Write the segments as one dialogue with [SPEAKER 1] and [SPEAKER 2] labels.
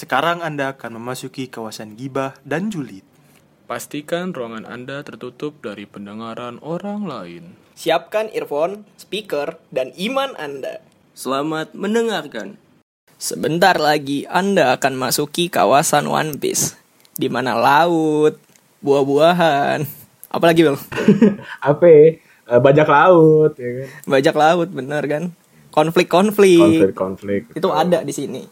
[SPEAKER 1] Sekarang Anda akan memasuki kawasan gibah dan julid.
[SPEAKER 2] Pastikan ruangan Anda tertutup dari pendengaran orang lain.
[SPEAKER 3] Siapkan earphone, speaker, dan iman Anda.
[SPEAKER 4] Selamat mendengarkan.
[SPEAKER 3] Sebentar lagi Anda akan masuki kawasan One Piece, di mana laut, buah-buahan, apalagi Bel?
[SPEAKER 5] apa ya? Eh, bajak laut ya kan
[SPEAKER 3] Bajak laut, bener kan? Konflik-konflik.
[SPEAKER 5] konflik konflik
[SPEAKER 3] Itu ada di sini.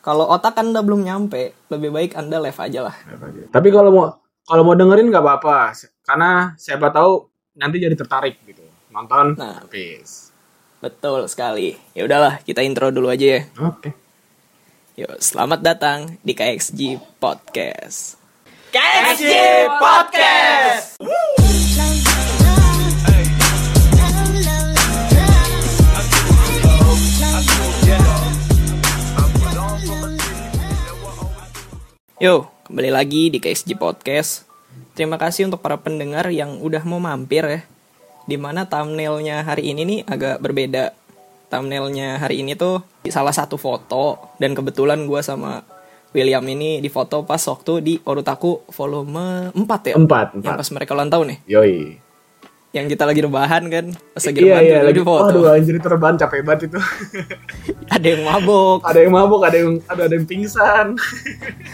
[SPEAKER 3] Kalau otak Anda belum nyampe, lebih baik Anda left aja lah.
[SPEAKER 5] tapi kalau mau kalau mau dengerin nggak apa-apa Se- karena siapa tahu nanti jadi tertarik gitu nonton
[SPEAKER 3] Nah.
[SPEAKER 5] habis
[SPEAKER 3] Betul sekali. Ya udahlah, kita intro dulu aja ya.
[SPEAKER 5] oke
[SPEAKER 3] Yuk, selamat datang di KXG Podcast. Yo, kembali lagi di KXG Podcast. Terima kasih untuk para pendengar yang udah mau mampir ya. Dimana thumbnailnya hari ini nih agak berbeda. Thumbnailnya hari ini tuh di salah satu foto. Dan kebetulan gua sama William ini di foto pas waktu di Orutaku volume 4 ya?
[SPEAKER 5] Empat,
[SPEAKER 3] Yang
[SPEAKER 5] empat.
[SPEAKER 3] pas mereka ulang tahun nih.
[SPEAKER 5] yoi
[SPEAKER 3] Yang kita lagi rebahan kan. Pas lagi
[SPEAKER 5] iya
[SPEAKER 3] rebahan
[SPEAKER 5] iya
[SPEAKER 3] tuh
[SPEAKER 5] lagi
[SPEAKER 3] di foto.
[SPEAKER 5] waduh anjir itu rebahan capek banget itu
[SPEAKER 3] Ada yang mabok.
[SPEAKER 5] ada yang mabuk ada yang ada ada yang pingsan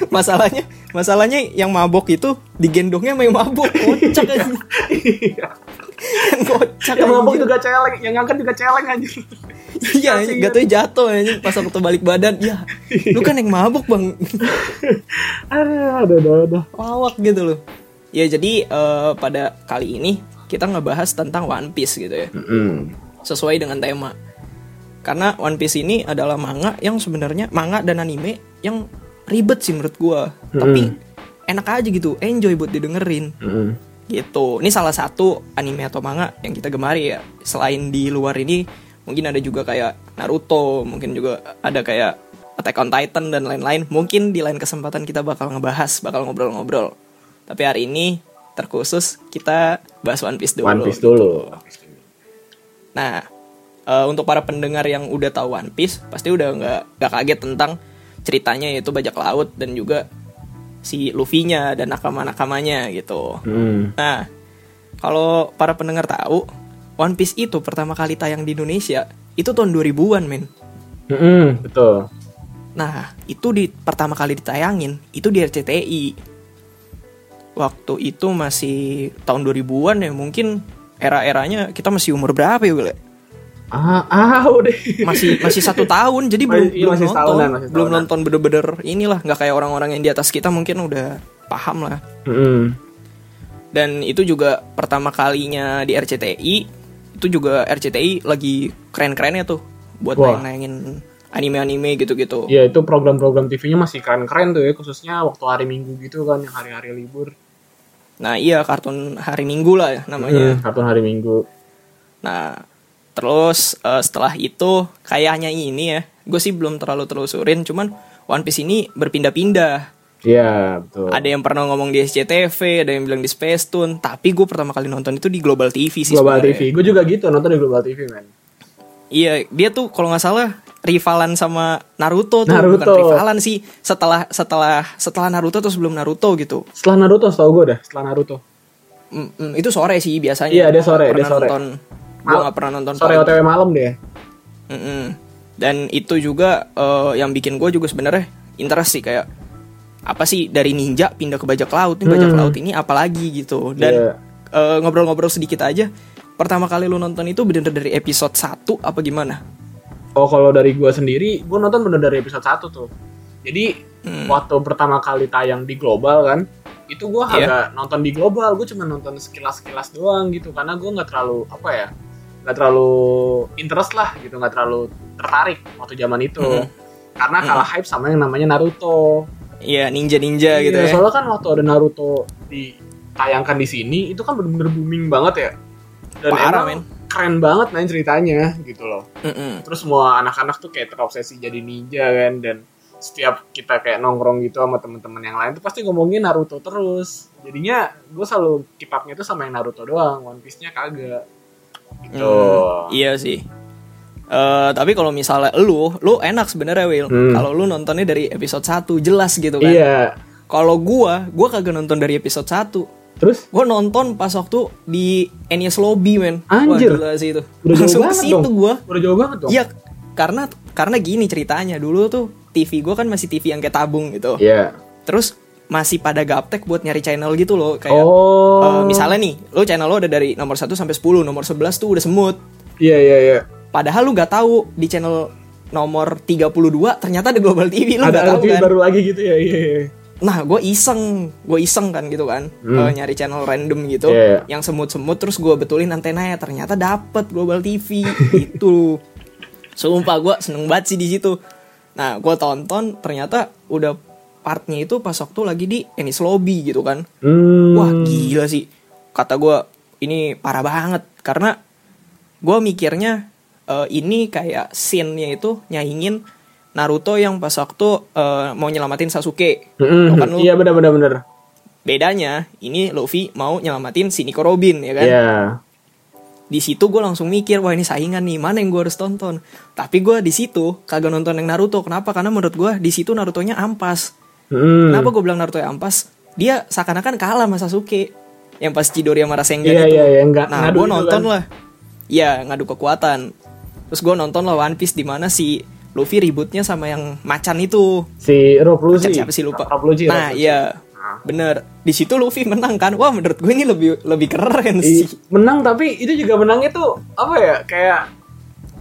[SPEAKER 3] masalahnya masalahnya yang mabok itu digendongnya sama yang mabok kocak kan kocak
[SPEAKER 5] Iya. yang kan mabuk
[SPEAKER 3] anjing.
[SPEAKER 5] juga celeng yang ngangkat juga celeng anjir
[SPEAKER 3] iya anjing, gak tau jatuh anjing pas aku balik badan ya lu kan yang mabok bang
[SPEAKER 5] ada ada ada, ada.
[SPEAKER 3] lawak gitu loh ya jadi eh, pada kali ini kita ngebahas tentang One Piece gitu ya sesuai dengan tema karena One Piece ini adalah manga yang sebenarnya manga dan anime yang ribet sih menurut gua
[SPEAKER 5] Hmm.
[SPEAKER 3] tapi enak aja gitu enjoy buat didengerin
[SPEAKER 5] Hmm.
[SPEAKER 3] gitu. Ini salah satu anime atau manga yang kita gemari ya. Selain di luar ini mungkin ada juga kayak Naruto, mungkin juga ada kayak Attack on Titan dan lain-lain. Mungkin di lain kesempatan kita bakal ngebahas, bakal ngobrol-ngobrol. Tapi hari ini terkhusus kita bahas One Piece dulu.
[SPEAKER 5] One Piece dulu
[SPEAKER 3] Nah, eh, untuk para pendengar yang udah tahu One Piece, pasti udah nggak nggak kaget tentang ceritanya yaitu bajak laut dan juga si Luffy-nya dan nakama-nakamanya gitu. Nah, kalau para pendengar tahu, One Piece itu pertama kali tayang di Indonesia itu tahun 2000-an, men.
[SPEAKER 5] Mm-mm, betul
[SPEAKER 3] Nah, itu di pertama kali ditayangin itu di RCTI. Waktu itu masih tahun 2000-an ya, mungkin era-eranya kita masih umur berapa ya, Wil? ya?
[SPEAKER 5] ah ah udah
[SPEAKER 3] Masih masih satu tahun, jadi belum,
[SPEAKER 5] Masih-
[SPEAKER 3] belum
[SPEAKER 5] masih
[SPEAKER 3] nonton.
[SPEAKER 5] setahunan, masih
[SPEAKER 3] belum
[SPEAKER 5] setahunan.
[SPEAKER 3] nonton bener-bener inilah, nggak kayak orang-orang yang di atas kita mungkin udah paham lah.
[SPEAKER 5] Mm-mm.
[SPEAKER 3] dan itu juga pertama kalinya di RCTI itu juga RCTI lagi keren-kerennya tuh buat
[SPEAKER 5] Wah.
[SPEAKER 3] nayangin anime-anime gitu-gitu
[SPEAKER 5] Ya itu program-program TV-nya masih keren-keren tuh ya khususnya waktu hari Minggu gitu kan yang hari-hari libur.
[SPEAKER 3] nah iya kartun hari minggu lah ya namanya
[SPEAKER 5] Hmm, kartun hari Minggu.
[SPEAKER 3] nah terus eh, setelah itu kayaknya ini ya gue sih belum terlalu telusurin cuman One Piece ini berpindah-pindah
[SPEAKER 5] Iya, betul.
[SPEAKER 3] ada yang pernah ngomong di SCTV ada yang bilang di Space Tune tapi gue pertama kali nonton itu di Global TV sih
[SPEAKER 5] Global
[SPEAKER 3] sebenarnya. ya.
[SPEAKER 5] TV. Gue juga gitu nonton di Global TV, men.
[SPEAKER 3] Iya, dia tuh kalau nggak salah rivalan sama Naruto tuh
[SPEAKER 5] Naruto.
[SPEAKER 3] bukan rivalan sih. Setelah setelah setelah Naruto terus sebelum Naruto gitu.
[SPEAKER 5] Setelah Naruto setahu gue dah, setelah Naruto.
[SPEAKER 3] Mm, mm, itu sore sih biasanya.
[SPEAKER 5] Iya, dia
[SPEAKER 3] Gua
[SPEAKER 5] sore,
[SPEAKER 3] nggak
[SPEAKER 5] dia
[SPEAKER 3] pernah
[SPEAKER 5] sore.
[SPEAKER 3] Nonton, gua nggak pernah nonton
[SPEAKER 5] Sore
[SPEAKER 3] pagi.
[SPEAKER 5] OTW malam deh. ya.
[SPEAKER 3] Mm, mm. Dan itu juga eh, yang bikin gue juga sebenarnya interest sih kayak apa sih dari ninja pindah ke bajak laut nih bajak laut ini apalagi gitu
[SPEAKER 5] Hmm. Iya.
[SPEAKER 3] dan eh, ngobrol-ngobrol sedikit aja pertama kali lu nonton itu bener dari episode 1 apa gimana
[SPEAKER 5] Oh, kalau dari gue sendiri, gue nonton bener dari episode 1 tuh. Jadi
[SPEAKER 3] Hmm.
[SPEAKER 5] waktu pertama kali tayang di Global kan, itu gue
[SPEAKER 3] Iya.
[SPEAKER 5] agak nonton di Global, gue cuma nonton sekilas-sekilas doang gitu karena gue nggak terlalu apa ya, nggak terlalu interest lah gitu, nggak terlalu tertarik waktu zaman itu.
[SPEAKER 3] Mhm.
[SPEAKER 5] Karena kalah hype sama yang namanya Naruto.
[SPEAKER 3] Hmm. Iya ninja ninja gitu
[SPEAKER 5] Iya,
[SPEAKER 3] ya
[SPEAKER 5] Soalnya kan waktu ada Naruto ditayangkan di sini, itu kan bener-bener booming banget ya. Dan
[SPEAKER 3] Parah, men.
[SPEAKER 5] emang keren banget main ceritanya gitu loh.
[SPEAKER 3] Mm-mm.
[SPEAKER 5] Terus semua anak-anak tuh kayak terobsesi jadi ninja kan dan setiap kita kayak nongkrong gitu sama temen-temen yang lain tuh pasti ngomongin Naruto terus. Jadinya gue selalu kipaknya
[SPEAKER 3] Hmm,
[SPEAKER 5] tuh sama yang Naruto doang, One Piece-nya kagak. Gitu.
[SPEAKER 3] Iya sih. Eh, tapi kalau misalnya lu, lu enak sebenarnya Will. Kalau lu nontonnya dari episode 1 jelas gitu kan.
[SPEAKER 5] Hmm. Iya.
[SPEAKER 3] Kalau gua, gua kagak nonton dari episode 1.
[SPEAKER 5] Terus
[SPEAKER 3] Gua nonton pas waktu di NES Lobby, men.
[SPEAKER 5] Anjir.
[SPEAKER 3] Wah, gila sih itu.
[SPEAKER 5] udah jauh
[SPEAKER 3] Langsung ke
[SPEAKER 5] banget
[SPEAKER 3] situ
[SPEAKER 5] dong.
[SPEAKER 3] gua.
[SPEAKER 5] Udah jauh banget dong.
[SPEAKER 3] Iya, karena karena gini ceritanya. Dulu tuh TV gua kan masih TV yang kayak tabung gitu.
[SPEAKER 5] Iya.
[SPEAKER 3] Terus masih pada gaptek buat nyari channel gitu loh kayak
[SPEAKER 5] Oh.
[SPEAKER 3] eh, misalnya nih, lu channel lo ada dari nomor 1 sampai 10, nomor 11 tuh udah semut.
[SPEAKER 5] Iya iya iya.
[SPEAKER 3] Padahal lu gak tahu di channel nomor 32 ternyata ada Global TV lu
[SPEAKER 5] Ada
[SPEAKER 3] gak tahu
[SPEAKER 5] artis
[SPEAKER 3] kan.
[SPEAKER 5] baru lagi gitu ya. Iya iya.
[SPEAKER 3] Nah, gue iseng, gue iseng kan gitu kan, Eh, nyari channel random gitu,
[SPEAKER 5] Hmm. Iya,
[SPEAKER 3] yang semut-semut terus gue betulin antenanya, ternyata dapet Global TV gitu. Sumpah gue seneng banget sih di situ. Nah, gue tonton ternyata udah partnya itu pas waktu lagi di Ennis Lobby gitu kan.
[SPEAKER 5] Hmm.
[SPEAKER 3] Wah gila sih Kata gue ini parah banget Karena gue mikirnya eh, Ini kayak scene-nya itu nyaingin Naruto yang pas waktu eh, mau nyelamatin Sasuke Tuh
[SPEAKER 5] Mm-mm.
[SPEAKER 3] kan lu-
[SPEAKER 5] Iya benar benar benar.
[SPEAKER 3] Bedanya ini Luffy mau nyelamatin si Nico Robin ya kan
[SPEAKER 5] Iya.
[SPEAKER 3] Di situ gue langsung mikir Wah ini saingan nih mana yang gue harus tonton Tapi gue di situ kagak nonton yang Naruto Kenapa? Karena menurut gue di situ Naruto-nya ampas
[SPEAKER 5] Mm.
[SPEAKER 3] Kenapa gue bilang Naruto ampas? Dia seakan-akan kalah sama Sasuke. Yang pas Chidori sama Rasengan
[SPEAKER 5] Iya,
[SPEAKER 3] itu.
[SPEAKER 5] iya, iya, nggak-
[SPEAKER 3] nah,
[SPEAKER 5] ngadu
[SPEAKER 3] gue
[SPEAKER 5] itu
[SPEAKER 3] nonton
[SPEAKER 5] kan.
[SPEAKER 3] lah. Iya, ngadu kekuatan. Terus gue nonton lah One Piece di mana si Luffy ributnya sama yang macan itu.
[SPEAKER 5] Si Rob
[SPEAKER 3] Macan
[SPEAKER 5] Lucy.
[SPEAKER 3] siapa sih lupa?
[SPEAKER 5] Rob Lucy. ya?
[SPEAKER 3] nah,
[SPEAKER 5] Rob Lucy.
[SPEAKER 3] iya. Bener. Di situ Luffy menang kan? Wah, menurut gue ini lebih lebih keren
[SPEAKER 5] I-
[SPEAKER 3] sih.
[SPEAKER 5] menang tapi itu juga menangnya tuh apa ya kayak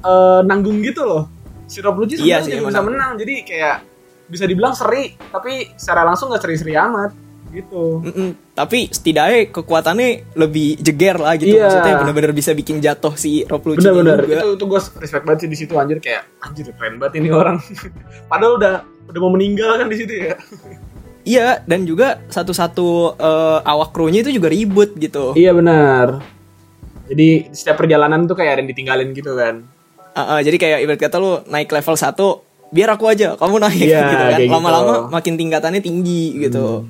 [SPEAKER 5] eh, nanggung gitu loh si Rob Lucci
[SPEAKER 3] Iya
[SPEAKER 5] sebenarnya
[SPEAKER 3] sih,
[SPEAKER 5] juga
[SPEAKER 3] emang
[SPEAKER 5] bisa
[SPEAKER 3] nanggung.
[SPEAKER 5] menang jadi kayak bisa dibilang seri tapi secara langsung gak seri-seri amat gitu
[SPEAKER 3] Mm-mm. Tapi setidaknya kekuatannya lebih jeger lah gitu.
[SPEAKER 5] Iya.
[SPEAKER 3] Maksudnya bener-bener bisa bikin jatuh si Rob Lucci
[SPEAKER 5] bener-bener
[SPEAKER 3] juga.
[SPEAKER 5] itu, itu gue respect banget sih di situ anjir kayak anjir keren banget ini orang padahal udah udah mau meninggal kan di situ ya
[SPEAKER 3] Iya, dan juga satu-satu eh, awak krunya itu juga ribut gitu.
[SPEAKER 5] iya benar jadi setiap perjalanan tuh kayak ada yang ditinggalin gitu kan
[SPEAKER 3] Ah, ah, jadi kayak ibarat kata lu naik level 1, biar aku aja, kamu naik
[SPEAKER 5] Iya,
[SPEAKER 3] gitu kan.
[SPEAKER 5] kayak gitu. Hmm.
[SPEAKER 3] Lama-lama makin tingkatannya tinggi gitu.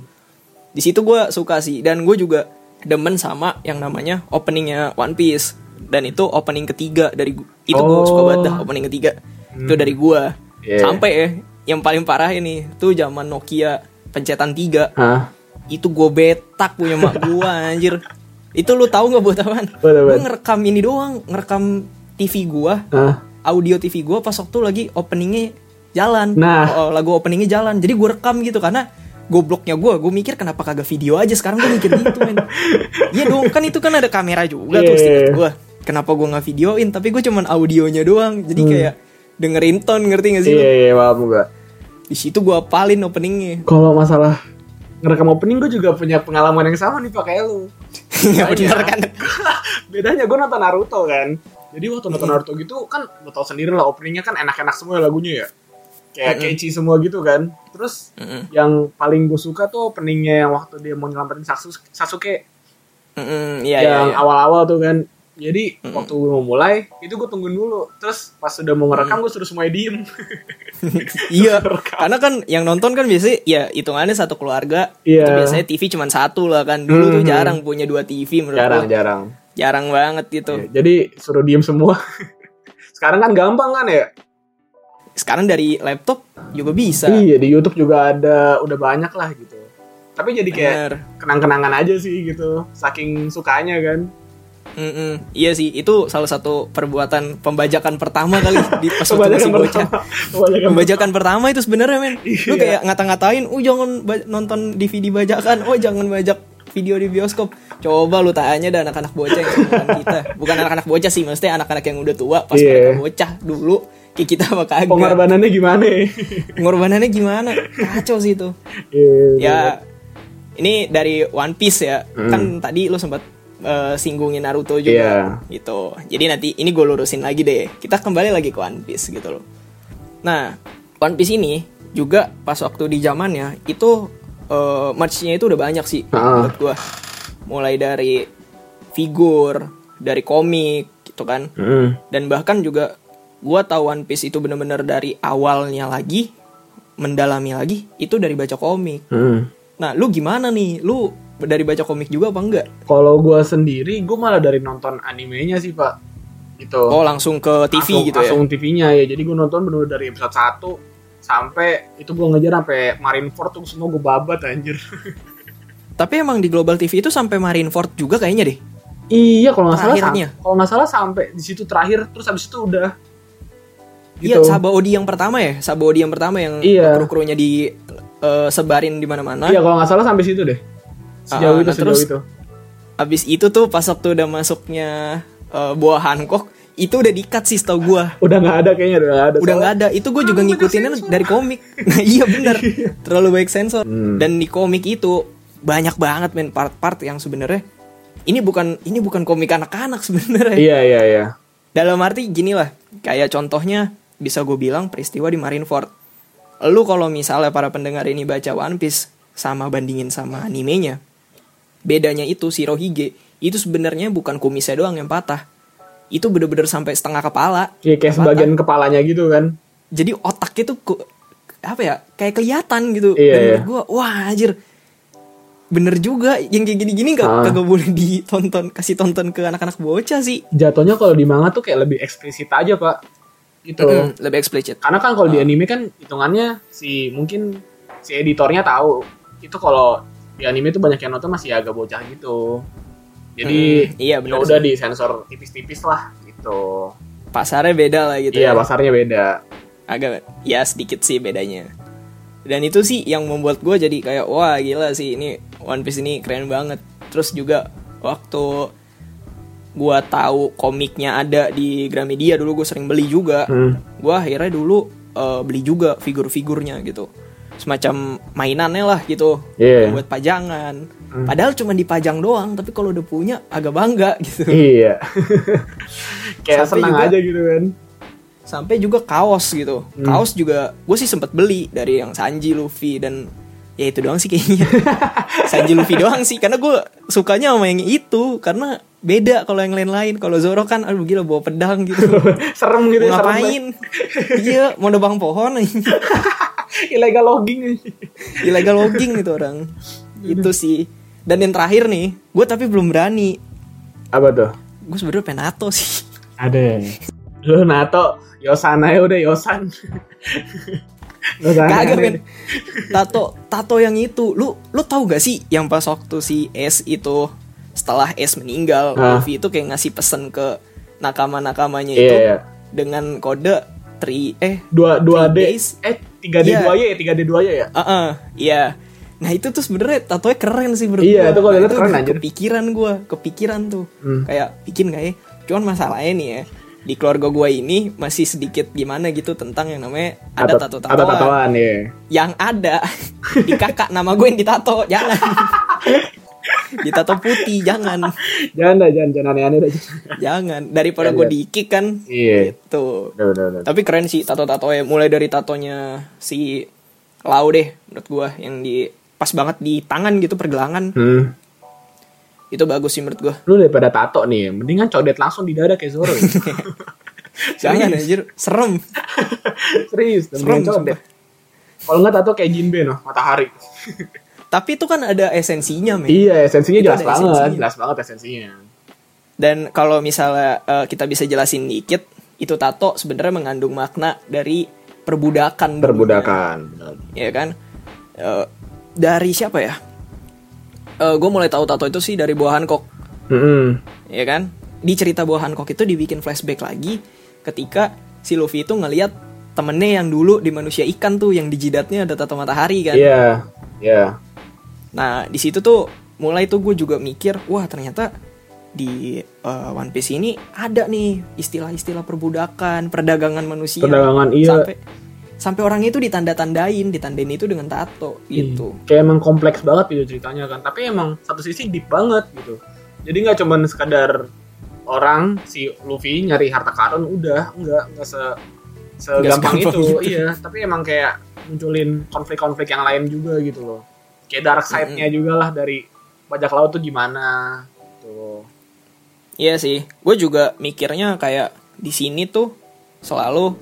[SPEAKER 3] Di situ gue suka sih dan gue juga demen sama yang namanya openingnya One Piece dan itu opening ketiga dari gu- itu gue
[SPEAKER 5] Oh. Hmm.
[SPEAKER 3] suka banget dah opening ketiga itu dari gue
[SPEAKER 5] Iya.
[SPEAKER 3] sampai ya yang paling parah ini tuh zaman Nokia pencetan tiga
[SPEAKER 5] Hah?
[SPEAKER 3] itu gue betak punya mak gua anjir itu lu tahu nggak buat apaan
[SPEAKER 5] Buat apaan?
[SPEAKER 3] gue ngerekam ini doang ngerekam TV gua
[SPEAKER 5] Hah?
[SPEAKER 3] audio TV gua pas waktu lagi openingnya jalan
[SPEAKER 5] Nah.
[SPEAKER 3] Oh, lagu openingnya jalan jadi gue rekam gitu karena gobloknya gua gue mikir kenapa kagak video aja sekarang gue mikir gitu men iya dong kan itu kan ada kamera juga tuh
[SPEAKER 5] Iya, iya,
[SPEAKER 3] setiap
[SPEAKER 5] iya.
[SPEAKER 3] gua kenapa gua nggak videoin tapi gue cuman audionya doang jadi kayak dengerin tone ngerti gak sih lu?
[SPEAKER 5] Hmm. iya iya paham gua.
[SPEAKER 3] di situ gua apalin openingnya
[SPEAKER 5] kalau masalah ngerekam opening gue juga punya pengalaman yang sama nih pakai lu
[SPEAKER 3] ya
[SPEAKER 5] Iya.
[SPEAKER 3] bener kan
[SPEAKER 5] bedanya gue nonton Naruto kan jadi waktu nonton Naruto gitu kan lo tau sendiri lah openingnya kan enak-enak semua lagunya ya kayak catchy semua gitu kan terus yang paling gue suka tuh openingnya yang waktu dia mau nyelamatin Sasu- Sasuke
[SPEAKER 3] Mm-mm, iya iya iya.
[SPEAKER 5] yang awal-awal tuh kan jadi waktu gue mau mulai itu gue tungguin dulu terus pas udah mau ngerekam gue suruh semuanya diem
[SPEAKER 3] Iya, karena kan yang nonton kan biasanya ya hitungannya satu keluarga.
[SPEAKER 5] Iya.
[SPEAKER 3] Itu biasanya TV cuma satu lah kan. Dulu tuh
[SPEAKER 5] Mhm.
[SPEAKER 3] jarang punya dua TV menurut gua.
[SPEAKER 5] jarang
[SPEAKER 3] Jarang banget gitu.
[SPEAKER 5] Iya, jadi suruh diem semua sekarang kan gampang kan ya
[SPEAKER 3] Sekarang dari laptop juga bisa.
[SPEAKER 5] Iya di YouTube juga ada udah banyak lah gitu. Tapi jadi kayak
[SPEAKER 3] Bener.
[SPEAKER 5] kenang-kenangan aja sih gitu, saking sukanya kan.
[SPEAKER 3] Mm-mm. Iya sih, itu salah satu perbuatan pembajakan pertama kali di pas waktu
[SPEAKER 5] Kebanyakan
[SPEAKER 3] masih bocah.
[SPEAKER 5] pertama, kebanyakan
[SPEAKER 3] Pembajakan pertama itu sebenarnya men. Lu
[SPEAKER 5] Iya.
[SPEAKER 3] kayak ngata-ngatain, "Oh, jangan ba- nonton DVD bajakan. Oh, jangan bajak video di bioskop." Coba lu tanya dah anak-anak bocah yang seumuran kita. Bukan anak-anak bocah sih, maksudnya anak-anak yang udah tua pas
[SPEAKER 5] Iya.
[SPEAKER 3] mereka bocah dulu kayak kita sama kagak.
[SPEAKER 5] pengorbanannya gimana? ya?
[SPEAKER 3] Pengorbanannya gimana? Kacau sih itu.
[SPEAKER 5] Iya. Hmm.
[SPEAKER 3] ya ini dari One Piece ya. Kan tadi lu sempat eh, singgungin Naruto juga
[SPEAKER 5] Iya.
[SPEAKER 3] gitu. Jadi nanti ini gue lurusin lagi deh. Kita kembali lagi ke One Piece gitu loh. Nah, One Piece ini juga pas waktu di zamannya itu eh, merch-nya itu udah banyak sih
[SPEAKER 5] Ah.
[SPEAKER 3] menurut gua. Mulai dari figur, dari komik gitu kan.
[SPEAKER 5] Mm.
[SPEAKER 3] Dan bahkan juga gua tahu One Piece itu bener-bener dari awalnya lagi mendalami lagi itu dari baca komik.
[SPEAKER 5] Mm.
[SPEAKER 3] Nah, lu gimana nih? Lu dari baca komik juga apa enggak?
[SPEAKER 5] Kalau gue sendiri, gue malah dari nonton animenya sih pak. gitu
[SPEAKER 3] Oh langsung ke TV
[SPEAKER 5] langsung,
[SPEAKER 3] gitu
[SPEAKER 5] langsung TV-nya ya jadi gue nonton bener dari episode 1 sampai itu gue ngejar sampai Marineford tuh semua gue babat anjir
[SPEAKER 3] ya. Tapi emang di Global TV itu sampai Marineford juga kayaknya deh.
[SPEAKER 5] iya kalau nggak salah
[SPEAKER 3] Terakhirnya.
[SPEAKER 5] sam- kalau nggak salah sampai di situ terakhir terus habis itu udah
[SPEAKER 3] Iya, Saba Odi yang pertama ya, Saba Odi yang pertama yang
[SPEAKER 5] Gitu. Iya.
[SPEAKER 3] kru-krunya di eh, sebarin di mana-mana.
[SPEAKER 5] iya kalau nggak salah sampai situ deh sejauh
[SPEAKER 3] Ah,
[SPEAKER 5] itu
[SPEAKER 3] nah,
[SPEAKER 5] sejauh
[SPEAKER 3] terus-
[SPEAKER 5] itu
[SPEAKER 3] Abis itu tuh pas waktu udah masuknya eh, buah Hancock, itu udah di-cut sih setahu gua.
[SPEAKER 5] udah nggak ada kayaknya udah nggak ada
[SPEAKER 3] udah
[SPEAKER 5] Soalnya-
[SPEAKER 3] nggak ada itu gue juga ngikutinnya dari komik nah, iya benar terlalu baik sensor
[SPEAKER 5] Hmm.
[SPEAKER 3] dan di komik itu banyak banget men part-part yang sebenarnya ini bukan ini bukan komik anak-anak sebenarnya
[SPEAKER 5] iya iya iya
[SPEAKER 3] dalam arti gini lah kayak contohnya bisa gue bilang peristiwa di Marineford lu kalau misalnya para pendengar ini baca One Piece sama bandingin sama animenya bedanya itu si Rohige itu sebenarnya bukan kumisnya doang yang patah itu bener-bener sampai setengah kepala
[SPEAKER 5] Iya kayak sebagian kepalanya gitu kan.
[SPEAKER 3] jadi otaknya tuh ku- apa ya kayak kelihatan gitu
[SPEAKER 5] Iya,
[SPEAKER 3] dan
[SPEAKER 5] iya.
[SPEAKER 3] menurut gua wah anjir bener juga yang kayak gini-gini gak,
[SPEAKER 5] Ah.
[SPEAKER 3] kagak boleh ditonton kasih tonton ke anak-anak bocah sih
[SPEAKER 5] Jatuhnya kalau di manga tuh kayak lebih eksplisit aja pak. Gitu.
[SPEAKER 3] Mm, lebih eksplisit
[SPEAKER 5] Karena kan kalau di
[SPEAKER 3] Ah.
[SPEAKER 5] anime kan hitungannya si mungkin si editornya tahu itu kalau di anime tuh banyak yang nonton masih agak bocah gitu. Jadi
[SPEAKER 3] Mm, iya
[SPEAKER 5] ya
[SPEAKER 3] bener
[SPEAKER 5] udah di sensor tipis-tipis lah gitu.
[SPEAKER 3] sih. pasarnya beda lah gitu
[SPEAKER 5] Iya
[SPEAKER 3] ya
[SPEAKER 5] pasarnya beda.
[SPEAKER 3] agak ya sedikit sih bedanya dan itu sih yang membuat gue jadi kayak wah gila sih ini One Piece ini keren banget terus juga waktu gue tahu komiknya ada di Gramedia dulu gue sering beli juga
[SPEAKER 5] Hmm.
[SPEAKER 3] gue akhirnya dulu eh, beli juga figur-figurnya gitu semacam mainannya lah gitu
[SPEAKER 5] Iya.
[SPEAKER 3] buat pajangan padahal cuma dipajang doang tapi kalau udah punya agak bangga gitu
[SPEAKER 5] iya. kayak
[SPEAKER 3] Sampai
[SPEAKER 5] senang
[SPEAKER 3] juga-
[SPEAKER 5] aja gitu kan. Hmm.
[SPEAKER 3] sampai juga kaos gitu kaos juga gue sih sempet beli dari yang Sanji Luffy dan ya itu doang sih kayaknya Sanji Luffy doang sih karena gue sukanya sama yang itu karena beda kalau yang lain-lain kalau Zoro kan aduh gila bawa pedang gitu
[SPEAKER 5] Serem
[SPEAKER 3] Mau
[SPEAKER 5] gitu ya, serem banget.
[SPEAKER 3] ngapain iya mau nebang pohon
[SPEAKER 5] Illegal logging.
[SPEAKER 3] illegal logging itu orang itu sih dan yang terakhir nih gue tapi belum berani
[SPEAKER 5] Apa tuh?
[SPEAKER 3] gue sebenarnya penato sih
[SPEAKER 5] Ada. Lu Nato, Yosan aja udah Yosan. Lu jangan
[SPEAKER 3] Kagak
[SPEAKER 5] aneh.
[SPEAKER 3] men Tato Tato yang itu Lu lu tahu gak sih Yang pas waktu si S itu Setelah S meninggal
[SPEAKER 5] Ah.
[SPEAKER 3] Luffy itu kayak ngasih pesan ke Nakama-nakamanya
[SPEAKER 5] Iya,
[SPEAKER 3] itu
[SPEAKER 5] iya.
[SPEAKER 3] Dengan kode tri Eh
[SPEAKER 5] Dua dua D.
[SPEAKER 3] Three days.
[SPEAKER 5] Eh tiga D
[SPEAKER 3] Iya.
[SPEAKER 5] dua Y, tiga D dua Y ya.
[SPEAKER 3] ah ah, Iya Nah itu tuh sebenarnya tatonya keren sih menurut
[SPEAKER 5] Iya,
[SPEAKER 3] gua.
[SPEAKER 5] itu kalau
[SPEAKER 3] Nah,
[SPEAKER 5] dilihat keren,
[SPEAKER 3] udah
[SPEAKER 5] anjir.
[SPEAKER 3] Kepikiran gue Kepikiran tuh
[SPEAKER 5] Hmm.
[SPEAKER 3] Kayak bikin gak ya Cuman masalahnya nih ya Di keluarga gue ini Masih sedikit gimana gitu Tentang yang namanya Ada
[SPEAKER 5] Tato-
[SPEAKER 3] tato-tatoan
[SPEAKER 5] Ada tatoan ya.
[SPEAKER 3] yang ada di kakak nama gue yang ditato jangan ditato putih jangan
[SPEAKER 5] Jangan dah, jangan jangan aneh-aneh dah.
[SPEAKER 3] jangan daripada
[SPEAKER 5] Iya,
[SPEAKER 3] gue
[SPEAKER 5] iya.
[SPEAKER 3] dikick kan gitu.
[SPEAKER 5] Iya.
[SPEAKER 3] tuh
[SPEAKER 5] Udah, udah, udah.
[SPEAKER 3] tapi keren sih tato tatonya mulai dari tatonya si Lau deh menurut gue yang di pas banget di tangan gitu pergelangan
[SPEAKER 5] Hmm.
[SPEAKER 3] itu bagus sih menurut gue
[SPEAKER 5] Lu daripada tato nih, mendingan codet langsung di dada kayak Zoro. ya.
[SPEAKER 3] jangan anjir serem
[SPEAKER 5] Serius,
[SPEAKER 3] serem
[SPEAKER 5] mendingan codet.
[SPEAKER 3] sumpah.
[SPEAKER 5] Kalau nggak tato kayak Jinbe noh, matahari.
[SPEAKER 3] tapi itu kan ada esensinya men
[SPEAKER 5] Iya, esensinya
[SPEAKER 3] Itu
[SPEAKER 5] jelas
[SPEAKER 3] ada
[SPEAKER 5] banget,
[SPEAKER 3] esensinya.
[SPEAKER 5] jelas banget esensinya.
[SPEAKER 3] Dan kalau misalnya eh, kita bisa jelasin dikit, itu tato sebenarnya mengandung makna dari perbudakan.
[SPEAKER 5] Perbudakan.
[SPEAKER 3] Ya kan? Eh, dari siapa ya? gue mulai tahu tato itu sih dari buah Hancock,
[SPEAKER 5] Hmm.
[SPEAKER 3] ya kan? Di cerita buah Hancock itu dibikin flashback lagi ketika si Luffy itu ngelihat temennya yang dulu di manusia ikan tuh yang di jidatnya ada tato matahari kan.
[SPEAKER 5] Iya, iya.
[SPEAKER 3] Nah, di situ tuh mulai tuh gue juga mikir, wah ternyata di eh, One Piece ini ada nih istilah-istilah perbudakan, perdagangan manusia.
[SPEAKER 5] Perdagangan, iya.
[SPEAKER 3] Sampai sampai orang itu ditanda-tandain, ditandain itu dengan tato gitu.
[SPEAKER 5] Kayak emang kompleks banget itu ceritanya kan. Tapi emang satu sisi deep banget gitu. Jadi nggak cuman sekadar orang si Luffy nyari harta karun udah nggak nggak se
[SPEAKER 3] segampang
[SPEAKER 5] segampang itu.
[SPEAKER 3] itu.
[SPEAKER 5] Iya, tapi emang kayak munculin konflik-konflik yang lain juga gitu loh. Kayak dark side-nya juga lah dari bajak laut tuh gimana gitu.
[SPEAKER 3] Iya sih. Gue juga mikirnya kayak di sini tuh selalu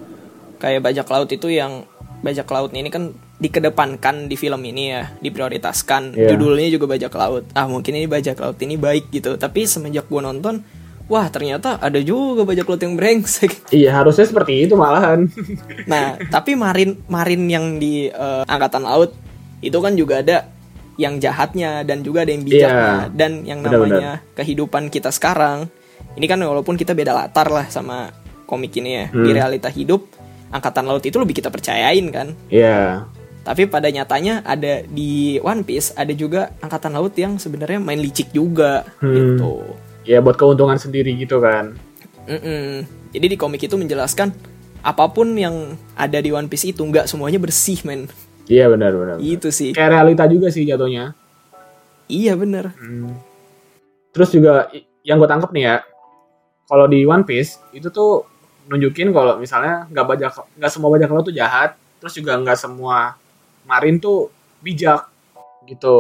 [SPEAKER 3] kayak bajak laut itu yang bajak laut ini kan dikedepankan di film ini ya, diprioritaskan.
[SPEAKER 5] Iya.
[SPEAKER 3] Judulnya juga bajak laut. Ah, mungkin ini bajak laut ini baik gitu. Tapi semenjak gue nonton, wah ternyata ada juga bajak laut yang brengsek
[SPEAKER 5] Iya harusnya seperti itu malahan.
[SPEAKER 3] Nah, tapi marin marin yang di eh, angkatan laut itu kan juga ada yang jahatnya dan juga ada yang bijaknya
[SPEAKER 5] Iya,
[SPEAKER 3] dan yang
[SPEAKER 5] benar-benar.
[SPEAKER 3] namanya kehidupan kita sekarang. Ini kan walaupun kita beda latar lah sama komik ini ya. Di
[SPEAKER 5] Hmm.
[SPEAKER 3] realita hidup angkatan laut itu lebih kita percayain kan.
[SPEAKER 5] Iya.
[SPEAKER 3] Tapi pada nyatanya ada di One Piece ada juga angkatan laut yang sebenarnya main licik juga
[SPEAKER 5] Hmm.
[SPEAKER 3] gitu.
[SPEAKER 5] Ya buat keuntungan sendiri gitu kan.
[SPEAKER 3] Mm-mm. Jadi di komik itu menjelaskan apapun yang ada di One Piece itu nggak semuanya bersih men.
[SPEAKER 5] Iya benar-benar.
[SPEAKER 3] Itu Gitu sih.
[SPEAKER 5] Kayak realita juga sih jatuhnya.
[SPEAKER 3] Iya bener.
[SPEAKER 5] Hmm. Terus juga i- yang gue tangkap nih ya, kalau di One Piece itu tuh nunjukin kalau misalnya nggak bajak nggak semua bajak laut tuh jahat, terus juga nggak semua marin tuh bijak gitu.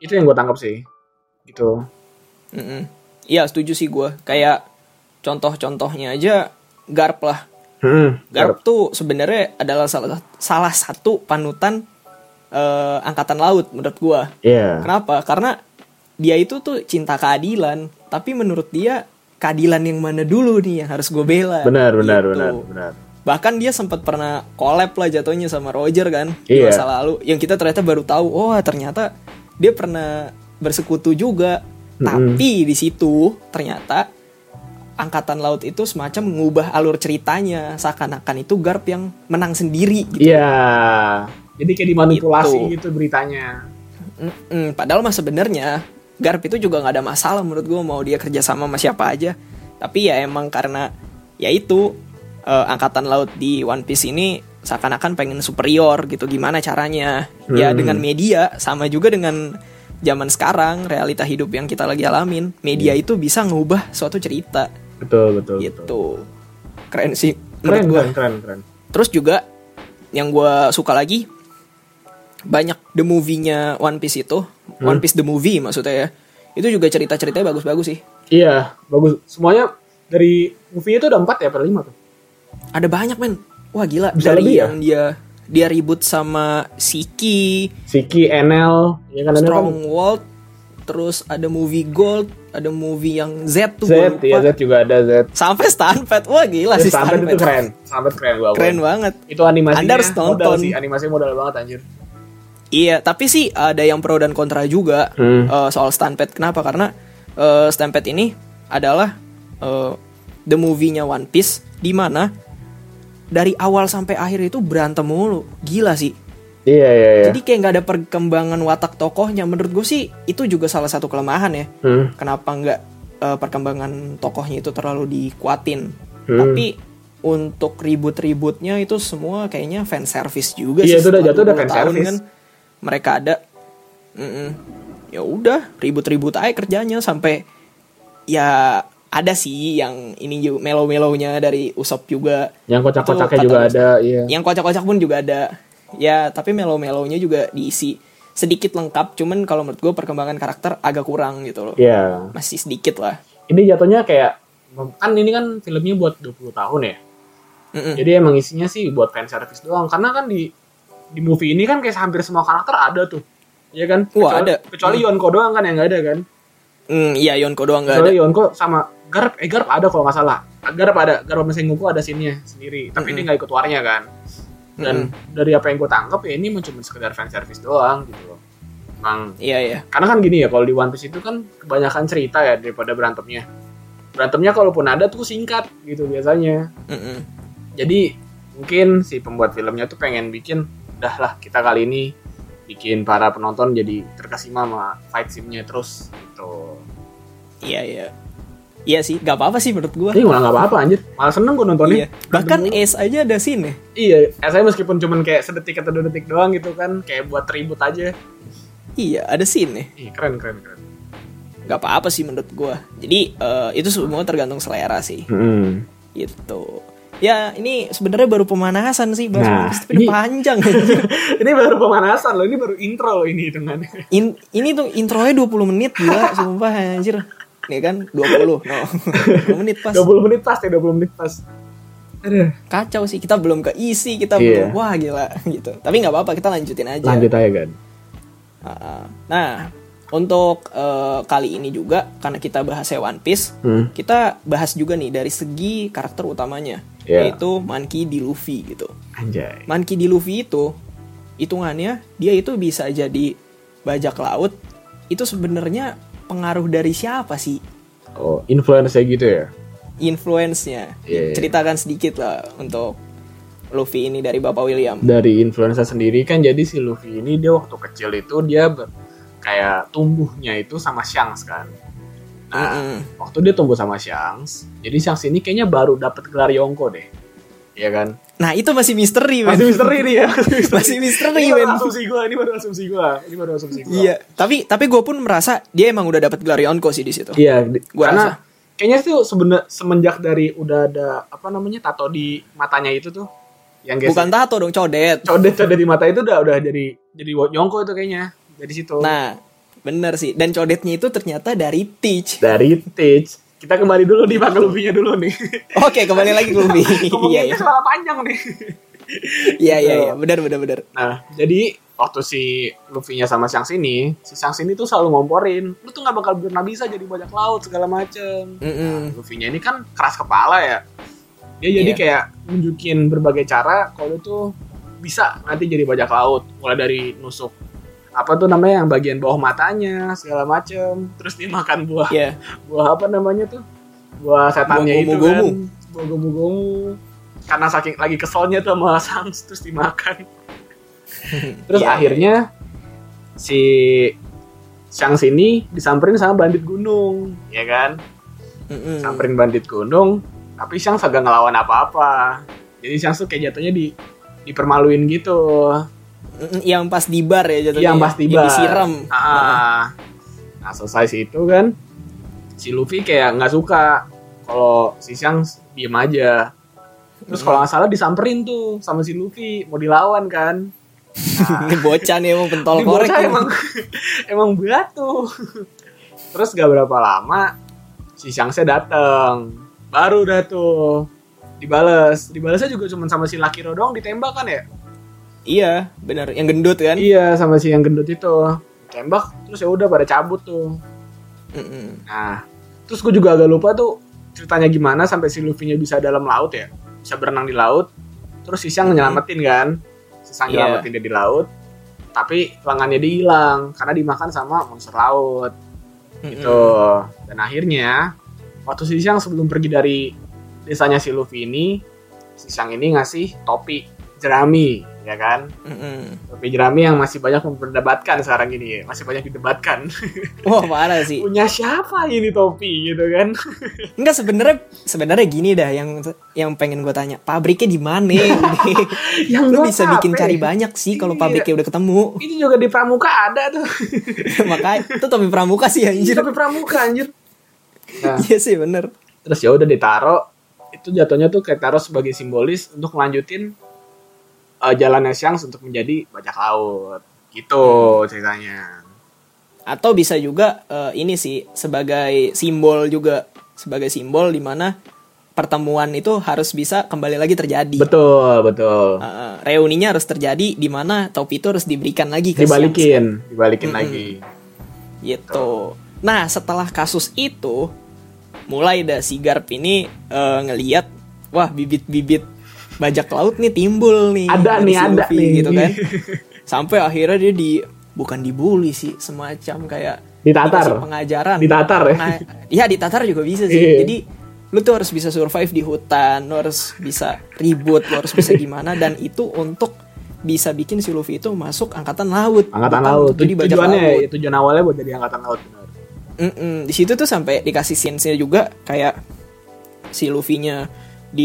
[SPEAKER 5] Itu yang gue tangkap sih. Gitu.
[SPEAKER 3] Mm-mm. Iya setuju sih gue. Kayak contoh-contohnya aja Garp lah.
[SPEAKER 5] Hmm,
[SPEAKER 3] Garp tuh sebenarnya adalah salah salah satu panutan eh, angkatan laut menurut gue.
[SPEAKER 5] Iya.
[SPEAKER 3] Kenapa? Karena dia itu tuh cinta keadilan. Tapi menurut dia keadilan yang mana dulu nih yang harus gue bela.
[SPEAKER 5] Benar, benar,
[SPEAKER 3] Gitu.
[SPEAKER 5] benar, benar.
[SPEAKER 3] Bahkan dia sempat pernah collab lah jatuhnya sama Roger kan di
[SPEAKER 5] Iya.
[SPEAKER 3] masa lalu. Yang kita ternyata baru tahu, oh ternyata dia pernah bersekutu juga. Tapi di situ ternyata angkatan laut itu semacam mengubah alur ceritanya seakan-akan itu Garp yang menang sendiri gitu.
[SPEAKER 5] Iya. Jadi kayak dimanipulasi
[SPEAKER 3] Gitu.
[SPEAKER 5] gitu beritanya.
[SPEAKER 3] Mm-mm, padahal mah sebenarnya Garp itu juga nggak ada masalah menurut gue mau dia kerja sama sama siapa aja. Tapi ya emang karena ya itu eh, angkatan laut di One Piece ini seakan-akan pengen superior gitu gimana caranya? Ya dengan media sama juga dengan zaman sekarang realita hidup yang kita lagi alamin. Media itu bisa ngubah suatu cerita
[SPEAKER 5] Betul, betul, betul.
[SPEAKER 3] gitu. Keren sih
[SPEAKER 5] Keren,
[SPEAKER 3] menurut gue.
[SPEAKER 5] keren, keren, keren.
[SPEAKER 3] Terus juga yang gue suka lagi banyak the movie-nya One Piece itu,
[SPEAKER 5] Hmm.
[SPEAKER 3] One Piece the movie maksudnya ya. Itu juga cerita-ceritanya bagus-bagus sih.
[SPEAKER 5] Iya, bagus. Semuanya dari movie itu udah 4 ya, per 5 tuh.
[SPEAKER 3] Ada banyak men. Wah gila
[SPEAKER 5] Bisa
[SPEAKER 3] dari
[SPEAKER 5] lebih ya?
[SPEAKER 3] yang dia dia ribut sama Siki,
[SPEAKER 5] Siki, NL, ya kan NL kan
[SPEAKER 3] Strong World, terus ada movie Gold, ada movie yang Z tuh
[SPEAKER 5] Z,
[SPEAKER 3] gua lupa.
[SPEAKER 5] ya Z juga ada Z.
[SPEAKER 3] Sampai Stanford. Wah gila sih
[SPEAKER 5] Sampai
[SPEAKER 3] Stanford.
[SPEAKER 5] itu keren, sampai keren gua.
[SPEAKER 3] Keren banget.
[SPEAKER 5] Itu animasinya
[SPEAKER 3] Anda harus
[SPEAKER 5] modal
[SPEAKER 3] nonton.
[SPEAKER 5] sih, animasinya modal banget anjir.
[SPEAKER 3] Iya, tapi sih ada yang pro dan kontra juga
[SPEAKER 5] Hmm.
[SPEAKER 3] eh, soal Stampede. Kenapa? Karena eh, Stampede ini adalah eh, the movie-nya One Piece di mana dari awal sampai akhir itu berantem mulu. Gila sih.
[SPEAKER 5] Iya, iya, iya.
[SPEAKER 3] Jadi kayak nggak ada perkembangan watak tokohnya. Menurut gue sih itu juga salah satu kelemahan ya.
[SPEAKER 5] Hmm.
[SPEAKER 3] Kenapa nggak eh, perkembangan tokohnya itu terlalu dikuatin?
[SPEAKER 5] Hmm.
[SPEAKER 3] Tapi untuk ribut-ributnya itu semua kayaknya fan service juga sih.
[SPEAKER 5] Iya, itu udah
[SPEAKER 3] Setelah
[SPEAKER 5] jatuh udah
[SPEAKER 3] 20
[SPEAKER 5] fan
[SPEAKER 3] tahun kan?
[SPEAKER 5] service.
[SPEAKER 3] mereka ada. Mm-mm. Ya udah ribut-ribut aja kerjanya sampai ya ada sih yang ini ju- melo-melonya dari Usop juga.
[SPEAKER 5] Yang kocak-kocaknya
[SPEAKER 3] Itu Ya.
[SPEAKER 5] juga
[SPEAKER 3] kata-
[SPEAKER 5] ada, iya.
[SPEAKER 3] yang kocak-kocak pun juga ada ya tapi melo-melonya juga diisi sedikit lengkap cuman kalau menurut gue perkembangan karakter agak kurang gitu loh
[SPEAKER 5] Iya.
[SPEAKER 3] masih sedikit lah
[SPEAKER 5] Ini jatuhnya kayak kan ini kan filmnya buat 20 tahun ya.
[SPEAKER 3] Mm-mm.
[SPEAKER 5] Jadi emang isinya sih buat fan service doang karena kan di di movie ini kan kayak hampir semua karakter ada tuh. Iya kan?
[SPEAKER 3] Wah,
[SPEAKER 5] kecuali,
[SPEAKER 3] ada.
[SPEAKER 5] Kecuali Yonko doang kan yang nggak ada kan?
[SPEAKER 3] Mm, iya Yonko doang nggak ada
[SPEAKER 5] Kecuali Yonko sama Garp, eh Garp ada kalau nggak salah. Garp ada, Garp sama Sengoku ada sinnya sendiri. Tapi
[SPEAKER 3] Hmm.
[SPEAKER 5] dia nggak ikut warnya kan. Dan dari apa yang gue tangkap ya ini cuma sekedar fan service doang gitu loh. Emang
[SPEAKER 3] iya iya
[SPEAKER 5] karena kan gini ya kalau di One Piece itu kan kebanyakan cerita ya daripada berantemnya. Berantemnya kalaupun ada tuh singkat gitu biasanya
[SPEAKER 3] Mm-mm.
[SPEAKER 5] jadi mungkin si pembuat filmnya tuh pengen bikin dah lah kita kali ini bikin para penonton jadi terkesima sama fight scene-nya terus gitu.
[SPEAKER 3] iya iya iya sih gak apa-apa sih menurut gue
[SPEAKER 5] Tapi malah nggak apa-apa anjir, malah seneng gue nontonnya.
[SPEAKER 3] iya. bahkan Ace aja ada ya. sini
[SPEAKER 5] iya, saya meskipun cuman kayak sedetik atau dua detik doang gitu kan, kayak buat ribut aja.
[SPEAKER 3] iya ada sini
[SPEAKER 5] Ih, keren keren keren.
[SPEAKER 3] nggak apa-apa sih menurut gue jadi eh, itu semua tergantung selera sih gitu ya ini sebenarnya baru pemanasan sih bahas One
[SPEAKER 5] Nah,
[SPEAKER 3] Piece, tapi udah
[SPEAKER 5] ini-
[SPEAKER 3] panjang anjir.
[SPEAKER 5] ini baru pemanasan loh, ini baru intro loh ini hitungannya.
[SPEAKER 3] In- ini tuh intronya 20 menit gila sumpah anjir nih kan 20 no 20 menit pas
[SPEAKER 5] 20 menit pas ya, 20 menit pas. Aduh.
[SPEAKER 3] kacau sih kita belum keisi kita
[SPEAKER 5] Iya.
[SPEAKER 3] belum wah gila gitu tapi nggak apa-apa kita lanjutin aja
[SPEAKER 5] aja kan.
[SPEAKER 3] Ah, ah. nah Untuk eh, kali ini juga karena kita bahasnya One Piece,
[SPEAKER 5] Hmm.
[SPEAKER 3] kita bahas juga nih dari segi karakter utamanya
[SPEAKER 5] Iya.
[SPEAKER 3] yaitu Monkey D. Luffy gitu.
[SPEAKER 5] Anjay.
[SPEAKER 3] Monkey D. Luffy itu hitungannya dia itu bisa jadi bajak laut. Itu sebenarnya pengaruh dari siapa sih?
[SPEAKER 5] Oh, influence gitu ya.
[SPEAKER 3] Influence-nya.
[SPEAKER 5] Iya, iya.
[SPEAKER 3] Ceritakan sedikit lah untuk Luffy ini dari Bapak William.
[SPEAKER 5] Dari influencer sendiri kan jadi si Luffy ini dia waktu kecil itu dia ber- kayak tumbuhnya itu sama Shanks kan. Nah,
[SPEAKER 3] Mm-mm.
[SPEAKER 5] waktu dia tumbuh sama Shanks, jadi Shanks ini kayaknya baru dapat gelar Yonko deh. Iya kan?
[SPEAKER 3] Nah, itu masih misteri, men.
[SPEAKER 5] Masih misteri nih ya.
[SPEAKER 3] Masih misteri,
[SPEAKER 5] Ini
[SPEAKER 3] men.
[SPEAKER 5] baru asumsi gue, ini baru asumsi gue, ini baru asumsi gue.
[SPEAKER 3] Iya, tapi tapi gue pun merasa dia emang udah dapat gelar Yonko sih di situ.
[SPEAKER 5] Iya, di-
[SPEAKER 3] Gua
[SPEAKER 5] karena
[SPEAKER 3] rasa.
[SPEAKER 5] kayaknya itu sebenar semenjak dari udah ada apa namanya tato di matanya itu tuh yang guys
[SPEAKER 3] Bukan tato dong, codet.
[SPEAKER 5] iya codet codet di mata itu udah udah jadi jadi Yonko itu kayaknya dari situ.
[SPEAKER 3] Nah, bener sih. Dan codetnya itu ternyata dari Teach.
[SPEAKER 5] Dari Teach kita kembali dulu nih Pak Luffy-nya dulu nih.
[SPEAKER 3] Oke, kembali lagi ke Luffy. Iya,
[SPEAKER 5] Ngomonginnya
[SPEAKER 3] iya.
[SPEAKER 5] selama panjang nih.
[SPEAKER 3] Iya, iya, iya. Benar, benar, benar.
[SPEAKER 5] Nah, jadi waktu si Luffy-nya sama Shanks ini, si Shanks ini tuh selalu ngomporin, lu tuh nggak bakal pernah bisa jadi bajak laut segala macem.
[SPEAKER 3] Mm-mm.
[SPEAKER 5] Luffy-nya ini kan keras kepala ya. Dia jadi
[SPEAKER 3] Iya.
[SPEAKER 5] kayak nunjukin berbagai cara kalau itu bisa nanti jadi bajak laut, mulai dari nusuk apa tuh namanya yang bagian bawah matanya segala macem terus dia makan buah
[SPEAKER 3] Iya.
[SPEAKER 5] buah apa namanya tuh buah setannya
[SPEAKER 3] Buah
[SPEAKER 5] itu kan
[SPEAKER 3] gomu-gomu.
[SPEAKER 5] buah gomu-gomu karena saking lagi keselnya tuh sama Sangs terus dimakan terus
[SPEAKER 3] Iya, iya,
[SPEAKER 5] akhirnya si Shangs ini disamperin sama bandit gunung ya kan
[SPEAKER 3] Mm-mm.
[SPEAKER 5] samperin bandit gunung tapi Shangs agak ngelawan apa-apa jadi Shangs tuh kayak jatuhnya di dipermaluin gitu
[SPEAKER 3] Mm-mm, Yang pas di bar ya jatuhnya.
[SPEAKER 5] yang pasti tiba
[SPEAKER 3] disiram.
[SPEAKER 5] Ah. nah selesai situ kan si Luffy kayak nggak suka kalau si Shang diem aja terus kalau
[SPEAKER 3] Hmm.
[SPEAKER 5] nggak salah disamperin tuh sama si Luffy mau dilawan kan
[SPEAKER 3] Ini Bocah nih emang pentol
[SPEAKER 5] Ini
[SPEAKER 3] korek.
[SPEAKER 5] bocah emang emang batu terus gak berapa lama si Shangse datang baru dah tuh dibales dibalesnya juga cuma sama si Lucky Row doang ditembak kan ya
[SPEAKER 3] Iya, benar. Yang gendut kan?
[SPEAKER 5] iya sama si yang gendut itu ditembak terus ya udah pada cabut tuh
[SPEAKER 3] Mm-mm.
[SPEAKER 5] Nah, terus gue juga agak lupa tuh ceritanya gimana sampai si Luffy-nya bisa dalam laut ya. Bisa berenang di laut. Terus si Shang nyelamatin kan. Si Shang
[SPEAKER 3] Iya.
[SPEAKER 5] nyelamatin dia di laut. Tapi lengannya dia hilang karena dimakan sama monster laut
[SPEAKER 3] Hmm.
[SPEAKER 5] gitu. Dan akhirnya waktu si Shang sebelum pergi dari desanya si Luffy ini, si Shang ini ngasih topi jerami, ya kan?
[SPEAKER 3] Mm-mm.
[SPEAKER 5] Topi jerami yang masih banyak memperdebatkan sekarang ini, masih banyak didebatkan.
[SPEAKER 3] Wah, parah sih.
[SPEAKER 5] Punya siapa ini topi gitu kan?
[SPEAKER 3] Enggak sebenarnya sebenarnya gini dah yang yang pengen gue tanya pabriknya di mana?
[SPEAKER 5] yang
[SPEAKER 3] Lu
[SPEAKER 5] gua
[SPEAKER 3] bisa
[SPEAKER 5] capek.
[SPEAKER 3] bikin cari banyak sih kalau
[SPEAKER 5] Iya.
[SPEAKER 3] pabriknya udah ketemu.
[SPEAKER 5] itu juga di pramuka ada tuh
[SPEAKER 3] Makanya itu tapi pramuka sih
[SPEAKER 5] Iya,
[SPEAKER 3] anjir.
[SPEAKER 5] tapi pramuka anjir nah,
[SPEAKER 3] Iya sih bener.
[SPEAKER 5] terus ya udah ditaro itu jatuhnya tuh kayak taruh sebagai simbolis untuk melanjutin eh, jalannya siang untuk menjadi bajak laut gitu ceritanya
[SPEAKER 3] Atau bisa juga eh, ini sih sebagai simbol juga sebagai simbol di mana pertemuan itu harus bisa kembali lagi terjadi.
[SPEAKER 5] betul
[SPEAKER 3] Eh,
[SPEAKER 5] betul
[SPEAKER 3] eh, reuninya harus terjadi di mana topi itu harus diberikan lagi ke siang.
[SPEAKER 5] dibalikin dibalikin lagi
[SPEAKER 3] gitu. Nah setelah kasus itu mulai dah si Garp ini eh, ngeliat wah bibit-bibit bajak laut nih timbul nih
[SPEAKER 5] Ada
[SPEAKER 3] dari
[SPEAKER 5] nih, ada
[SPEAKER 3] Luffy
[SPEAKER 5] nih.
[SPEAKER 3] gitu kan sampai akhirnya dia di bukan dibully sih semacam kayak
[SPEAKER 5] Ditatar.
[SPEAKER 3] dikasih pengajaran
[SPEAKER 5] Ditatar ya?
[SPEAKER 3] Penga- ya ditatar juga bisa
[SPEAKER 5] Iya.
[SPEAKER 3] sih jadi lu tuh harus bisa survive di hutan lu harus bisa ribut lu harus bisa gimana dan itu untuk bisa bikin si Luffy itu masuk angkatan laut
[SPEAKER 5] angkatan
[SPEAKER 3] bukan
[SPEAKER 5] laut
[SPEAKER 3] untuk jadi bajak
[SPEAKER 5] tujuannya
[SPEAKER 3] laut.
[SPEAKER 5] ya, tujuan awalnya buat jadi angkatan laut benar
[SPEAKER 3] Mm-mm, di situ tuh sampai dikasih scenes-nya juga kayak si Luffy-nya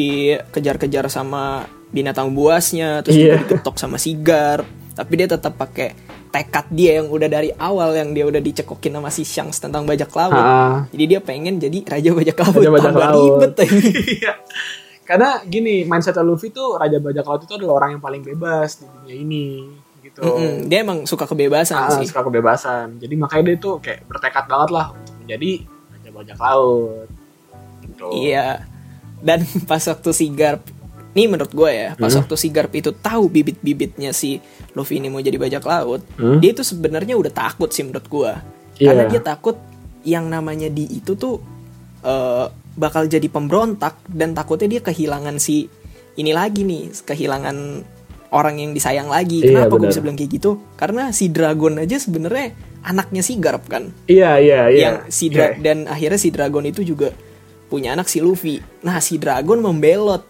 [SPEAKER 3] dikejar-kejar sama binatang buasnya terus
[SPEAKER 5] Iya.
[SPEAKER 3] juga digetok sama Sigar tapi dia tetap pakai tekad dia yang udah dari awal yang dia udah dicekokin sama si Shanks tentang bajak laut
[SPEAKER 5] Ah.
[SPEAKER 3] jadi dia pengen jadi raja bajak laut
[SPEAKER 5] Raja bajak
[SPEAKER 3] Tambah
[SPEAKER 5] laut.
[SPEAKER 3] ribet lagi.
[SPEAKER 5] Iya. Karena gini, mindset Luffy tuh Raja Bajak Laut itu adalah orang yang paling bebas di dunia ini gitu.
[SPEAKER 3] Mm-mm, dia emang suka kebebasan
[SPEAKER 5] Ah,
[SPEAKER 3] sih
[SPEAKER 5] suka kebebasan. Jadi makanya dia tuh kayak bertekad banget lah untuk menjadi Raja Bajak Laut. Gitu.
[SPEAKER 3] Iya. Dan pas waktu si Garp, ini menurut gue ya, pas
[SPEAKER 5] Hmm?
[SPEAKER 3] waktu si Garp itu tahu bibit-bibitnya si Luffy ini mau jadi bajak laut,
[SPEAKER 5] Hmm.
[SPEAKER 3] dia itu sebenarnya udah takut sih menurut gue. karena
[SPEAKER 5] Iya.
[SPEAKER 3] dia takut yang namanya di itu tuh eh, bakal jadi pemberontak dan takutnya dia kehilangan si ini lagi nih kehilangan orang yang disayang lagi
[SPEAKER 5] Iya,
[SPEAKER 3] kenapa gue
[SPEAKER 5] benar.
[SPEAKER 3] bisa bilang kayak gitu karena si dragon aja sebenarnya anaknya si garp kan
[SPEAKER 5] Iya, iya, iya.
[SPEAKER 3] yang si dra-
[SPEAKER 5] Iya.
[SPEAKER 3] dan akhirnya si dragon itu juga punya anak si Luffy. Nah si dragon membelot.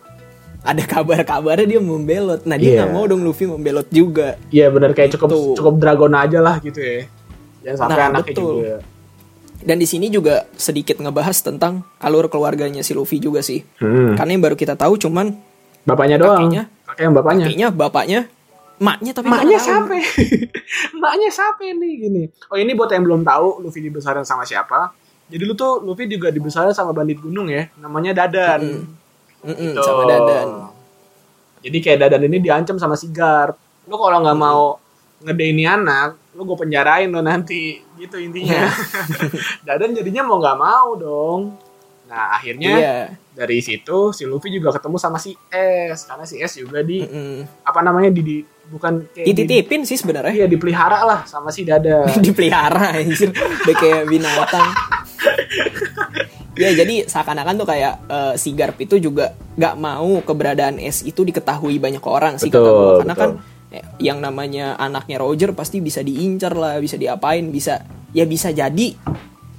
[SPEAKER 3] Ada kabar-kabarnya dia membelot. Nah dia
[SPEAKER 5] Iya.
[SPEAKER 3] nggak mau dong Luffy membelot juga.
[SPEAKER 5] Iya, benar kayak cukup
[SPEAKER 3] Gitu.
[SPEAKER 5] cukup dragon aja lah gitu ya. Jangan sampai
[SPEAKER 3] Nah,
[SPEAKER 5] anaknya
[SPEAKER 3] betul.
[SPEAKER 5] juga.
[SPEAKER 3] Dan di sini juga sedikit ngebahas tentang alur keluarganya si Luffy juga sih.
[SPEAKER 5] Hmm.
[SPEAKER 3] Karena yang baru kita tahu cuman
[SPEAKER 5] Bapaknya doang.
[SPEAKER 3] Kakinya?
[SPEAKER 5] Kakek yang bapaknya.
[SPEAKER 3] kakeknya, bapaknya, maknya tapi kita
[SPEAKER 5] Maknya
[SPEAKER 3] nggak tahu.
[SPEAKER 5] siapa? Maknya siapa nih gini? Oh ini buat yang belum tahu Luffy dibesarin sama siapa? Jadi lu tuh Luffy juga dibesarin sama bandit gunung ya, namanya Dadan.
[SPEAKER 3] Mm-mm,
[SPEAKER 5] Gitu.
[SPEAKER 3] sama Dadan.
[SPEAKER 5] Jadi kayak Dadan ini diancam sama si Garp. Lu kalau nggak
[SPEAKER 3] Hmm.
[SPEAKER 5] mau ngedaini anak, lu gue penjarain lo nanti. Gitu
[SPEAKER 3] Ya.
[SPEAKER 5] intinya. Dadan jadinya mau nggak mau dong. Nah akhirnya
[SPEAKER 3] Iya.
[SPEAKER 5] dari situ si Luffy juga ketemu sama si S karena si S juga di
[SPEAKER 3] Mm-mm. eh?
[SPEAKER 5] apa namanya di, di- bukan kayak di-
[SPEAKER 3] Dititipin sih sebenarnya.
[SPEAKER 5] Iya dipelihara lah sama si dada.
[SPEAKER 3] dipelihara anjir udah kayak binatang ya jadi seakan-akan tuh kayak eh, si Garp itu juga nggak mau keberadaan S itu diketahui banyak orang sih kata
[SPEAKER 5] Betul,
[SPEAKER 3] gua. karena
[SPEAKER 5] betul.
[SPEAKER 3] kan eh, yang namanya anaknya Roger pasti bisa diincar lah bisa diapain bisa ya bisa jadi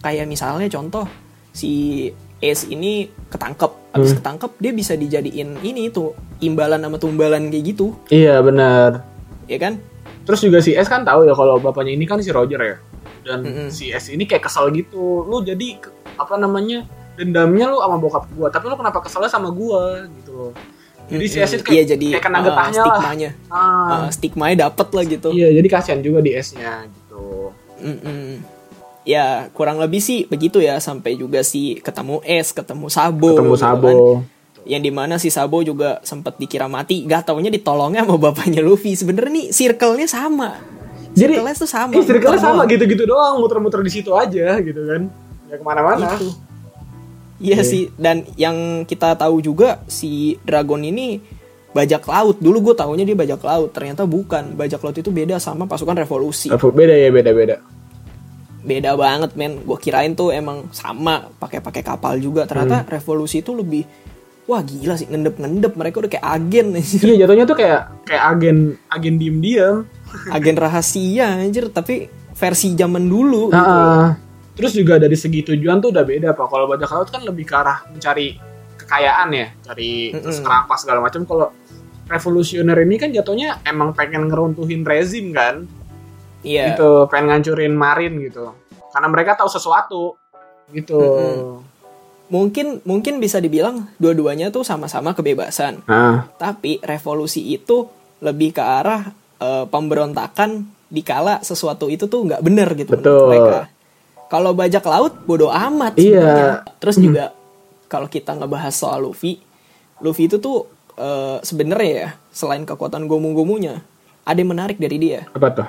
[SPEAKER 3] kayak misalnya contoh si S ini ketangkep habis
[SPEAKER 5] Hmm.
[SPEAKER 3] ketangkep dia bisa dijadiin ini tuh imbalan sama tumbalan kayak gitu
[SPEAKER 5] iya benar.
[SPEAKER 3] ya kan
[SPEAKER 5] Terus juga si S kan tahu ya kalau bapaknya ini kan si Roger ya. Dan
[SPEAKER 3] Mm-mm.
[SPEAKER 5] si S ini kayak kesel gitu. Lu jadi ke- apa namanya dendamnya lu sama bokap gua, tapi lu kenapa keselnya sama gua gitu loh. Jadi si S itu
[SPEAKER 3] Iya,
[SPEAKER 5] kayak,
[SPEAKER 3] jadi
[SPEAKER 5] kayak kena
[SPEAKER 3] eh,
[SPEAKER 5] getahnya lah.
[SPEAKER 3] stigmanya
[SPEAKER 5] Ah,
[SPEAKER 3] eh, stigmanya dapet lah gitu
[SPEAKER 5] Iya jadi kasihan juga di S-nya gitu.
[SPEAKER 3] Mm-mm. Ya kurang lebih sih begitu ya sampai juga si ketemu S, ketemu Sabo,
[SPEAKER 5] Ketemu
[SPEAKER 3] gitu
[SPEAKER 5] Sabo.
[SPEAKER 3] kan. Yang dimana si Sabo juga sempat dikira mati, gak taunya ditolongnya sama bapaknya Luffy. Sebenernya nih circle-nya sama.
[SPEAKER 5] Jadi
[SPEAKER 3] Circle-nya tuh sama.
[SPEAKER 5] Ih, circle-nya
[SPEAKER 3] Betul.
[SPEAKER 5] sama gitu. gitu-gitu doang, muter-muter di situ aja gitu kan. Gak kemana-mana.
[SPEAKER 3] Itu. Iya sih. Dan yang kita tahu juga si Dragon ini bajak laut. Dulu gue taunya dia bajak laut, ternyata bukan. Bajak laut itu beda sama pasukan revolusi.
[SPEAKER 5] Beda ya beda-beda.
[SPEAKER 3] beda banget men gue kirain tuh emang sama pakai pakai kapal juga ternyata
[SPEAKER 5] Hmm.
[SPEAKER 3] revolusi itu lebih wah gila sih ngendep ngendep mereka udah kayak agen anjir.
[SPEAKER 5] Iya jatuhnya tuh kayak kayak agen agen diem-diem.
[SPEAKER 3] agen rahasia anjir tapi versi zaman dulu gitu.
[SPEAKER 5] Heeh. Terus juga dari segi tujuan tuh udah beda pak. Kalau bajak laut kan lebih ke arah mencari kekayaan ya, cari
[SPEAKER 3] Mm-mm.
[SPEAKER 5] terus kerampas segala macam. Kalau revolusioner ini kan jatuhnya emang pengen ngeruntuhin rezim kan,
[SPEAKER 3] iya
[SPEAKER 5] gitu, pengen ngancurin marin gitu. Karena mereka tahu sesuatu gitu.
[SPEAKER 3] mungkin mungkin bisa dibilang dua-duanya tuh sama-sama kebebasan
[SPEAKER 5] Nah,
[SPEAKER 3] tapi revolusi itu lebih ke arah eh, pemberontakan dikala sesuatu itu tuh nggak bener gitu
[SPEAKER 5] Betul.
[SPEAKER 3] menurut mereka. Kalau bajak laut bodoh amat
[SPEAKER 5] Iya.
[SPEAKER 3] sebenarnya. Terus juga kalau kita ngebahas soal Luffy, Luffy itu tuh eh, sebenarnya ya selain kekuatan gomu-gomunya, ada yang menarik dari dia.
[SPEAKER 5] apa tuh?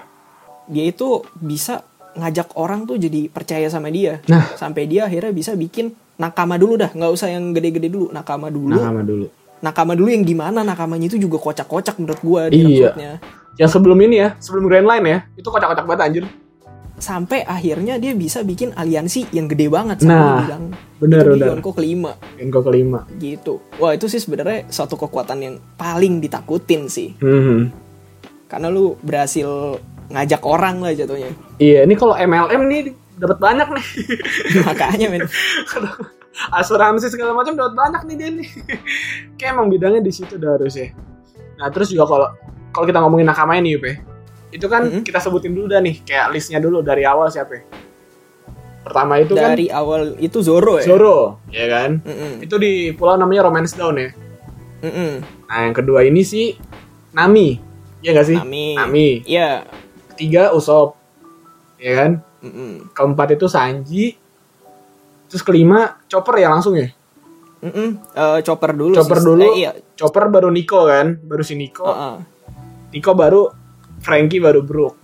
[SPEAKER 3] Dia itu bisa ngajak orang tuh jadi percaya sama dia.
[SPEAKER 5] Nah.
[SPEAKER 3] Sampai dia akhirnya bisa bikin nakama dulu dah, nggak usah yang gede-gede dulu, nakama dulu.
[SPEAKER 5] Nakama Nah, dulu.
[SPEAKER 3] Nakama dulu yang di mana nakamanya itu juga kocak-kocak menurut gua
[SPEAKER 5] Iya.
[SPEAKER 3] dia maksudnya.
[SPEAKER 5] Yang sebelum ini ya, sebelum Grand Line ya, itu kocak-kocak banget anjir.
[SPEAKER 3] Sampai akhirnya dia bisa bikin aliansi yang gede banget sampai
[SPEAKER 5] Nah,
[SPEAKER 3] dia bilang,
[SPEAKER 5] benar,
[SPEAKER 3] itu di
[SPEAKER 5] benar.
[SPEAKER 3] Yonko kelima
[SPEAKER 5] Genko kelima.
[SPEAKER 3] gitu. Wah, itu sih sebenarnya suatu kekuatan yang paling ditakutin sih.
[SPEAKER 5] Mhm.
[SPEAKER 3] Karena lu berhasil ngajak orang lah jatuhnya.
[SPEAKER 5] Iya, ini kalau MLM nih dapat banyak nih.
[SPEAKER 3] Makanya men.
[SPEAKER 5] asuransi segala macam dapat banyak nih dia nih. Kayak emang bidangnya di situ dah harusnya. Nah terus juga kalau kalau kita ngomongin nakama ini Yup ya, itu kan
[SPEAKER 3] Mhm.
[SPEAKER 5] kita sebutin dulu dah nih kayak listnya dulu dari awal siapa. ya. Pertama itu
[SPEAKER 3] Dari awal itu Zoro
[SPEAKER 5] kan
[SPEAKER 3] ya.
[SPEAKER 5] Zoro, ya kan?
[SPEAKER 3] Mm-mm,
[SPEAKER 5] Itu di pulau namanya Romance Down ya.
[SPEAKER 3] mm-mm.
[SPEAKER 5] Nah yang kedua ini si Nami, ya nggak sih?
[SPEAKER 3] Nami.
[SPEAKER 5] Nami.
[SPEAKER 3] Iya.
[SPEAKER 5] Ketiga Usop, ya kan?
[SPEAKER 3] Mm-mm.
[SPEAKER 5] Keempat itu Sanji. Terus kelima Chopper ya langsung ya.
[SPEAKER 3] Mm-mm. Eh, chopper dulu.
[SPEAKER 5] Chopper
[SPEAKER 3] sih.
[SPEAKER 5] dulu.
[SPEAKER 3] Eh, iya.
[SPEAKER 5] Chopper baru Nico kan, baru si Nico.
[SPEAKER 3] Heeh.
[SPEAKER 5] Nico baru Frankie baru Brook.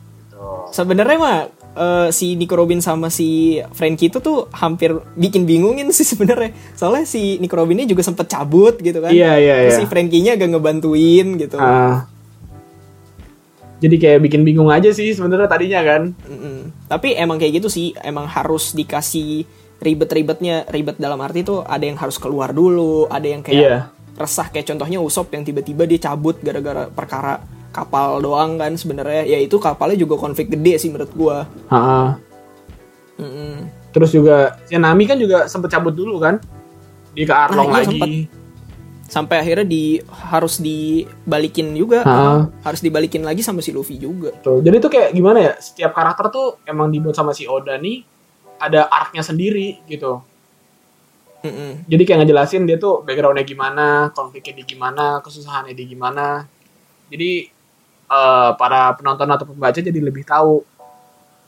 [SPEAKER 3] Sebenarnya mah eh, si Nico Robin sama si Frankie itu tuh hampir bikin bingungin sih sebenarnya. Soalnya si Nico Robinnya juga sempet cabut gitu kan.
[SPEAKER 5] Iya Ah. iya
[SPEAKER 3] Terus
[SPEAKER 5] iya.
[SPEAKER 3] si Frankie-nya agak ngebantuin gitu.
[SPEAKER 5] Ah, jadi kayak bikin bingung aja sih sebenarnya tadinya kan
[SPEAKER 3] Mm-mm. Tapi emang kayak gitu sih, emang harus dikasih ribet-ribetnya, ribet dalam arti tuh ada yang harus keluar dulu, ada yang kayak
[SPEAKER 5] Iya.
[SPEAKER 3] resah kayak contohnya Usop yang tiba-tiba dia cabut gara-gara perkara kapal doang kan sebenarnya ya itu kapalnya juga konflik gede sih menurut gua.
[SPEAKER 5] Ha-ha.
[SPEAKER 3] Mm-mm.
[SPEAKER 5] terus juga ya Nami kan juga sempet cabut dulu kan dia ke Arlong
[SPEAKER 3] iya,
[SPEAKER 5] lagi
[SPEAKER 3] sempet. Sampai akhirnya di harus dibalikin juga,
[SPEAKER 5] Ha-ha.
[SPEAKER 3] harus dibalikin lagi sama si Luffy juga.
[SPEAKER 5] Tuh, jadi tuh kayak gimana ya setiap karakter tuh emang dibuat sama si Oda nih ada arc-nya sendiri gitu
[SPEAKER 3] Mm-mm.
[SPEAKER 5] jadi kayak ngejelasin dia tuh backgroundnya gimana, konfliknya di gimana, kesusahannya di gimana. Jadi eh, para penonton atau pembaca jadi lebih tahu.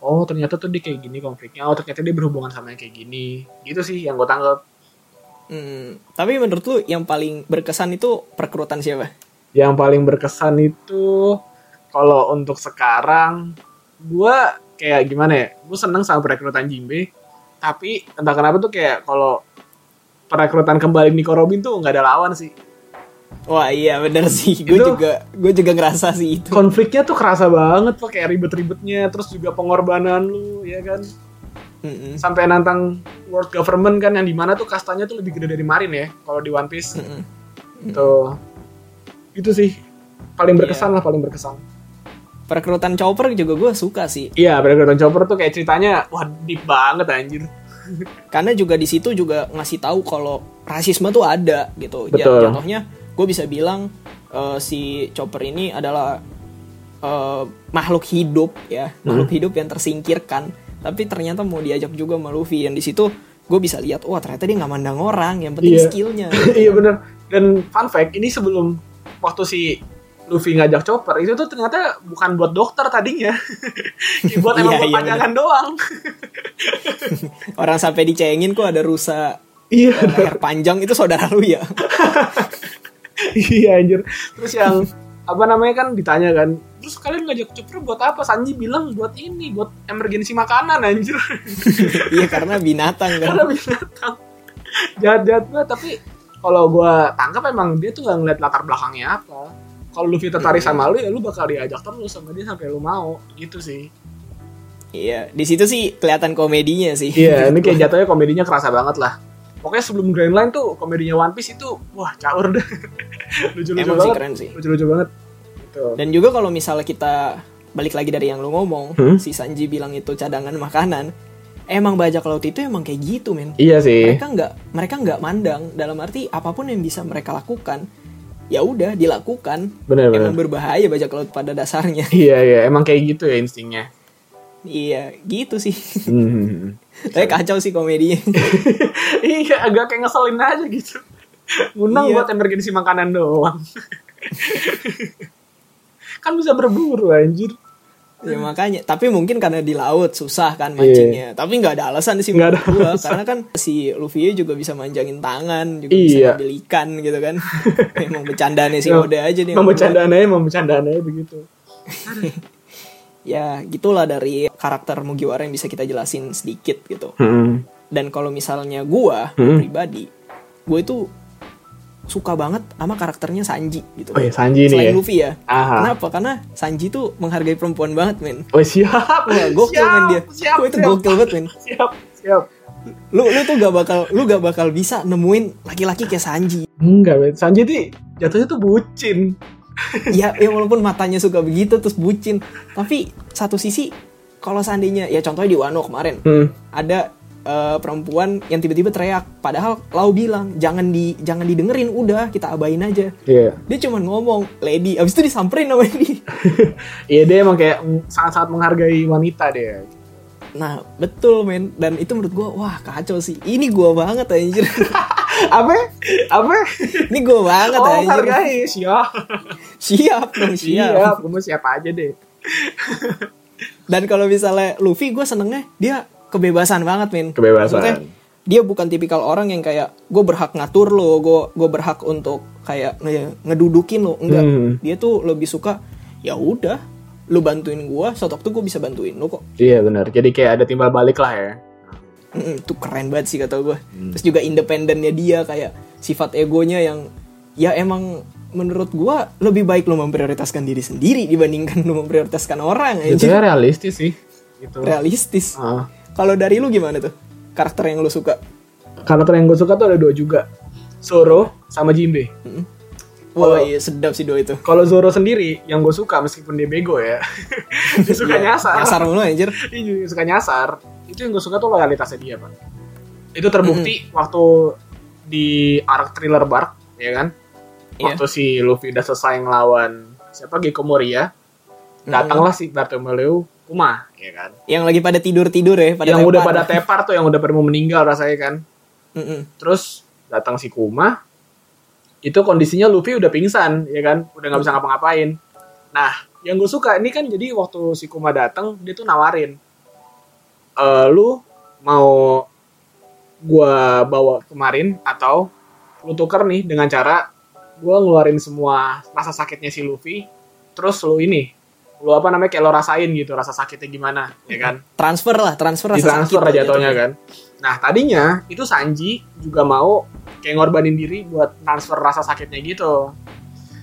[SPEAKER 5] Oh ternyata tuh dia kayak gini konfliknya. Oh ternyata dia berhubungan sama yang kayak gini. Gitu sih yang gue tanggap.
[SPEAKER 3] Mm. Tapi menurut lu yang paling berkesan itu perkerutan siapa?
[SPEAKER 5] Yang paling berkesan itu kalau untuk sekarang gue kayak gimana ya? Gue seneng sama perekrutan Jimbe. Tapi entah kenapa tuh kayak kalau perekrutan kembali Nico Robin tuh nggak ada lawan sih.
[SPEAKER 3] Wah iya bener sih, gue
[SPEAKER 5] Itu-
[SPEAKER 3] juga gue juga ngerasa sih itu.
[SPEAKER 5] konfliknya tuh kerasa banget tuh kayak ribet-ribetnya terus juga pengorbanan lu ya kan
[SPEAKER 3] Mm-mm.
[SPEAKER 5] sampai nantang world government kan yang dimana tuh kastanya tuh lebih gede dari Marin ya kalau di One Piece
[SPEAKER 3] Mm-mm.
[SPEAKER 5] tuh itu sih
[SPEAKER 3] Iya.
[SPEAKER 5] paling berkesan lah paling berkesan
[SPEAKER 3] Perekrutan Chopper juga gue suka sih,
[SPEAKER 5] iya Dragon Chopper tuh kayak ceritanya wah deep banget anjir
[SPEAKER 3] karena juga di situ juga ngasih tahu kalau rasisme tuh ada gitu. Ya,
[SPEAKER 5] Betul.
[SPEAKER 3] Contohnya gue bisa bilang eh, si Chopper ini adalah eh, makhluk hidup ya,
[SPEAKER 5] Hmm.
[SPEAKER 3] makhluk hidup yang tersingkirkan. Tapi ternyata mau diajak juga sama Luffy yang di situ gue bisa lihat, wah ternyata dia nggak mandang orang, yang penting
[SPEAKER 5] Iya.
[SPEAKER 3] skillnya.
[SPEAKER 5] iya bener dan fun fact ini sebelum waktu si Luffy ngajak Chopper itu tuh ternyata bukan buat dokter tadinya Ya, buat emang
[SPEAKER 3] Iya,
[SPEAKER 5] buat
[SPEAKER 3] iya,
[SPEAKER 5] pajangan doang
[SPEAKER 3] Orang sampai dicengin kok ada rusa
[SPEAKER 5] iya
[SPEAKER 3] eh, leher panjang itu saudara lu ya.
[SPEAKER 5] iya anjir terus yang apa namanya kan ditanya kan terus kalian ngajak Chopper buat apa Sanji bilang buat ini buat emergensi makanan anjir
[SPEAKER 3] Iya karena binatang kan.
[SPEAKER 5] karena binatang jahat jahat banget tapi kalau gua tangkap emang dia tuh nggak ngeliat latar belakangnya apa kalau Luffy tertarik sama lu ya lu bakal diajak terus sama dia sampai lu mau gitu sih
[SPEAKER 3] Iya, di situ sih kelihatan komedinya sih. Gitu.
[SPEAKER 5] iya ini kayak jatuhnya komedinya kerasa banget lah pokoknya sebelum Grand Line tuh komedinya One Piece itu wah caur deh lucu-lucu
[SPEAKER 3] Emang sih
[SPEAKER 5] banget
[SPEAKER 3] keren sih.
[SPEAKER 5] lucu-lucu banget gitu
[SPEAKER 3] Dan juga kalau misalnya kita balik lagi dari yang lu ngomong,
[SPEAKER 5] Hmm?
[SPEAKER 3] si Sanji bilang itu cadangan makanan. Emang bajak laut itu emang kayak gitu, men.
[SPEAKER 5] iya sih
[SPEAKER 3] Mereka nggak mereka nggak mandang dalam arti apapun yang bisa mereka lakukan, ya udah dilakukan.
[SPEAKER 5] bener-bener
[SPEAKER 3] Emang berbahaya bajak laut pada dasarnya.
[SPEAKER 5] Iya iya emang kayak gitu ya instingnya.
[SPEAKER 3] iya, gitu sih. hmm. Tapi kacau sih komedinya.
[SPEAKER 5] iya agak kayak ngeselin aja gitu. Ngundang
[SPEAKER 3] Iya.
[SPEAKER 5] buat emergensi makanan doang. kan bisa berburu anjir.
[SPEAKER 3] ya makanya tapi mungkin karena di laut susah kan mancingnya tapi nggak ada alasan sih
[SPEAKER 5] Iya. Nggak ada
[SPEAKER 3] menurut gua. karena kan si Luffy juga bisa manjangin tangan juga
[SPEAKER 5] Iya.
[SPEAKER 3] bisa ambil ikan gitu kan emang bercandanya si
[SPEAKER 5] Emang-
[SPEAKER 3] Oda aja nih
[SPEAKER 5] Ya. Mau bercandaan aja, mau bercandaan aja begitu.
[SPEAKER 3] ya gitulah dari karakter Mugiwara yang bisa kita jelasin sedikit gitu dan kalau misalnya gua
[SPEAKER 5] Hmm.
[SPEAKER 3] pribadi gue itu suka banget sama karakternya Sanji gitu
[SPEAKER 5] Oh ya Sanji
[SPEAKER 3] selain
[SPEAKER 5] nih ya.
[SPEAKER 3] Luffy ya
[SPEAKER 5] Aha.
[SPEAKER 3] kenapa karena Sanji tuh menghargai perempuan banget men
[SPEAKER 5] Oh siap.
[SPEAKER 3] Wah, gokil
[SPEAKER 5] siap,
[SPEAKER 3] men Nah, dia.
[SPEAKER 5] Siap,
[SPEAKER 3] Gua itu
[SPEAKER 5] siap,
[SPEAKER 3] gokil banget men.
[SPEAKER 5] Siap, siap.
[SPEAKER 3] lu lu tuh gak bakal lu gak bakal bisa nemuin laki-laki kayak Sanji
[SPEAKER 5] Enggak, men. Sanji tuh jatuhnya tuh bucin.
[SPEAKER 3] ya ya walaupun matanya suka begitu terus bucin tapi satu sisi kalau seandainya ya contohnya di Wano kemarin
[SPEAKER 5] Hmm.
[SPEAKER 3] ada eh, perempuan yang tiba-tiba teriak padahal Lau bilang jangan di jangan didengerin udah kita abain aja
[SPEAKER 5] Iya.
[SPEAKER 3] dia cuman ngomong lady abis itu disamperin sama dia
[SPEAKER 5] Iya dia emang kayak mm, sangat-sangat menghargai wanita dia.
[SPEAKER 3] nah betul men dan itu menurut gua wah kacau sih ini gua banget anjir
[SPEAKER 5] Apa? Apa?
[SPEAKER 3] ini gua banget
[SPEAKER 5] Oh,
[SPEAKER 3] anjir
[SPEAKER 5] hargai. Siap.
[SPEAKER 3] siap dong siap.
[SPEAKER 5] Iya, kamu siapa aja deh.
[SPEAKER 3] Dan kalau misalnya Luffy gue senengnya dia kebebasan banget min.
[SPEAKER 5] Kebebasan.
[SPEAKER 3] Maksudnya, dia bukan tipikal orang yang kayak gue berhak ngatur lo, gue gue berhak untuk kayak nge- ngedudukin lo, enggak.
[SPEAKER 5] Hmm.
[SPEAKER 3] Dia tuh lebih suka ya udah lu bantuin gue, suatu waktu gue bisa bantuin lo kok.
[SPEAKER 5] Iya benar. Jadi kayak ada timbal balik lah ya.
[SPEAKER 3] Mm, itu keren banget
[SPEAKER 5] Hmm.
[SPEAKER 3] sih kata gue. Terus juga independennya dia kayak sifat egonya yang ya emang menurut gua lebih baik lo memprioritaskan diri sendiri dibandingkan lo memprioritaskan orang
[SPEAKER 5] Itu
[SPEAKER 3] anjir.
[SPEAKER 5] realistis sih. Gitu.
[SPEAKER 3] realistis
[SPEAKER 5] Ah.
[SPEAKER 3] kalau dari lu gimana tuh karakter yang lu suka
[SPEAKER 5] Karakter yang gue suka tuh ada dua juga. Zoro sama Jinbe.
[SPEAKER 3] wah iya sedap sih dua itu
[SPEAKER 5] Kalau Zoro sendiri yang gue suka meskipun dia bego ya. dia suka nyasar.
[SPEAKER 3] kasar mulu anjir
[SPEAKER 5] Dia juga suka nyasar. Itu yang gue suka tuh loyalitasnya dia, Pak. Itu terbukti waktu di arc thriller Bark, ya kan?
[SPEAKER 3] Iya.
[SPEAKER 5] Waktu si Luffy udah selesai ngelawan siapa Gecko Moria, datanglah si Bartolomeu Kuma, ya kan?
[SPEAKER 3] yang lagi pada tidur tidur ya pada
[SPEAKER 5] yang
[SPEAKER 3] tepar.
[SPEAKER 5] udah pada tepar tuh yang udah pada mau meninggal rasanya kan.
[SPEAKER 3] Mm-mm.
[SPEAKER 5] Terus datang si Kuma, itu kondisinya Luffy udah pingsan, ya kan? Udah nggak bisa ngapa-ngapain. Nah, yang gue suka ini kan jadi waktu si Kuma datang dia tuh nawarin, e, lu mau gua bawa kemarin atau lu tuker nih dengan cara gua ngeluarin semua rasa sakitnya si Luffy, terus lu ini, lu apa namanya kayak lo rasain gitu rasa sakitnya gimana, ya kan?
[SPEAKER 3] transfer lah transfer rasa sakit
[SPEAKER 5] ditransfer lah
[SPEAKER 3] lah gitu.
[SPEAKER 5] jatuhnya
[SPEAKER 3] jatuhnya.
[SPEAKER 5] kan. Nah tadinya itu Sanji juga mau kayak ngorbanin diri buat transfer rasa sakitnya gitu.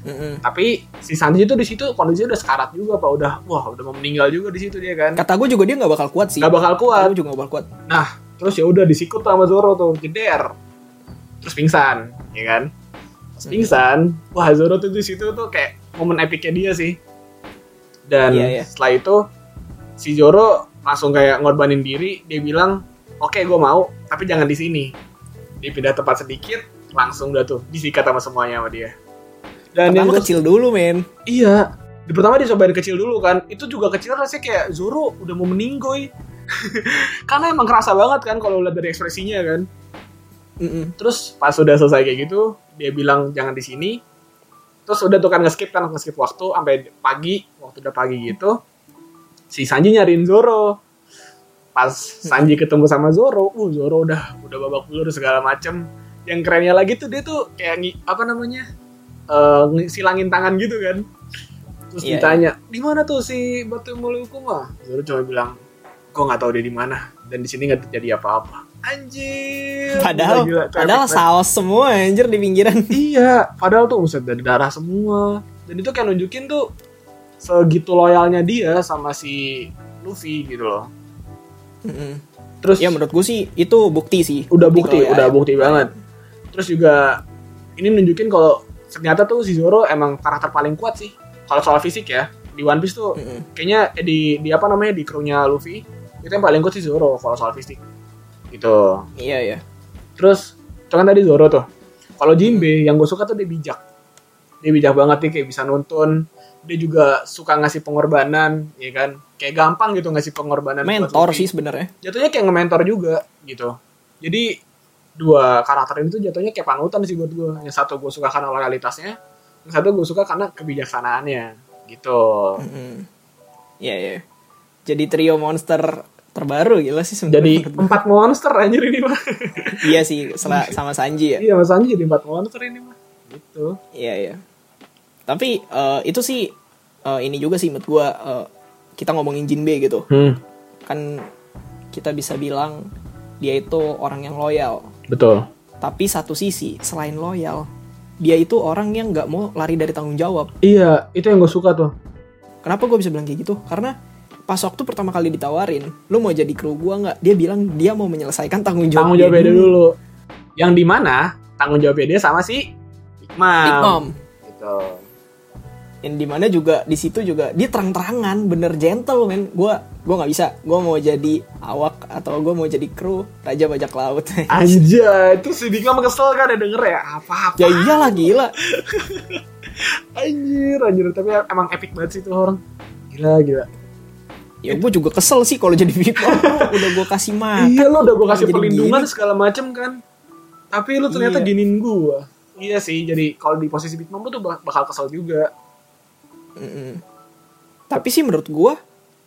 [SPEAKER 3] Mm-mm.
[SPEAKER 5] Tapi si Sanji itu di situ kondisinya udah sekarat juga pak, udah wah udah mau meninggal juga di situ dia kan.
[SPEAKER 3] kata gue juga dia nggak bakal kuat sih
[SPEAKER 5] Gak
[SPEAKER 3] Kata
[SPEAKER 5] bakal kuat.
[SPEAKER 3] gua juga nggak bakal kuat
[SPEAKER 5] Nah terus ya udah disikut sama Zoro tuh jeder, terus pingsan, ya kan. Pas pingsan, wah Zoro tuh di situ tuh kayak momen epicnya dia sih. Dan
[SPEAKER 3] Iya, iya.
[SPEAKER 5] setelah itu si Zoro langsung kayak ngorbanin diri, dia bilang, "Oke, gue mau, tapi jangan di sini." Dia pindah tempat sedikit, langsung udah tuh disikat sama semuanya sama dia. Dan yang
[SPEAKER 3] pertama
[SPEAKER 5] gua-
[SPEAKER 3] kecil dulu men
[SPEAKER 5] iya, di pertama dicobain kecil dulu kan. Itu juga kecil rasanya kayak Zoro udah mau meninggoy. Karena emang kerasa banget kan kalau lihat dari ekspresinya kan.
[SPEAKER 3] Mm-mm.
[SPEAKER 5] Terus pas udah selesai kayak gitu, dia bilang jangan di sini. Terus udah tuh kan nge-skip kan nge-skip waktu sampai pagi, waktu udah pagi gitu. Si Sanji nyariin Zoro. Pas Sanji ketemu sama Zoro, uh Zoro udah udah babak belur segala macem. Yang kerennya lagi tuh dia tuh kayak ngi- apa namanya? eh, ngi- silangin tangan gitu kan. Terus
[SPEAKER 3] Iya, iya.
[SPEAKER 5] ditanya, "Di mana tuh si Batu Mulia Ukuma?" Zoro cuma bilang, "Gua nggak tahu dia di mana dan di sini nggak terjadi apa-apa." Anjir.
[SPEAKER 3] padahal
[SPEAKER 5] Gila, gila.
[SPEAKER 3] padahal
[SPEAKER 5] Traffic, man.
[SPEAKER 3] saos semua anjir di pinggiran
[SPEAKER 5] Iya, padahal tuh buset dari darah semua. Dan itu kayak nunjukin tuh segitu loyalnya dia sama si Luffy gitu loh.
[SPEAKER 3] Mm-mm.
[SPEAKER 5] Terus
[SPEAKER 3] ya menurut gue sih itu bukti sih
[SPEAKER 5] udah bukti,
[SPEAKER 3] kalau ya.
[SPEAKER 5] udah bukti banget. Terus juga ini nunjukin kalau ternyata tuh si Zoro emang karakter paling kuat sih. Kalau soal fisik ya, di One Piece tuh
[SPEAKER 3] Mm-mm.
[SPEAKER 5] kayaknya eh, di di apa namanya di krunya Luffy itu yang paling kuat si Zoro kalau soal fisik. Gitu.
[SPEAKER 3] iya iya
[SPEAKER 5] Terus itu kan tadi Zoro tuh. Kalau Jinbe yang gue suka tuh dia bijak. Dia bijak banget nih kayak bisa nuntun. Dia juga suka ngasih pengorbanan, ya kan? Kayak gampang gitu ngasih pengorbanan. buat
[SPEAKER 3] mentor
[SPEAKER 5] Luffy.
[SPEAKER 3] sih sebenarnya
[SPEAKER 5] Jatuhnya kayak nge-mentor juga gitu. Jadi dua karakter ini tuh jatuhnya kayak panutan sih buat gue. Yang satu gue suka karena loyalitasnya, yang satu gue suka karena kebijaksanaannya gitu.
[SPEAKER 3] Mm. Iya iya. Jadi trio monster terbaru gila sih
[SPEAKER 5] Jadi
[SPEAKER 3] sebenarnya.
[SPEAKER 5] empat monster anjir ini mah.
[SPEAKER 3] iya sih sel- sama Sanji ya.
[SPEAKER 5] iya Mas Anji jadi empat monster ini mah. Gitu.
[SPEAKER 3] Iya iya. Tapi eh, itu sih eh, ini juga sih menurut gua eh, kita ngomongin Jinbe gitu.
[SPEAKER 5] Hmm,
[SPEAKER 3] Kan kita bisa bilang dia itu orang yang loyal.
[SPEAKER 5] betul.
[SPEAKER 3] Tapi satu sisi selain loyal, dia itu orang yang nggak mau lari dari tanggung jawab.
[SPEAKER 5] Iya, itu yang gue suka tuh.
[SPEAKER 3] Kenapa gue bisa bilang kayak gitu? Karena pas waktu pertama kali ditawarin, lu mau jadi kru gua nggak? Dia bilang dia mau menyelesaikan tanggung jawab.
[SPEAKER 5] tanggung
[SPEAKER 3] dia
[SPEAKER 5] jawabnya dia dulu. Yang di mana tanggung jawabnya dia sama si Iqmam.
[SPEAKER 3] Big Mom.
[SPEAKER 5] Gitu.
[SPEAKER 3] Yang dimana juga di situ juga dia terang-terangan, bener gentle men. Gue gue nggak bisa. Gue mau jadi awak atau gue mau jadi kru raja bajak laut.
[SPEAKER 5] Anjay, terus si Big Mom kesel kan ya denger ya apa-apa.
[SPEAKER 3] ya iyalah gila.
[SPEAKER 5] Anjir, anjir. Tapi emang epic banget sih itu orang. Gila, gila.
[SPEAKER 3] Ya gue juga kesel sih kalau jadi Big Mom. Udah gue kasih makan.
[SPEAKER 5] iya, lo udah gue kasih
[SPEAKER 3] Nah, jadi
[SPEAKER 5] perlindungan
[SPEAKER 3] gini.
[SPEAKER 5] segala macem kan. Tapi lu ternyata
[SPEAKER 3] Iya.
[SPEAKER 5] giniin gue. Iya sih, jadi kalau di posisi Big Mom lu tuh bak- bakal kesel juga.
[SPEAKER 3] Mm-mm. Tapi sih menurut gue,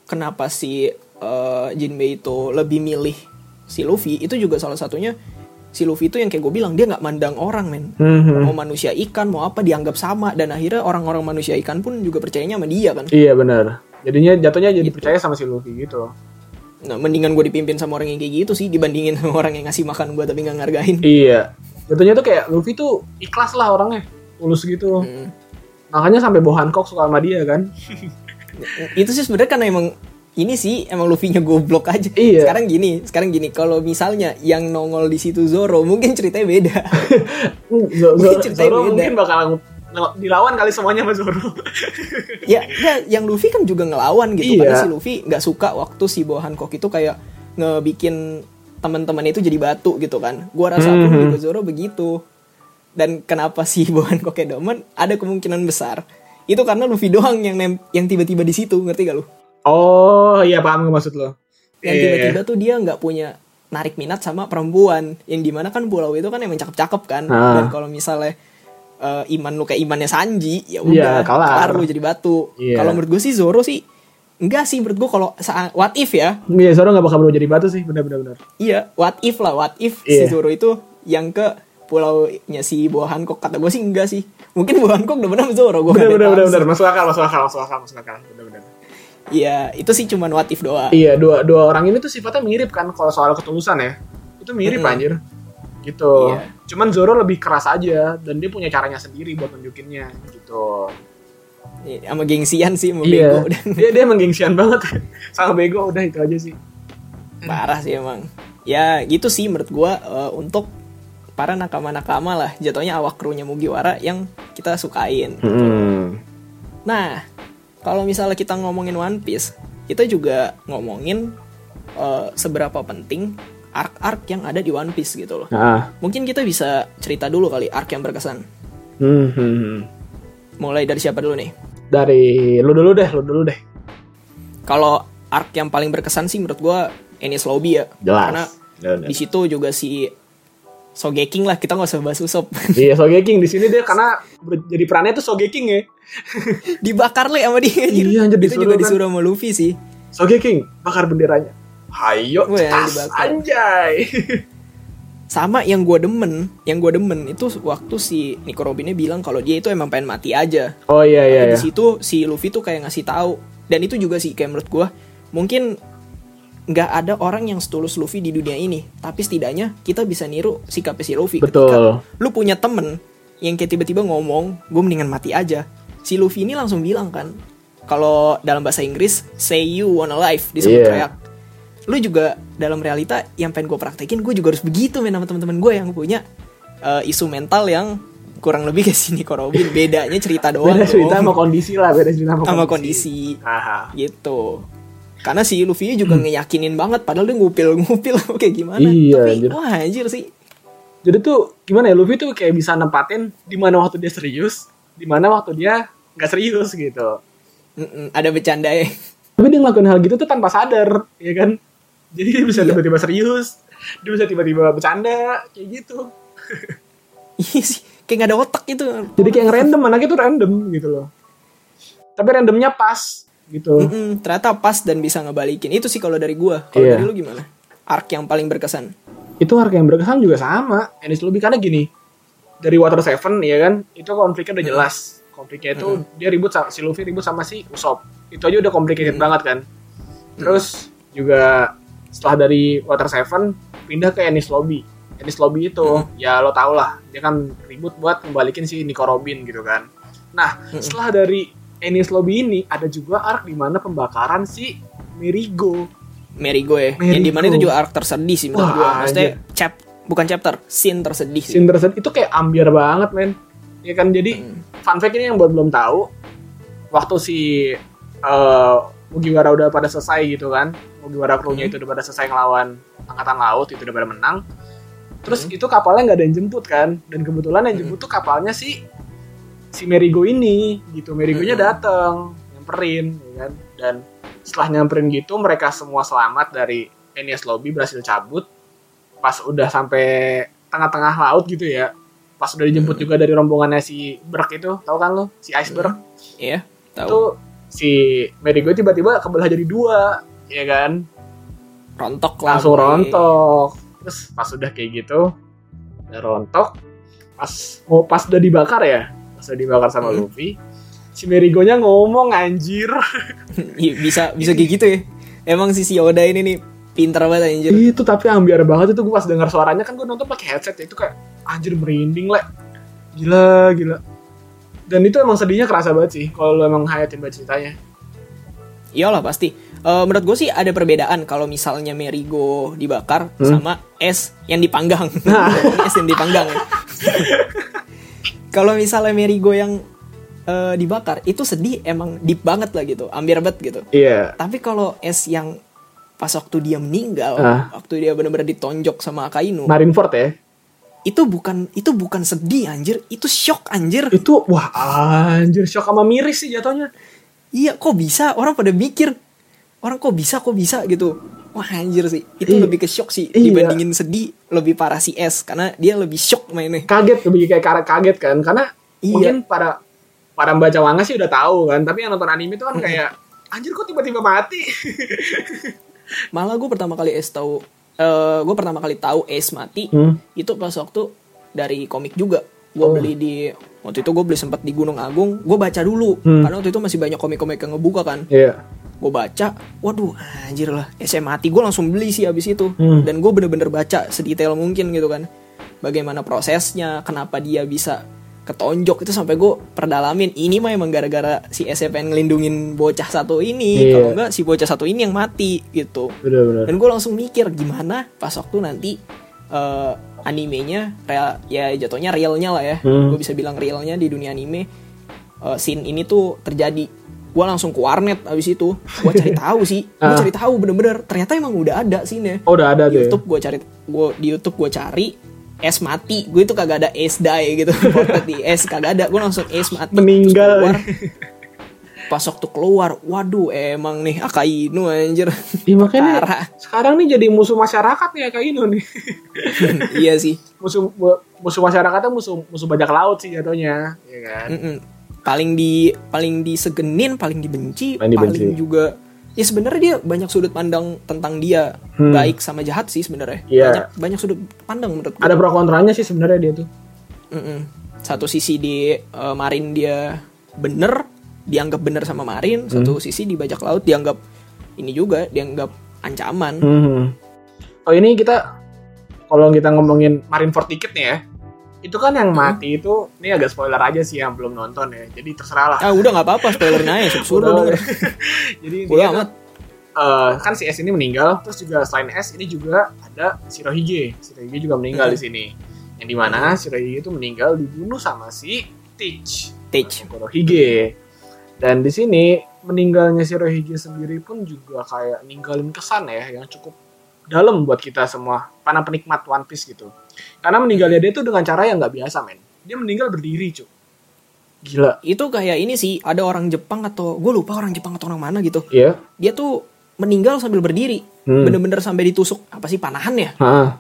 [SPEAKER 3] kenapa si eh, Jinbei itu lebih milih si Luffy itu juga salah satunya si Luffy itu yang kayak gue bilang dia nggak mandang orang men.
[SPEAKER 5] Hmm.
[SPEAKER 3] Mau manusia ikan mau apa dianggap sama dan akhirnya orang-orang manusia ikan pun juga percayanya sama dia kan.
[SPEAKER 5] Iya benar. Jadinya jatuhnya jadi
[SPEAKER 3] Gitu.
[SPEAKER 5] percaya sama si Luffy gitu.
[SPEAKER 3] Nah, mendingan gue dipimpin sama orang yang kayak gitu sih dibandingin sama orang yang ngasih makan gue tapi nggak ngargain.
[SPEAKER 5] Iya. Jatuhnya tuh kayak Luffy tuh ikhlas lah orangnya. tulus gitu
[SPEAKER 3] Hmm.
[SPEAKER 5] makanya sampai Bo Hancock suka sama dia kan
[SPEAKER 3] itu sih sebenarnya karena emang ini sih emang Luffy-nya goblok aja.
[SPEAKER 5] Iya.
[SPEAKER 3] Sekarang gini, sekarang gini. Kalau misalnya yang nongol di situ Zoro, mungkin ceritanya beda.
[SPEAKER 5] Zo- Zo-
[SPEAKER 3] Ceritanya
[SPEAKER 5] Hmm, Zoro
[SPEAKER 3] beda.
[SPEAKER 5] mungkin bakal ngel- dilawan kali semuanya sama Zoro
[SPEAKER 3] ya, ya, yang Luffy kan juga ngelawan gitu.
[SPEAKER 5] Iya.
[SPEAKER 3] Karena si Luffy nggak suka waktu si Bo Hancock itu kayak ngebikin teman-teman itu jadi batu gitu kan. Gua rasa pun juga Zoro begitu. Dan kenapa si Bo Hancock kayak demen? Ada kemungkinan besar itu karena Luffy doang yang nem- yang tiba-tiba di situ, ngerti gak lu?
[SPEAKER 5] oh iya paham gue maksud lo Iya,
[SPEAKER 3] yang tiba-tiba tuh dia nggak punya narik minat sama perempuan yang dimana kan pulau itu kan emang cakep-cakep kan
[SPEAKER 5] Ah.
[SPEAKER 3] dan kalau misalnya eh, iman lu kayak imannya Sanji ya
[SPEAKER 5] Iya,
[SPEAKER 3] udah
[SPEAKER 5] kelar.
[SPEAKER 3] kelar lu jadi batu
[SPEAKER 5] Iya.
[SPEAKER 3] kalau menurut gue sih Zoro sih enggak sih menurut gue kalau sa- what if ya
[SPEAKER 5] Iya, Zoro gak bakal berubah jadi batu sih, benar-benar.
[SPEAKER 3] iya what if lah what if si
[SPEAKER 5] Iya.
[SPEAKER 3] Zoro itu yang ke pulaunya si Bohan kok kata gue sih enggak sih mungkin Bohan kok udah benar Zoro gue nggak ada yang tahu
[SPEAKER 5] Benar-benar,
[SPEAKER 3] sih.
[SPEAKER 5] benar-benar. Masuk akal, masuk akal, masuk akal, masuk akal. Benar-benar.
[SPEAKER 3] iya itu sih cuman what if doang
[SPEAKER 5] Iya, dua dua orang ini tuh sifatnya mirip kan kalau soal ketulusan ya. Itu mirip
[SPEAKER 3] Mm-mm.
[SPEAKER 5] anjir. Gitu.
[SPEAKER 3] Iya.
[SPEAKER 5] Cuman Zoro lebih keras aja dan dia punya caranya sendiri buat nunjukinnya gitu.
[SPEAKER 3] Iya, sama gengsian sih sama
[SPEAKER 5] Iya.
[SPEAKER 3] bego dan
[SPEAKER 5] dia dia menggengsian banget. Sama bego udah itu aja sih.
[SPEAKER 3] Hmm. parah sih emang ya gitu sih menurut gua eh, untuk para nakama-nakama lah jatuhnya awak krunya Mugiwara yang kita sukain nah kalau misalnya kita ngomongin One Piece kita juga ngomongin eh, seberapa penting arc-arc yang ada di One Piece gitu loh
[SPEAKER 5] Ah.
[SPEAKER 3] mungkin kita bisa cerita dulu kali arc yang berkesan
[SPEAKER 5] Hmm,
[SPEAKER 3] mulai dari siapa dulu nih
[SPEAKER 5] Dari lu dulu deh, lu dulu deh.
[SPEAKER 3] kalau arc yang paling berkesan sih menurut gua Enies Lobby ya karena di situ juga si Sogeking lah kita nggak usah bahas Usop
[SPEAKER 5] Iya, Sogeking di sini dia karena ber- jadi perannya tuh Sogeking ya.
[SPEAKER 3] dibakar le sama dia anjir.
[SPEAKER 5] Iya, anjir,
[SPEAKER 3] itu
[SPEAKER 5] disuruh
[SPEAKER 3] juga
[SPEAKER 5] kan.
[SPEAKER 3] disuruh sama Luffy sih
[SPEAKER 5] Sogeking bakar benderanya. Hayo,
[SPEAKER 3] Wah,
[SPEAKER 5] cetas,
[SPEAKER 3] dibakar.
[SPEAKER 5] anjay.
[SPEAKER 3] sama yang gue demen yang gue demen itu waktu si Nico Robinnya bilang kalau dia itu emang pengen mati aja
[SPEAKER 5] Oh iya iya.
[SPEAKER 3] Nah, di
[SPEAKER 5] iya.
[SPEAKER 3] situ si Luffy tuh kayak ngasih tahu dan itu juga sih kayak menurut gue mungkin nggak ada orang yang setulus Luffy di dunia ini tapi setidaknya kita bisa niru sikapnya si Luffy
[SPEAKER 5] Betul.
[SPEAKER 3] ketika lu punya temen yang kayak tiba-tiba ngomong gue mendingan mati aja si Luffy ini langsung bilang kan kalau dalam bahasa Inggris say you wanna life disebut
[SPEAKER 5] Iya.
[SPEAKER 3] teriak lu juga dalam realita yang pengen gue praktekin gue juga harus begitu main sama teman-teman gue yang punya eh, isu mental yang kurang lebih kayak sini Robin bedanya cerita doang
[SPEAKER 5] beda
[SPEAKER 3] dong.
[SPEAKER 5] cerita sama kondisi lah beda cerita sama,
[SPEAKER 3] sama kondisi
[SPEAKER 5] Aha.
[SPEAKER 3] gitu karena si Luffy juga ngeyakinin banget padahal dia ngupil-ngupil kayak gimana
[SPEAKER 5] Hmm. Iya,
[SPEAKER 3] tapi
[SPEAKER 5] anjir.
[SPEAKER 3] wah anjir sih
[SPEAKER 5] jadi tuh gimana ya Luffy tuh kayak bisa nempatin di mana waktu dia serius di mana waktu dia nggak serius gitu
[SPEAKER 3] Mm-mm, ada bercanda ya
[SPEAKER 5] tapi dia ngelakuin hal gitu tuh tanpa sadar ya kan jadi dia bisa
[SPEAKER 3] Iya.
[SPEAKER 5] tiba-tiba serius dia bisa tiba-tiba bercanda kayak gitu
[SPEAKER 3] Iya sih, kayak gak ada otak gitu
[SPEAKER 5] jadi kayak yang random anaknya tuh random gitu loh tapi randomnya pas gitu
[SPEAKER 3] Mm-mm, ternyata pas dan bisa ngebalikin itu sih kalau dari gua kalau
[SPEAKER 5] Iya.
[SPEAKER 3] dari lu gimana arc yang paling berkesan
[SPEAKER 5] itu harga yang berkesan juga sama Enies Lobby karena gini dari Water Seven ya kan itu konfliknya udah jelas konfliknya itu dia ribut sama, si Luffy ribut sama si Usopp itu aja udah complicated banget kan terus juga setelah dari Water Seven pindah ke Enies Lobby Enies Lobby itu ya lo tau lah dia kan ribut buat kembalikin si Nico Robin gitu kan nah setelah dari Enies Lobby ini ada juga arc di mana pembakaran si Merigo
[SPEAKER 3] Merigo ya
[SPEAKER 5] Merigo.
[SPEAKER 3] yang dimana itu juga arc tersedih sih menurut
[SPEAKER 5] Wah,
[SPEAKER 3] gua maksudnya chap bukan chapter scene tersedih sih Mm,
[SPEAKER 5] Cinder Set itu kayak ambiar banget men ya kan jadi fun fact ini yang buat belum tahu waktu si eh, Mugiwara udah pada selesai gitu kan Mugiwara krunya itu udah pada selesai ngelawan angkatan laut itu udah pada menang terus itu kapalnya nggak ada yang jemput kan dan kebetulan yang jemput tuh kapalnya si si Merigo ini gitu Merigonya datang nyamperin ya kan dan setelah nyamperin gitu mereka semua selamat dari Enies Lobby berhasil cabut pas udah sampai tengah-tengah laut gitu ya pas udah dijemput juga dari rombongannya si Berk itu tau kan lo si iceberg
[SPEAKER 3] Iya,
[SPEAKER 5] itu
[SPEAKER 3] tahu
[SPEAKER 5] si Merigo tiba-tiba kebelah jadi dua ya kan
[SPEAKER 3] rontok lah
[SPEAKER 5] langsung
[SPEAKER 3] pokoknya.
[SPEAKER 5] rontok terus pas udah kayak gitu udah rontok pas mau pas udah dibakar ya pas udah dibakar sama
[SPEAKER 3] Hmm.
[SPEAKER 5] Luffy si Merigonya ngomong anjir
[SPEAKER 3] Iya, bisa bisa kayak gitu ya emang si si Oda ini nih pintar banget anjir
[SPEAKER 5] itu tapi ambiar banget itu gue pas dengar suaranya kan gue nonton pakai headset ya, itu kayak anjir merinding lah gila gila Dan itu emang sedihnya kerasa banget sih kalau lu emang hayatin banget ceritanya.
[SPEAKER 3] Iyalah pasti. Eh, menurut gue sih ada perbedaan kalau misalnya Merigo dibakar sama es yang dipanggang. es yang dipanggang ya. kalau misalnya Merigo yang eh, dibakar itu sedih emang deep banget lah gitu, ambiar banget gitu.
[SPEAKER 5] Iya.
[SPEAKER 3] Tapi kalau es yang pas waktu dia meninggal,
[SPEAKER 5] Ah.
[SPEAKER 3] waktu dia benar-benar ditonjok sama Akainu,
[SPEAKER 5] Marineford ya.
[SPEAKER 3] itu bukan itu bukan sedih anjir, itu shock anjir.
[SPEAKER 5] Itu wah anjir shock sama miris sih jatuhnya.
[SPEAKER 3] Iya, kok bisa? Orang pada mikir. Orang kok bisa, kok bisa gitu. Wah anjir sih. Itu
[SPEAKER 5] Iya.
[SPEAKER 3] lebih ke shock sih
[SPEAKER 5] Iya.
[SPEAKER 3] dibandingin sedih, lebih parah si S karena dia lebih shock mainnya.
[SPEAKER 5] Kaget lebih kayak karet kaget kan karena
[SPEAKER 3] Iya.
[SPEAKER 5] mungkin para para membaca manga sih udah tahu kan, tapi yang nonton anime itu kan kayak anjir kok tiba-tiba mati.
[SPEAKER 3] Malah gue pertama kali S tahu eh gue pertama kali tahu S mati
[SPEAKER 5] Hmm. Oh.
[SPEAKER 3] itu pas waktu dari komik juga. Gue beli di waktu itu gue beli sempat di Gunung Agung, gue baca dulu
[SPEAKER 5] Hmm.
[SPEAKER 3] karena waktu itu masih banyak komik-komik yang ngebuka kan.
[SPEAKER 5] Iya.
[SPEAKER 3] gue baca waduh anjir lah SM mati gue langsung beli sih abis itu
[SPEAKER 5] Hmm.
[SPEAKER 3] dan gue bener-bener baca sedetail mungkin gitu kan bagaimana prosesnya kenapa dia bisa ketonjok itu sampai gue perdalamin ini mah emang gara-gara si SCP ngelindungin bocah satu ini
[SPEAKER 5] Iya.
[SPEAKER 3] kalau enggak si bocah satu ini yang mati gitu
[SPEAKER 5] Benar-benar.
[SPEAKER 3] dan gue langsung mikir gimana pas waktu nanti eh, animenya real ya jatuhnya realnya lah ya
[SPEAKER 5] Hmm.
[SPEAKER 3] gue bisa bilang realnya di dunia anime eh, scene ini tuh terjadi gue langsung ke warnet abis itu gue cari tahu sih gue
[SPEAKER 5] Ah.
[SPEAKER 3] cari tahu bener-bener ternyata emang udah ada scene
[SPEAKER 5] Oh, udah ada
[SPEAKER 3] di
[SPEAKER 5] tuh. ya?
[SPEAKER 3] YouTube gue cari gua di YouTube gue cari es mati gue itu kagak ada es die gitu Portrait di es kagak ada gue langsung es mati
[SPEAKER 5] Meninggal.
[SPEAKER 3] Terus keluar. pas waktu keluar waduh emang nih Akainu anjir
[SPEAKER 5] Ih, makanya
[SPEAKER 3] Parah.
[SPEAKER 5] sekarang nih jadi musuh masyarakat nih kayak Ino nih.
[SPEAKER 3] iya sih
[SPEAKER 5] musuh musuh masyarakatnya musuh musuh bajak laut sih jatuhnya, ya kan?
[SPEAKER 3] Mm-mm. paling di paling disegenin paling dibenci
[SPEAKER 5] Paling dibenci.
[SPEAKER 3] paling juga ya sebenarnya dia banyak sudut pandang tentang dia
[SPEAKER 5] Hmm.
[SPEAKER 3] baik sama jahat sih sebenarnya
[SPEAKER 5] Iya.
[SPEAKER 3] banyak banyak sudut pandang menurut gue
[SPEAKER 5] Ada pro kontranya sih sebenarnya dia tuh.
[SPEAKER 3] Mm-mm. satu sisi di eh, Marin dia bener dianggap bener sama
[SPEAKER 5] Hmm.
[SPEAKER 3] Marin satu sisi di bajak laut dianggap ini juga dianggap
[SPEAKER 5] Hmm.
[SPEAKER 3] ancaman
[SPEAKER 5] Oh ini kita kalau kita ngomongin Marineford dikit nih ya. Itu kan yang
[SPEAKER 3] Mm-hmm.
[SPEAKER 5] mati itu ini agak spoiler aja sih yang belum nonton ya. Jadi terserah lah.
[SPEAKER 3] ah udah nggak apa-apa spoilerin aja suruh
[SPEAKER 5] Udah,
[SPEAKER 3] denger
[SPEAKER 5] Jadi
[SPEAKER 3] Bodo
[SPEAKER 5] dia
[SPEAKER 3] amat.
[SPEAKER 5] eh, kan si S ini meninggal, terus juga selain S ini juga ada Shirohige. Shirohige juga meninggal
[SPEAKER 3] Hmm.
[SPEAKER 5] di sini. Yang dimana
[SPEAKER 3] Mm-hmm.
[SPEAKER 5] Shirohige itu meninggal dibunuh sama si Teach.
[SPEAKER 3] Teach.
[SPEAKER 5] Shirohige. Nah, Dan di sini meninggalnya Shirohige sendiri pun juga kayak ninggalin kesan ya yang cukup dalam buat kita semua para penikmat One Piece gitu. Karena meninggalnya dia tuh dengan cara yang nggak biasa men. Dia meninggal berdiri cuy. Gila.
[SPEAKER 3] itu kayak ini sih ada orang Jepang atau gue lupa orang Jepang atau orang mana gitu
[SPEAKER 5] Iya.
[SPEAKER 3] dia tuh meninggal sambil berdiri
[SPEAKER 5] Hmm.
[SPEAKER 3] bener-bener sampai ditusuk apa sih panahan ya
[SPEAKER 5] Hah.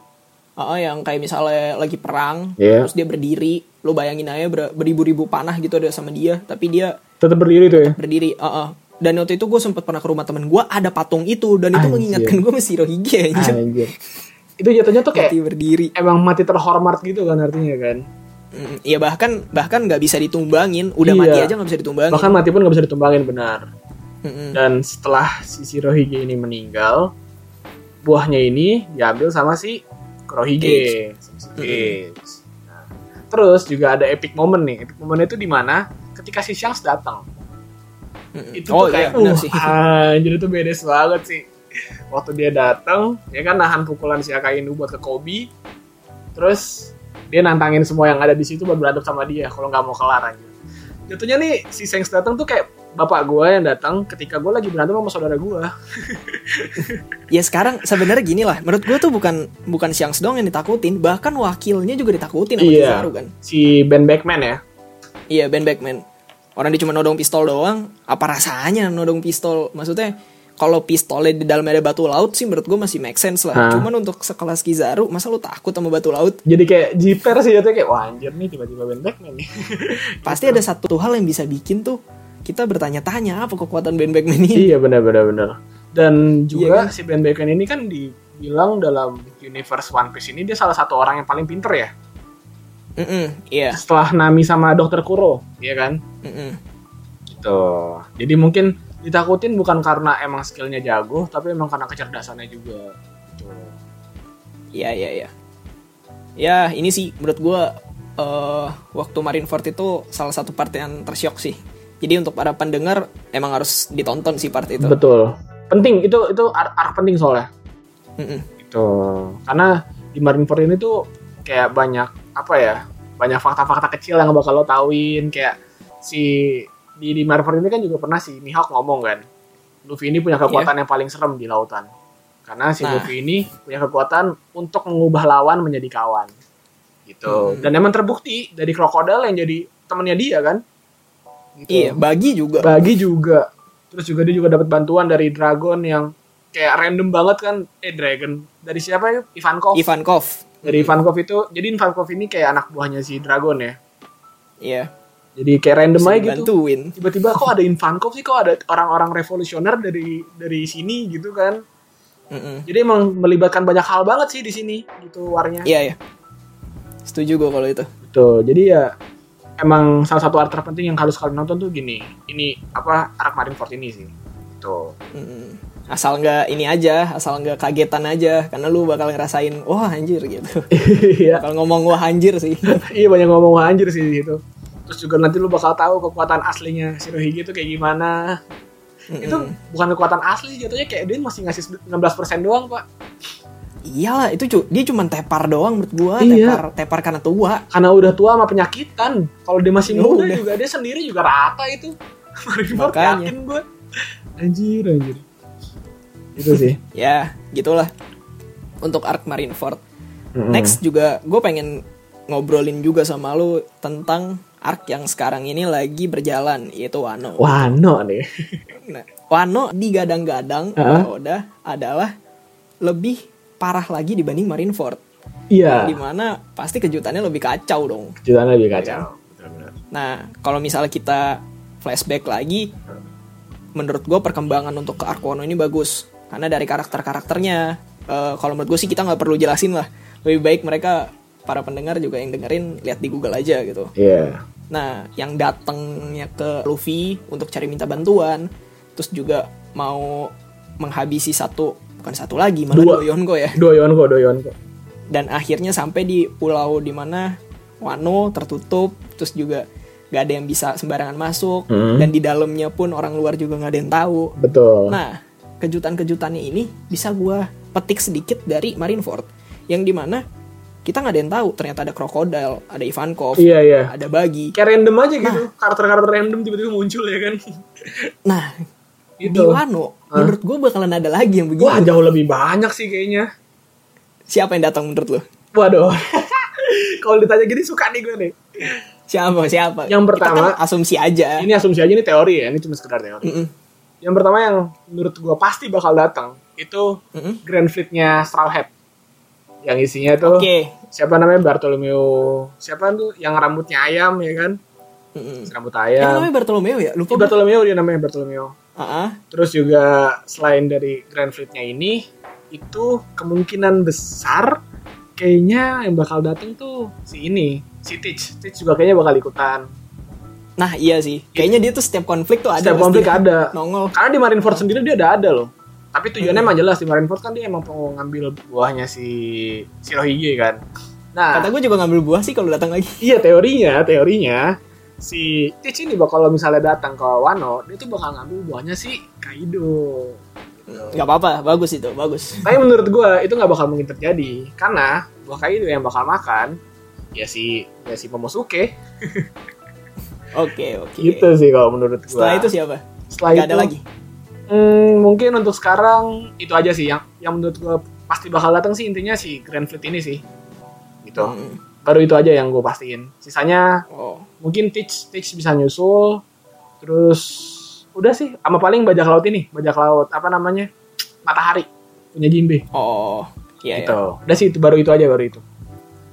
[SPEAKER 3] Ah, yang kayak misalnya lagi perang
[SPEAKER 5] Iya.
[SPEAKER 3] terus dia berdiri lo bayangin aja ber- beribu-ribu panah gitu ada sama dia tapi dia
[SPEAKER 5] Tetap berdiri tuh ya.
[SPEAKER 3] berdiri ah, ah. dan waktu itu gue sempet pernah ke rumah temen gue ada patung itu dan itu
[SPEAKER 5] Anjir.
[SPEAKER 3] mengingatkan gue masih Rohingya anjir.
[SPEAKER 5] Anjir. Itu jatuhnya tuh kayak
[SPEAKER 3] mati berdiri
[SPEAKER 5] emang mati terhormat gitu kan artinya kan.
[SPEAKER 3] Mm, ya bahkan bahkan nggak bisa ditumbangin udah
[SPEAKER 5] Iya.
[SPEAKER 3] mati aja nggak bisa ditumbangin
[SPEAKER 5] Bahkan mati pun nggak bisa ditumbangin benar.
[SPEAKER 3] Mm-mm.
[SPEAKER 5] Dan setelah si Shirohige ini meninggal, buahnya ini diambil sama si Kurohige. sama si Teach. Nah, terus juga ada epic moment nih. Epic moment itu di mana ketika si Shanks datang.
[SPEAKER 3] Mm-mm.
[SPEAKER 5] Itu
[SPEAKER 3] oh
[SPEAKER 5] tuh
[SPEAKER 3] iya
[SPEAKER 5] kayak
[SPEAKER 3] benar
[SPEAKER 5] uh,
[SPEAKER 3] sih
[SPEAKER 5] anjir itu bedes banget sih. Waktu dia datang, ya kan nahan pukulan si Akainu buat ke Kobe. Terus dia nantangin semua yang ada di situ buat beradab sama dia kalau nggak mau kelar anjir. Jatuhnya nih si Shanks datang tuh kayak bapak gue yang datang ketika gue lagi berantem sama saudara gue.
[SPEAKER 3] ya sekarang sebenarnya gini lah menurut gue tuh bukan bukan Shanks dong yang ditakutin bahkan wakilnya juga ditakutin sama
[SPEAKER 5] Iya.
[SPEAKER 3] Kizaru kan
[SPEAKER 5] si Ben Beckman ya.
[SPEAKER 3] iya Ben Beckman orang dia cuma nodong pistol doang apa rasanya nodong pistol maksudnya kalau pistolnya di dalamnya ada batu laut sih menurut gue masih make sense lah
[SPEAKER 5] Hah.
[SPEAKER 3] cuman untuk sekelas Kizaru masa lu takut sama batu laut
[SPEAKER 5] Jadi kayak jiper sih jatuhnya kayak wah anjir nih tiba-tiba Ben Beckman nih.
[SPEAKER 3] pasti ada satu hal yang bisa bikin tuh kita bertanya-tanya apa kekuatan Ben Beckman ini
[SPEAKER 5] iya benar benar benar. Dan
[SPEAKER 3] Iya
[SPEAKER 5] juga
[SPEAKER 3] kan?
[SPEAKER 5] si Ben Beckman ini kan dibilang dalam universe One Piece ini dia salah satu orang yang paling pinter ya.
[SPEAKER 3] Mm-mm, iya
[SPEAKER 5] Setelah Nami sama Dokter Kuro, iya kan?
[SPEAKER 3] mm-mm.
[SPEAKER 5] Gitu. Jadi mungkin ditakutin bukan karena emang skillnya jago, tapi emang karena kecerdasannya juga. Gitu.
[SPEAKER 3] Iya iya iya. Ya ini sih menurut gua eh, waktu Marineford itu salah satu part yang tersyok sih. Jadi untuk para pendengar emang harus ditonton sih part itu.
[SPEAKER 5] Betul. Penting itu itu arc, arc penting soalnya.
[SPEAKER 3] Mm-mm.
[SPEAKER 5] Itu karena di Marineford ini tuh kayak banyak apa ya? Banyak fakta-fakta kecil yang bakal lo tauin kayak si di di Marineford ini kan juga pernah si Mihawk ngomong kan. Luffy ini punya kekuatan yang paling serem di lautan. Karena si
[SPEAKER 3] Iya. Nah.
[SPEAKER 5] Luffy ini punya kekuatan untuk mengubah lawan menjadi kawan.
[SPEAKER 3] Hmm.
[SPEAKER 5] Gitu. Dan emang terbukti dari krokodil yang jadi temennya dia kan. Gitu.
[SPEAKER 3] Iya, bagi juga.
[SPEAKER 5] Bagi juga. Terus juga dia juga dapat bantuan dari Dragon yang kayak random banget kan. Eh Dragon dari siapa ya? Ivankov.
[SPEAKER 3] Ivankov.
[SPEAKER 5] dari Ivankov itu. Jadi Ivankov ini kayak anak buahnya si Dragon ya.
[SPEAKER 3] Iya.
[SPEAKER 5] Jadi kayak random aja gitu.
[SPEAKER 3] Bantuin.
[SPEAKER 5] Tiba-tiba kok ada Ivankov sih kok ada orang-orang revolusioner dari dari sini gitu kan.
[SPEAKER 3] Mm-mm.
[SPEAKER 5] Jadi emang melibatkan banyak hal banget sih di sini gitu warnya.
[SPEAKER 3] Iya, iya. Setuju gue kalau itu.
[SPEAKER 5] Betul. Jadi ya emang salah satu art terpenting yang harus kalian nonton tuh gini. Ini apa Arc Marineford ini sih. Tuh.
[SPEAKER 3] Mm-mm. Asal nggak ini aja, asal nggak kagetan aja, karena lu bakal ngerasain wah anjir gitu.
[SPEAKER 5] Iya.
[SPEAKER 3] bakal ngomong wah anjir sih.
[SPEAKER 5] iya banyak ngomong wah anjir sih di situ. Terus juga nanti lu bakal tahu kekuatan aslinya Shirohige itu kayak gimana. Itu bukan kekuatan asli jatuhnya kayak dia masih ngasih 16% doang, Pak.
[SPEAKER 3] Iyalah, itu cu- dia cuma tepar doang menurut gua,
[SPEAKER 5] Iya.
[SPEAKER 3] tepar tepar karena tua.
[SPEAKER 5] Karena udah tua sama penyakitan. Kalau dia masih
[SPEAKER 3] Ya
[SPEAKER 5] muda
[SPEAKER 3] udah.
[SPEAKER 5] juga dia sendiri juga rata itu. Marineford
[SPEAKER 3] Makanya.
[SPEAKER 5] yakin gue. Anjir, anjir. Itu sih.
[SPEAKER 3] Ya, gitulah. Untuk Ark Marineford.
[SPEAKER 5] Mm-mm.
[SPEAKER 3] Next juga gue pengen ngobrolin juga sama lu tentang Ark yang sekarang ini lagi berjalan yaitu Wano.
[SPEAKER 5] Wano nih.
[SPEAKER 3] Nah, Wano digadang-gadang
[SPEAKER 5] Heeh.
[SPEAKER 3] oleh Oda adalah lebih parah lagi dibanding Marineford.
[SPEAKER 5] Iya.
[SPEAKER 3] Dimana pasti kejutannya lebih kacau dong.
[SPEAKER 5] Ceritanya lebih kacau.
[SPEAKER 3] Nah, kalau misalnya kita flashback lagi, menurut gue perkembangan untuk ke Arkono ini bagus. Karena dari karakter-karakternya, eh, kalau menurut gue sih kita nggak perlu jelasin lah. Lebih baik mereka, para pendengar juga yang dengerin, lihat di Google aja gitu.
[SPEAKER 5] Iya.
[SPEAKER 3] Nah, yang datangnya ke Luffy untuk cari minta bantuan, terus juga mau menghabisi satu, bukan satu lagi, malah
[SPEAKER 5] Dua.
[SPEAKER 3] dua Yonko ya.
[SPEAKER 5] Doyon kok, doyon kok.
[SPEAKER 3] Dan akhirnya sampai di pulau dimana Wano tertutup, terus juga gak ada yang bisa sembarangan masuk,
[SPEAKER 5] Hmm. Oh.
[SPEAKER 3] dan di dalamnya pun orang luar juga gak ada yang tahu.
[SPEAKER 5] Betul.
[SPEAKER 3] Nah, kejutan-kejutannya ini bisa gua petik sedikit dari Marineford, yang dimana kita nggak ada yang tahu ternyata ada krokodil, ada Ivankov,
[SPEAKER 5] Iya, iya.
[SPEAKER 3] ada Bagi.
[SPEAKER 5] kayak random aja gitu karakter-karakter random tiba-tiba muncul ya kan
[SPEAKER 3] Nah,
[SPEAKER 5] Gitu.
[SPEAKER 3] di Wano, menurut gue bakalan ada lagi yang
[SPEAKER 5] wah
[SPEAKER 3] begini.
[SPEAKER 5] jauh lebih banyak sih kayaknya
[SPEAKER 3] Siapa yang datang menurut lo?
[SPEAKER 5] waduh kalau ditanya gini suka nih gue nih
[SPEAKER 3] Siapa? Siapa?
[SPEAKER 5] Yang
[SPEAKER 3] Kita
[SPEAKER 5] pertama-
[SPEAKER 3] kan asumsi aja.
[SPEAKER 5] Nah, ini asumsi aja ini teori ya ini cuma sekedar teori
[SPEAKER 3] Mm-mm.
[SPEAKER 5] yang pertama yang menurut gue pasti bakal datang itu
[SPEAKER 3] Mm-mm.
[SPEAKER 5] Grand Fleet-nya Straw Hat yang isinya tuh
[SPEAKER 3] Oke.
[SPEAKER 5] siapa namanya Bartolomeo siapa tuh yang rambutnya ayam ya kan
[SPEAKER 3] Mm-mm.
[SPEAKER 5] rambut
[SPEAKER 3] Ini
[SPEAKER 5] ayam
[SPEAKER 3] Hmm. namanya Bartolomeo ya?
[SPEAKER 5] Ini
[SPEAKER 3] Lupa. gua.
[SPEAKER 5] Bartolomeo dia namanya Bartolomeo
[SPEAKER 3] Ah, ah.
[SPEAKER 5] Terus juga selain dari Grand Fleet-nya ini, itu kemungkinan besar kayaknya yang bakal datang tuh si ini, si Teach. Teach juga kayaknya bakal ikutan.
[SPEAKER 3] Nah iya sih. Kayaknya dia tuh setiap konflik tuh ada.
[SPEAKER 5] Setiap
[SPEAKER 3] pasti.
[SPEAKER 5] konflik ada.
[SPEAKER 3] Nongol.
[SPEAKER 5] Karena di Marineford sendiri dia udah ada loh. Tapi tujuannya
[SPEAKER 3] Iya.
[SPEAKER 5] emang jelas di Marineford kan dia emang mau ngambil buahnya si Shirohige kan. Nah,
[SPEAKER 3] Kata gue juga ngambil buah sih kalau datang lagi.
[SPEAKER 5] Iya teorinya, teorinya si Teach ini bakal kalau misalnya datang ke Wano, dia tuh bakal ngambil buahnya si Kaido.
[SPEAKER 3] Gak apa-apa. Bagus itu. Bagus.
[SPEAKER 5] Tapi menurut gue itu nggak bakal mungkin terjadi karena buah kayu itu yang bakal makan ya si ya si Momosuke
[SPEAKER 3] Oke oke.
[SPEAKER 5] gitu sih kalau menurut gue.
[SPEAKER 3] Setelah itu siapa?
[SPEAKER 5] setelah
[SPEAKER 3] Gak
[SPEAKER 5] itu
[SPEAKER 3] ada lagi.
[SPEAKER 5] hmm, mungkin untuk sekarang itu aja sih yang yang menurut gue pasti bakal datang sih intinya si Grand Fleet ini sih gitu.
[SPEAKER 3] Mm.
[SPEAKER 5] Baru itu aja yang gue pastiin. Sisanya
[SPEAKER 3] Oh.
[SPEAKER 5] mungkin Teach Teach bisa nyusul terus udah sih sama paling bajak laut ini bajak laut apa namanya matahari punya Jimbe
[SPEAKER 3] Oh. Iya ya.
[SPEAKER 5] gitu. Udah sih itu baru itu aja baru itu.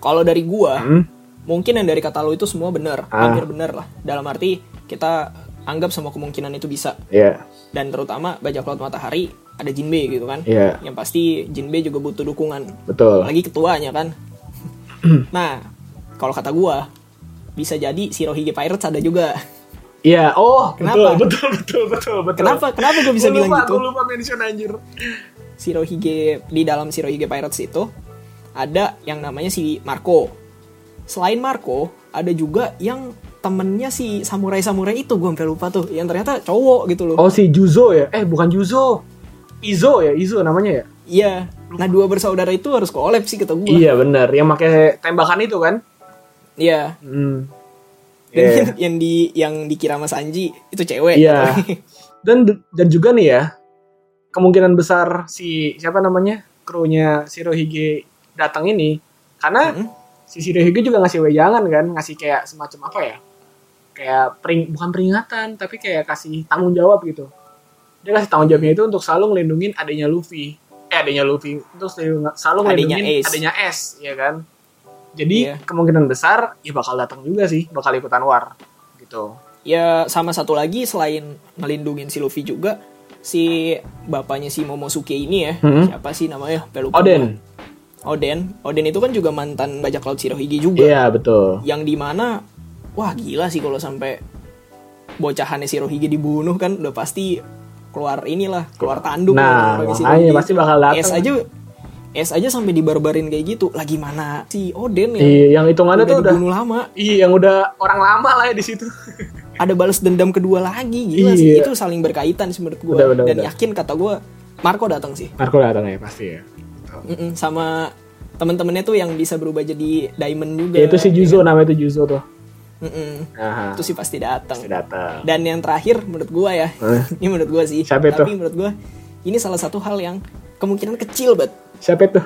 [SPEAKER 3] Kalau dari gua,
[SPEAKER 5] Hmm.
[SPEAKER 3] mungkin yang dari kata lo itu semua benar,
[SPEAKER 5] Ah.
[SPEAKER 3] hampir benar lah. Dalam arti kita anggap semua kemungkinan itu bisa.
[SPEAKER 5] Iya.
[SPEAKER 3] dan terutama bajak laut matahari ada Jinbe gitu kan
[SPEAKER 5] Iya.
[SPEAKER 3] yang pasti Jinbe juga butuh dukungan
[SPEAKER 5] Betul.
[SPEAKER 3] apalagi ketuanya kan nah kalau kata gua bisa jadi Shirohige Pirates ada juga
[SPEAKER 5] Iya, oh,
[SPEAKER 3] Kenapa?
[SPEAKER 5] Betul, betul, betul, betul.
[SPEAKER 3] kenapa kenapa gua bisa
[SPEAKER 5] Gua
[SPEAKER 3] bilang
[SPEAKER 5] lupa,
[SPEAKER 3] gitu
[SPEAKER 5] gua lupa mention anjir.
[SPEAKER 3] Shirohige di dalam Shirohige Pirates itu ada yang namanya si Marco selain Marco ada juga yang temennya si samurai samurai itu gue sampai lupa tuh yang ternyata cowok gitu loh
[SPEAKER 5] Oh si Juzo ya? Eh bukan Juzo. Izo ya, Izo namanya ya?
[SPEAKER 3] iya nah dua bersaudara itu harus collab sih kata gue
[SPEAKER 5] Iya benar, yang pakai tembakan itu kan?
[SPEAKER 3] iya
[SPEAKER 5] Hmm.
[SPEAKER 3] dan
[SPEAKER 5] Iya.
[SPEAKER 3] yang- yang di yang dikira Mas Anji itu cewek
[SPEAKER 5] Iya. Dan dan juga nih ya, kemungkinan besar si siapa namanya? Krunya Shirohige datang ini karena
[SPEAKER 3] Mm-mm.
[SPEAKER 5] si Shirohige juga ngasih wejangan kan, ngasih kayak semacam apa ya? Kayak pering bukan peringatan, tapi kayak kasih tanggung jawab gitu. Dia kasih tanggung jawabnya itu untuk selalu ngelindungin adanya Luffy. Eh adanya Luffy, untuk selalu selalu
[SPEAKER 3] Adenya
[SPEAKER 5] ngelindungin
[SPEAKER 3] Ace.
[SPEAKER 5] adanya S, ya kan? Jadi
[SPEAKER 3] Iya.
[SPEAKER 5] kemungkinan besar ya bakal datang juga sih, bakal ikutan war gitu.
[SPEAKER 3] ya sama satu lagi selain ngelindungin si Luffy juga si bapaknya si Momosuke ini ya
[SPEAKER 5] Hmm.
[SPEAKER 3] siapa sih namanya Sampai lupa
[SPEAKER 5] Oden.
[SPEAKER 3] gua. Oden Oden itu kan juga mantan bajak laut Shirohige juga
[SPEAKER 5] Iya, betul.
[SPEAKER 3] yang dimana wah gila sih kalau sampai bocahannya Shirohige dibunuh kan udah pasti keluar inilah keluar tanduk
[SPEAKER 5] Nah,
[SPEAKER 3] bagi
[SPEAKER 5] makanya
[SPEAKER 3] Shirohige.
[SPEAKER 5] pasti bakal datang.
[SPEAKER 3] S aja S aja sampai dibarbarin kayak gitu lagi mana si Oden ya
[SPEAKER 5] Iya, yang hitungannya tuh udah
[SPEAKER 3] dibunuh lama
[SPEAKER 5] Iya, yang udah orang lama lah ya di situ.
[SPEAKER 3] ada balas dendam kedua lagi gila sih
[SPEAKER 5] Iya.
[SPEAKER 3] itu saling berkaitan sih menurut gue
[SPEAKER 5] Udah, udah,
[SPEAKER 3] dan
[SPEAKER 5] udah.
[SPEAKER 3] yakin kata gue Marco datang sih
[SPEAKER 5] Marco datang ya pasti ya.
[SPEAKER 3] Mm-mm, sama temen-temennya tuh yang bisa berubah jadi Diamond juga
[SPEAKER 5] Ya itu si Juzo namanya itu Juzo tuh.
[SPEAKER 3] Mm-mm,
[SPEAKER 5] Nah,
[SPEAKER 3] itu sih pasti
[SPEAKER 5] pasti
[SPEAKER 3] datang
[SPEAKER 5] datang.
[SPEAKER 3] dan yang terakhir menurut gue ya
[SPEAKER 5] Eh.
[SPEAKER 3] ini menurut gue sih
[SPEAKER 5] Siapa itu?
[SPEAKER 3] tapi menurut gue ini salah satu hal yang kemungkinan kecil bet
[SPEAKER 5] Siapa itu?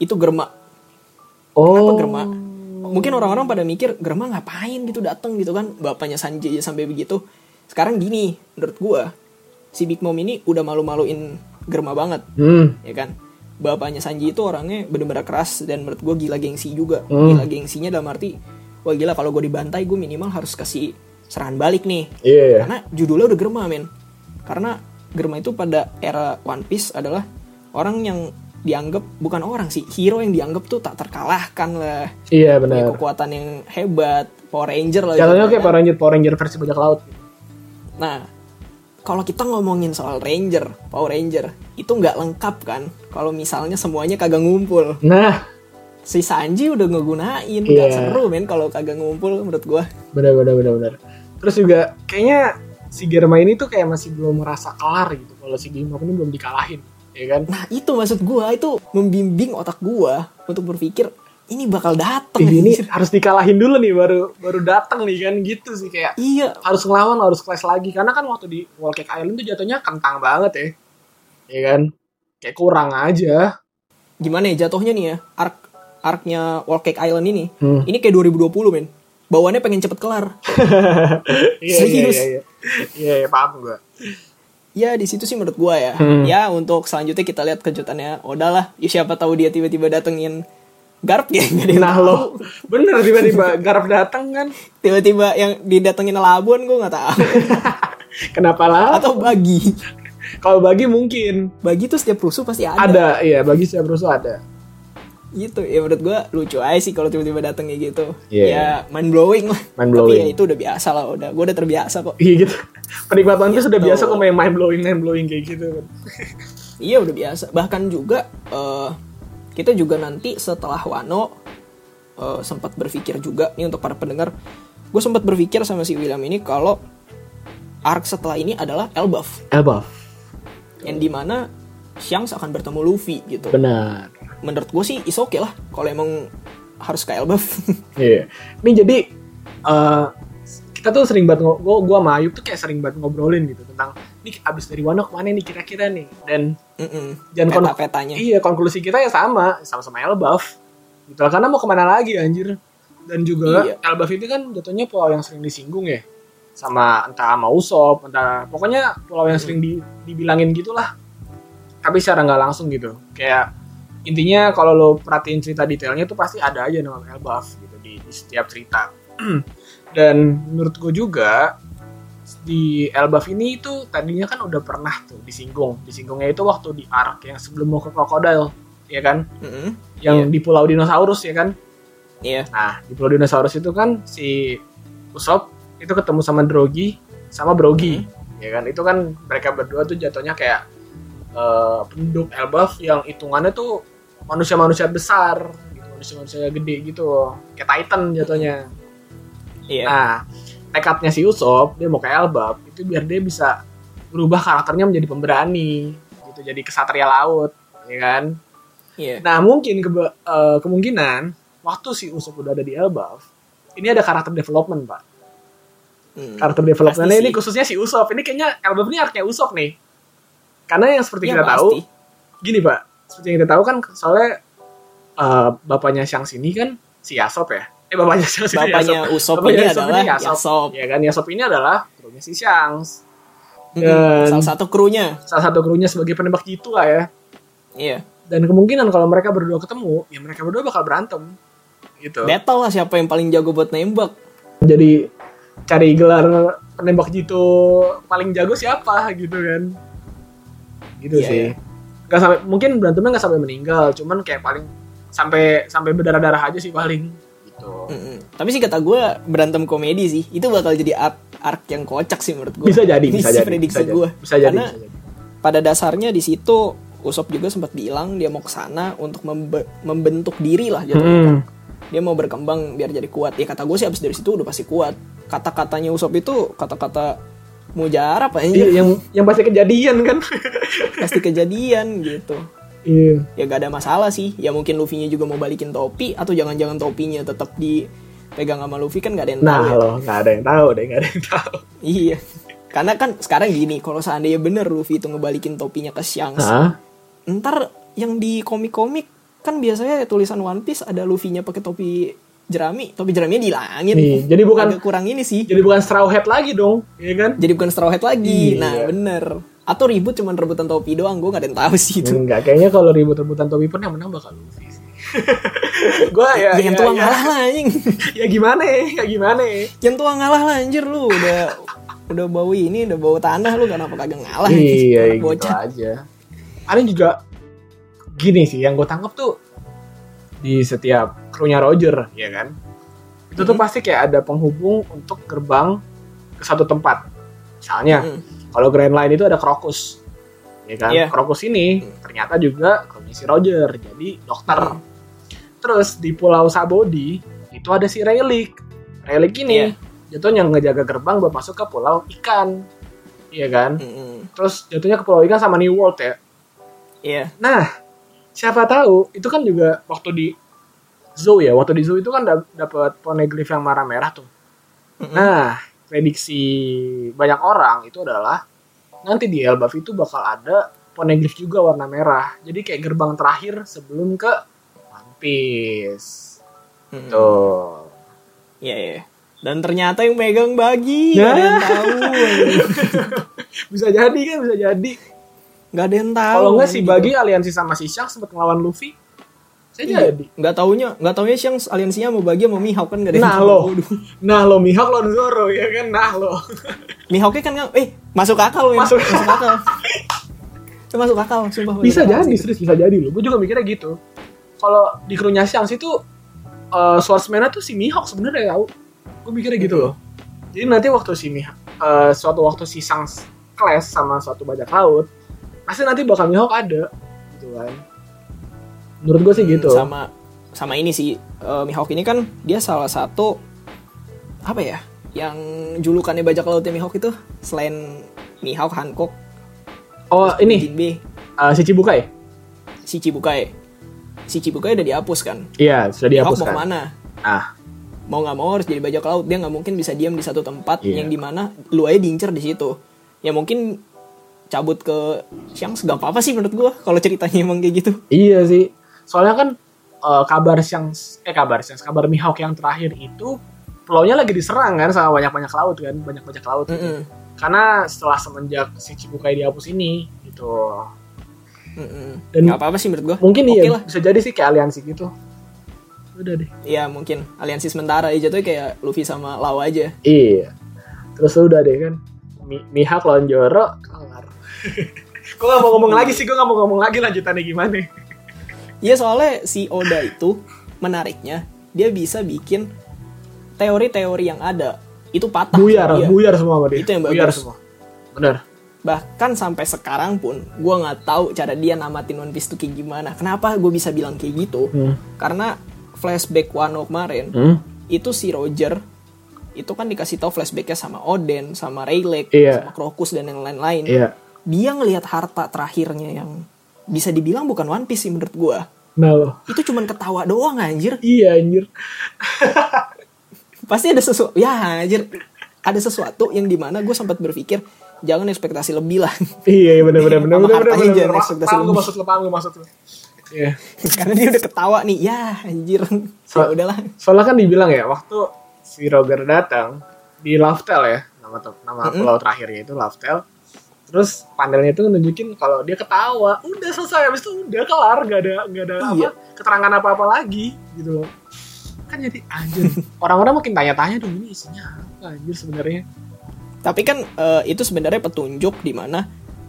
[SPEAKER 3] itu Germa
[SPEAKER 5] Oh.
[SPEAKER 3] kenapa Germa mungkin orang-orang pada mikir Germa ngapain gitu datang gitu kan bapaknya Sanjay aja sampai begitu sekarang gini menurut gue si Big Mom ini udah malu-maluin Germa banget
[SPEAKER 5] Hmm.
[SPEAKER 3] ya kan bapaknya Sanji itu orangnya bener-bener keras dan menurut gue gila gengsi juga
[SPEAKER 5] Hmm.
[SPEAKER 3] gila gengsinya dalam arti wah gila kalau gue dibantai gue minimal harus kasih serangan balik nih
[SPEAKER 5] Iya, iya.
[SPEAKER 3] karena judulnya udah Germa men karena Germa itu pada era One Piece adalah orang yang dianggap bukan orang sih hero yang dianggap tuh tak terkalahkan lah
[SPEAKER 5] Iya,
[SPEAKER 3] punya
[SPEAKER 5] benar.
[SPEAKER 3] kekuatan yang hebat Power Ranger lah gitu
[SPEAKER 5] Jatuhnya kayak
[SPEAKER 3] kan.
[SPEAKER 5] Power Ranger, Power Ranger versi bajak laut.
[SPEAKER 3] Nah, kalau kita ngomongin soal Ranger, Power Ranger, itu nggak lengkap kan? Kalau misalnya semuanya kagak ngumpul.
[SPEAKER 5] Nah,
[SPEAKER 3] Si Sanji udah ngegunain, nggak
[SPEAKER 5] Iya.
[SPEAKER 3] seru men kalau kagak ngumpul menurut gua.
[SPEAKER 5] benar benar benar benar. Terus juga kayaknya si Germa ini tuh kayak masih belum merasa kelar gitu. Kalau si Bimo ini belum dikalahin, ya kan?
[SPEAKER 3] Nah, itu maksud gua, itu membimbing otak gua untuk berpikir ini bakal dateng.
[SPEAKER 5] Ih, ini
[SPEAKER 3] anjir."
[SPEAKER 5] harus dikalahin dulu nih baru baru datang nih kan gitu sih kayak
[SPEAKER 3] Iya,
[SPEAKER 5] harus ngelawan harus clash lagi karena kan waktu di Wall Cake Island tuh jatuhnya kentang banget ya ya kan kayak kurang aja
[SPEAKER 3] gimana ya jatuhnya nih ya? Arc arc-nya World Cake Island ini.
[SPEAKER 5] Hmm.
[SPEAKER 3] Ini kayak 2020, men. Bawaannya pengen cepet kelar.
[SPEAKER 5] iya iya
[SPEAKER 3] Serius?
[SPEAKER 5] iya iya iya iya, paham gue
[SPEAKER 3] Ya di situ sih menurut gua ya.
[SPEAKER 5] Hmm.
[SPEAKER 3] Ya untuk selanjutnya kita lihat kejutannya Oda lah. Ya, siapa tahu dia tiba-tiba datengin Garp ya nggak ada yang
[SPEAKER 5] nah
[SPEAKER 3] tahu.
[SPEAKER 5] lo bener tiba-tiba Garap datang kan
[SPEAKER 3] Tiba-tiba yang didatengin Labun gua nggak tahu.
[SPEAKER 5] kenapa lah
[SPEAKER 3] Atau bagi.
[SPEAKER 5] kalau bagi mungkin
[SPEAKER 3] Bagi tuh setiap rusuh pasti ada.
[SPEAKER 5] ada iya bagi setiap rusuh ada
[SPEAKER 3] Gitu. Ya menurut gua lucu aja sih kalau tiba-tiba dateng kayak gitu.
[SPEAKER 5] Iya.
[SPEAKER 3] Ya mind blowing lah.
[SPEAKER 5] Mind
[SPEAKER 3] Tapi
[SPEAKER 5] blowing.
[SPEAKER 3] ya itu udah biasa lah udah. Gua udah terbiasa kok.
[SPEAKER 5] iya gitu penikmat One Piece sudah
[SPEAKER 3] Gitu.
[SPEAKER 5] biasa kok main mind blowing mind blowing kayak gitu kan
[SPEAKER 3] Iya udah biasa. Bahkan juga eh, kita juga nanti setelah Wano eh, sempat berpikir juga nih untuk para pendengar, gue sempat berpikir sama si William ini kalau arc setelah ini adalah Elbaf
[SPEAKER 5] Elbaf
[SPEAKER 3] yang dimana Shanks akan bertemu Luffy gitu.
[SPEAKER 5] benar
[SPEAKER 3] Menurut gue sih is okay lah kalau emang harus ke Elbaf.
[SPEAKER 5] Iya. Ini jadi eh, kita tuh sering banget ngobrol, gua, gua sama Ayub tuh kayak sering banget ngobrolin gitu tentang nih abis dari Wano kemana nih kira-kira nih dan
[SPEAKER 3] Mm-mm.
[SPEAKER 5] Jangan kon-
[SPEAKER 3] peta-petanya.
[SPEAKER 5] iya konklusi kita ya sama sama-sama Elbaf gitu lah. karena mau kemana lagi anjir dan juga
[SPEAKER 3] Iya.
[SPEAKER 5] Elbaf itu kan jatuhnya pulau yang sering disinggung ya sama entah sama Usop entah pokoknya pulau yang sering di- dibilangin gitulah tapi secara nggak langsung gitu kayak intinya kalau lo perhatiin cerita detailnya tuh pasti ada aja nama Elbaf gitu di, di setiap cerita dan menurut gue juga di Elbaf ini itu tadinya kan udah pernah tuh disinggung disinggungnya itu waktu di Ark yang sebelum mau ke Crocodile ya kan
[SPEAKER 3] Mm-mm.
[SPEAKER 5] yang di Pulau Dinosaurus ya kan
[SPEAKER 3] Iya.
[SPEAKER 5] Nah, di Pulau Dinosaurus itu kan si Usop itu ketemu sama Drogi sama Brogi, ya kan? Itu kan mereka berdua tuh jatuhnya kayak eh, penduduk Elbaf yang hitungannya tuh manusia-manusia besar gitu. manusia-manusia gede gitu kayak Titan jatuhnya
[SPEAKER 3] Iya.
[SPEAKER 5] nah tekadnya si Usopp dia mau ke Elbap itu biar dia bisa berubah karakternya menjadi pemberani gitu jadi kesatria laut ya kan
[SPEAKER 3] Iya.
[SPEAKER 5] Nah mungkin kebe- eh, kemungkinan waktu si Usopp udah ada di Elbaf, ini ada karakter development pak.
[SPEAKER 3] Hmm.
[SPEAKER 5] Karakter development
[SPEAKER 3] Pasti
[SPEAKER 5] ini
[SPEAKER 3] sih.
[SPEAKER 5] khususnya si Usopp. Ini kayaknya Elbaf ini artinya Usopp nih. Karena yang seperti
[SPEAKER 3] Iya,
[SPEAKER 5] kita
[SPEAKER 3] pasti.
[SPEAKER 5] tahu, gini pak, seperti yang kita tahu kan soalnya eh, bapaknya Siang sini kan si Yasop ya. Eh bapaknya Siang sini
[SPEAKER 3] Bapaknya
[SPEAKER 5] Yasop.
[SPEAKER 3] Usop
[SPEAKER 5] Bapaknya
[SPEAKER 3] ini
[SPEAKER 5] Yasop
[SPEAKER 3] adalah
[SPEAKER 5] Yasop.
[SPEAKER 3] Yasop.
[SPEAKER 5] Ya kan Yasop ini adalah krunya si Shanks.
[SPEAKER 3] Mm-mm.
[SPEAKER 5] Dan-
[SPEAKER 3] Salah satu krunya.
[SPEAKER 5] Salah satu krunya sebagai penembak jitu lah ya.
[SPEAKER 3] Iya.
[SPEAKER 5] Dan kemungkinan kalau mereka berdua ketemu, ya mereka berdua bakal berantem. Gitu.
[SPEAKER 3] Battle lah siapa yang paling jago buat nembak.
[SPEAKER 5] jadi cari gelar penembak jitu paling jago siapa gitu kan gitu
[SPEAKER 3] Iya,
[SPEAKER 5] sih
[SPEAKER 3] iya.
[SPEAKER 5] nggak sampai mungkin berantemnya nggak sampai meninggal cuman kayak paling sampai sampai berdarah darah aja sih paling gitu
[SPEAKER 3] Mm-mm. Tapi sih kata gue berantem komedi sih. Itu bakal jadi art arc yang kocak sih menurut gue.
[SPEAKER 5] bisa jadi
[SPEAKER 3] Ini
[SPEAKER 5] bisa
[SPEAKER 3] sih
[SPEAKER 5] jadi
[SPEAKER 3] prediksi
[SPEAKER 5] bisa jadi
[SPEAKER 3] gue.
[SPEAKER 5] bisa jadi,
[SPEAKER 3] Karena
[SPEAKER 5] bisa jadi.
[SPEAKER 3] pada dasarnya di situ Usop juga sempat bilang dia mau ke sana untuk membe- membentuk diri lah jatuhnya
[SPEAKER 5] Hmm.
[SPEAKER 3] kan. Dia mau berkembang biar jadi kuat. Ya kata gue sih abis dari situ udah pasti kuat. Kata-katanya Usop itu kata-kata mujarab
[SPEAKER 5] Iya,
[SPEAKER 3] aja
[SPEAKER 5] yang yang pasti kejadian kan
[SPEAKER 3] pasti kejadian gitu.
[SPEAKER 5] iya
[SPEAKER 3] Ya gak ada masalah sih. Ya mungkin Luffy-nya juga mau balikin topi atau jangan-jangan topinya tetap dipegang sama Luffy kan gak ada yang tahu.
[SPEAKER 5] nah
[SPEAKER 3] ya.
[SPEAKER 5] lo nggak ada yang tahu deh nggak ada yang tahu
[SPEAKER 3] Iya. Karena kan sekarang gini, kalau seandainya bener Luffy itu ngebalikin topinya ke Shanks,
[SPEAKER 5] Hah?
[SPEAKER 3] ntar yang di komik-komik kan biasanya tulisan One Piece ada Luffy-nya pakai topi jerami, topi jeraminya dihilangin.
[SPEAKER 5] Iya, jadi bukan-
[SPEAKER 3] Agak kurang ini sih.
[SPEAKER 5] jadi bukan straw hat lagi dong iya kan
[SPEAKER 3] Jadi bukan straw hat lagi.
[SPEAKER 5] Iya.
[SPEAKER 3] Nah, bener. Atau ribut cuman rebutan topi doang, gue gak ada yang tahu sih itu.
[SPEAKER 5] Enggak, kayaknya kalau ribut-rebutan topi pun yang menang bakal Luffy sih. Gua ya,
[SPEAKER 3] Ya, yang tua ngalah lah anjing.
[SPEAKER 5] ya gimana ya gimana ya?
[SPEAKER 3] yang tua ngalah lah anjir lu udah udah bau ini, udah bau tanah lu kenapa kagak ngalah? Anak
[SPEAKER 5] iya gitu
[SPEAKER 3] bocah.
[SPEAKER 5] aja ada juga gini sih yang gue tangkap tuh di setiap krunya Roger ya kan itu tuh pasti kayak ada penghubung untuk gerbang ke satu tempat misalnya
[SPEAKER 3] Mm.
[SPEAKER 5] kalau Grand Line itu ada Krokus ya kan
[SPEAKER 3] Iya.
[SPEAKER 5] Krokus ini ternyata juga krunya si Roger jadi dokter
[SPEAKER 3] Mm.
[SPEAKER 5] terus di Pulau Sabodi itu ada si Relic Relic ini jatuhnya ngejaga gerbang buat masuk ke Pulau Ikan Iya kan?
[SPEAKER 3] Mm-mm.
[SPEAKER 5] Terus jatuhnya ke Pulau Ikan sama New World ya.
[SPEAKER 3] Iya.
[SPEAKER 5] Nah, siapa tahu itu kan juga waktu di zoo ya. Waktu di zoo itu kan da- dapat poneglyph yang marah merah tuh.
[SPEAKER 3] Mm-mm.
[SPEAKER 5] Nah, prediksi banyak orang itu adalah nanti di Elbaf itu bakal ada poneglyph juga warna merah. Jadi kayak gerbang terakhir sebelum ke One Piece.
[SPEAKER 3] Mm-mm.
[SPEAKER 5] Tuh.
[SPEAKER 3] Iya, iya. Dan ternyata yang megang bagi,
[SPEAKER 5] Nah.
[SPEAKER 3] nggak ada yang tahu.
[SPEAKER 5] Bisa jadi kan, bisa jadi.
[SPEAKER 3] Nggak ada yang tahu. gitu.
[SPEAKER 5] Kalau nggak si Bagi aliansi sama si Shanks sempat ngelawan Luffy. Saya
[SPEAKER 3] Iya.
[SPEAKER 5] jadi.
[SPEAKER 3] Nggak taunya, nggak taunya siang aliansinya mau Bagi sama Mihawk kan nggak ada yang
[SPEAKER 5] Nah
[SPEAKER 3] tahu.
[SPEAKER 5] lo, nah lo Mihawk lawan Zoro ya kan, nah lo.
[SPEAKER 3] Mihawknya kan nggak, eh masuk akal men.
[SPEAKER 5] Masuk-
[SPEAKER 3] akal. Itu masuk akal, sumpah. masuk akal
[SPEAKER 5] Bisa jadi,
[SPEAKER 3] Oh, iya, sih.
[SPEAKER 5] serius bisa jadi lo. Gue juga mikirnya gitu. Kalau di krunya Shanks itu, eh swordsman-nya tuh si Mihawk sebenarnya tau. Gue mikirnya gitu loh. Jadi nanti waktu si Mihawk, eh, suatu waktu si Shanks clash sama suatu bajak laut, pasti nanti bakal Mihawk ada, gitu kan. Menurut gue sih gitu.
[SPEAKER 3] Sama sama ini sih eh, Mihawk ini kan dia salah satu apa ya? Yang julukannya bajak lautnya Mihawk itu selain Mihawk, Hancock,
[SPEAKER 5] Oh ini,
[SPEAKER 3] Jinbe,
[SPEAKER 5] eh, si Cibukai?
[SPEAKER 3] si Chibukai. Si Chibukai udah dihapus kan?
[SPEAKER 5] Iya,
[SPEAKER 3] Mihawk mau
[SPEAKER 5] sudah dihapuskan.
[SPEAKER 3] kemana?
[SPEAKER 5] Ah,
[SPEAKER 3] mau nggak mau harus jadi bajak laut dia nggak mungkin bisa diam di satu tempat
[SPEAKER 5] Iya.
[SPEAKER 3] yang dimana lu aja diincer di situ ya mungkin cabut ke siang nggak apa apa sih menurut gua kalau ceritanya emang kayak gitu
[SPEAKER 5] Iya sih. Soalnya kan eh, kabar yang eh kabar yang kabar Mihawk yang terakhir itu pulaunya lagi diserang kan sama banyak-banyak laut kan, banyak-banyak laut. gitu.
[SPEAKER 3] Mm-mm.
[SPEAKER 5] Karena setelah semenjak si Cibukai dihapus ini gitu.
[SPEAKER 3] Mm-mm.
[SPEAKER 5] Dan-
[SPEAKER 3] nggak apa apa sih menurut gua
[SPEAKER 5] Mungkin
[SPEAKER 3] Oke
[SPEAKER 5] iya
[SPEAKER 3] lah
[SPEAKER 5] bisa jadi sih kayak aliansi gitu. Udah deh.
[SPEAKER 3] ya mungkin aliansi sementara ya jatuhnya kayak Luffy sama Law aja
[SPEAKER 5] Iya. Terus udah deh kan. Mi- Mihawk lawan Joro kelar. gue gak mau ngomong lagi sih, gue gak mau ngomong lagi lanjutannya gimana.
[SPEAKER 3] Iya soalnya si Oda itu menariknya dia bisa bikin teori-teori yang ada itu patah Iya.
[SPEAKER 5] Buyar,
[SPEAKER 3] sama dia.
[SPEAKER 5] buyar semua sama dia.
[SPEAKER 3] Itu yang bagus.
[SPEAKER 5] Buyar semua. Bener.
[SPEAKER 3] bahkan sampai sekarang pun gue nggak tahu cara dia namatin One Piece tuh kayak gimana kenapa gue bisa bilang kayak gitu
[SPEAKER 5] Hmm.
[SPEAKER 3] karena flashback Wano kemarin
[SPEAKER 5] Hmm?
[SPEAKER 3] itu si Roger itu kan dikasih tahu flashbacknya sama Oden, sama Rayleigh,
[SPEAKER 5] Iya.
[SPEAKER 3] sama Crocus dan yang lain-lain.
[SPEAKER 5] Iya.
[SPEAKER 3] Dia ngelihat harta terakhirnya yang bisa dibilang bukan One Piece sih menurut gua.
[SPEAKER 5] Nah loh.
[SPEAKER 3] Itu cuman ketawa doang anjir.
[SPEAKER 5] Iya anjir.
[SPEAKER 3] Pasti ada sesuatu ya anjir. Ada sesuatu yang dimana gue sempat berpikir jangan ekspektasi lebih lah.
[SPEAKER 5] Iya, iya benar benar benar
[SPEAKER 3] Sama
[SPEAKER 5] benar benar.
[SPEAKER 3] hartanya
[SPEAKER 5] benar,
[SPEAKER 3] jangan
[SPEAKER 5] benar. Wah,
[SPEAKER 3] ekspektasi
[SPEAKER 5] Paham gue
[SPEAKER 3] lebih.
[SPEAKER 5] maksud lo, paham gue maksud lo. Iya.
[SPEAKER 3] Karena dia udah ketawa nih. Ya anjir. Ya udahlah.
[SPEAKER 5] Soalnya kan dibilang ya waktu si Roger datang di Loftel ya nama tem- nama pulau terakhirnya itu Loftel. Terus panelnya itu nunjukin kalau dia ketawa, udah selesai habis itu udah kelar, gak ada gak ada
[SPEAKER 3] Iya.
[SPEAKER 5] apa keterangan apa-apa lagi gitu loh. Kan jadi anjir. Orang-orang makin tanya-tanya dong ini isinya apa anjir sebenarnya.
[SPEAKER 3] Tapi kan eh, itu sebenarnya petunjuk di mana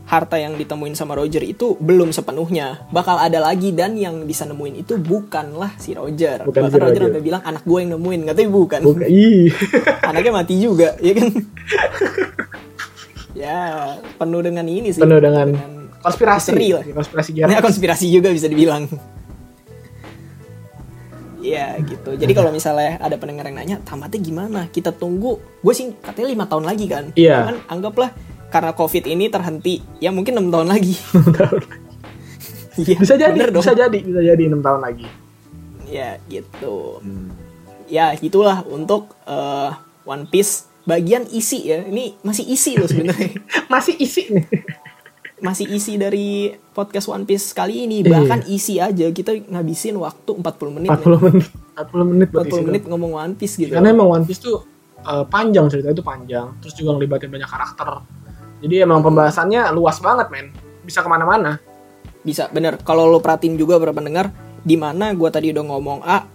[SPEAKER 3] harta yang ditemuin sama Roger itu belum sepenuhnya. Bakal ada lagi dan yang bisa nemuin itu bukanlah si Roger.
[SPEAKER 5] Bukan si
[SPEAKER 3] Bahkan Roger
[SPEAKER 5] Roger.
[SPEAKER 3] udah bilang anak gue yang nemuin, katanya bukan.
[SPEAKER 5] Bukan. Ih.
[SPEAKER 3] Anaknya mati juga, ya kan? ya, penuh dengan ini sih.
[SPEAKER 5] Penuh dengan konspirasi.
[SPEAKER 3] misteri lah.
[SPEAKER 5] Ya, Konspirasi
[SPEAKER 3] Ini
[SPEAKER 5] jarak.
[SPEAKER 3] konspirasi juga bisa dibilang. Iya gitu. Jadi kalau misalnya ada pendengar yang nanya, tamatnya gimana? Kita tunggu. Gue sih katanya lima tahun lagi kan.
[SPEAKER 5] Iya.
[SPEAKER 3] Cuman anggaplah karena covid ini terhenti. Ya mungkin enam tahun lagi. Iya.
[SPEAKER 5] Bisa jadi,
[SPEAKER 3] bener dong.
[SPEAKER 5] bisa jadi, bisa jadi 6 tahun lagi.
[SPEAKER 3] Ya gitu.
[SPEAKER 5] Hmm.
[SPEAKER 3] Ya itulah untuk eh, One Piece bagian isi ya. Ini masih isi loh sebenarnya.
[SPEAKER 5] Masih isi nih.
[SPEAKER 3] masih isi dari podcast One Piece kali ini
[SPEAKER 5] Iya.
[SPEAKER 3] bahkan isi aja kita ngabisin waktu 40 menit
[SPEAKER 5] 40 menit. 40 menit buat
[SPEAKER 3] 40
[SPEAKER 5] isi
[SPEAKER 3] menit
[SPEAKER 5] doang.
[SPEAKER 3] ngomong One Piece gitu.
[SPEAKER 5] Karena emang One Piece tuh eh, panjang cerita itu panjang, terus juga ngelibatin banyak karakter. Jadi emang pembahasannya luas banget men, bisa kemana-mana.
[SPEAKER 3] bisa bener. Kalau lo perhatiin juga para pendengar, di mana gue tadi udah ngomong A,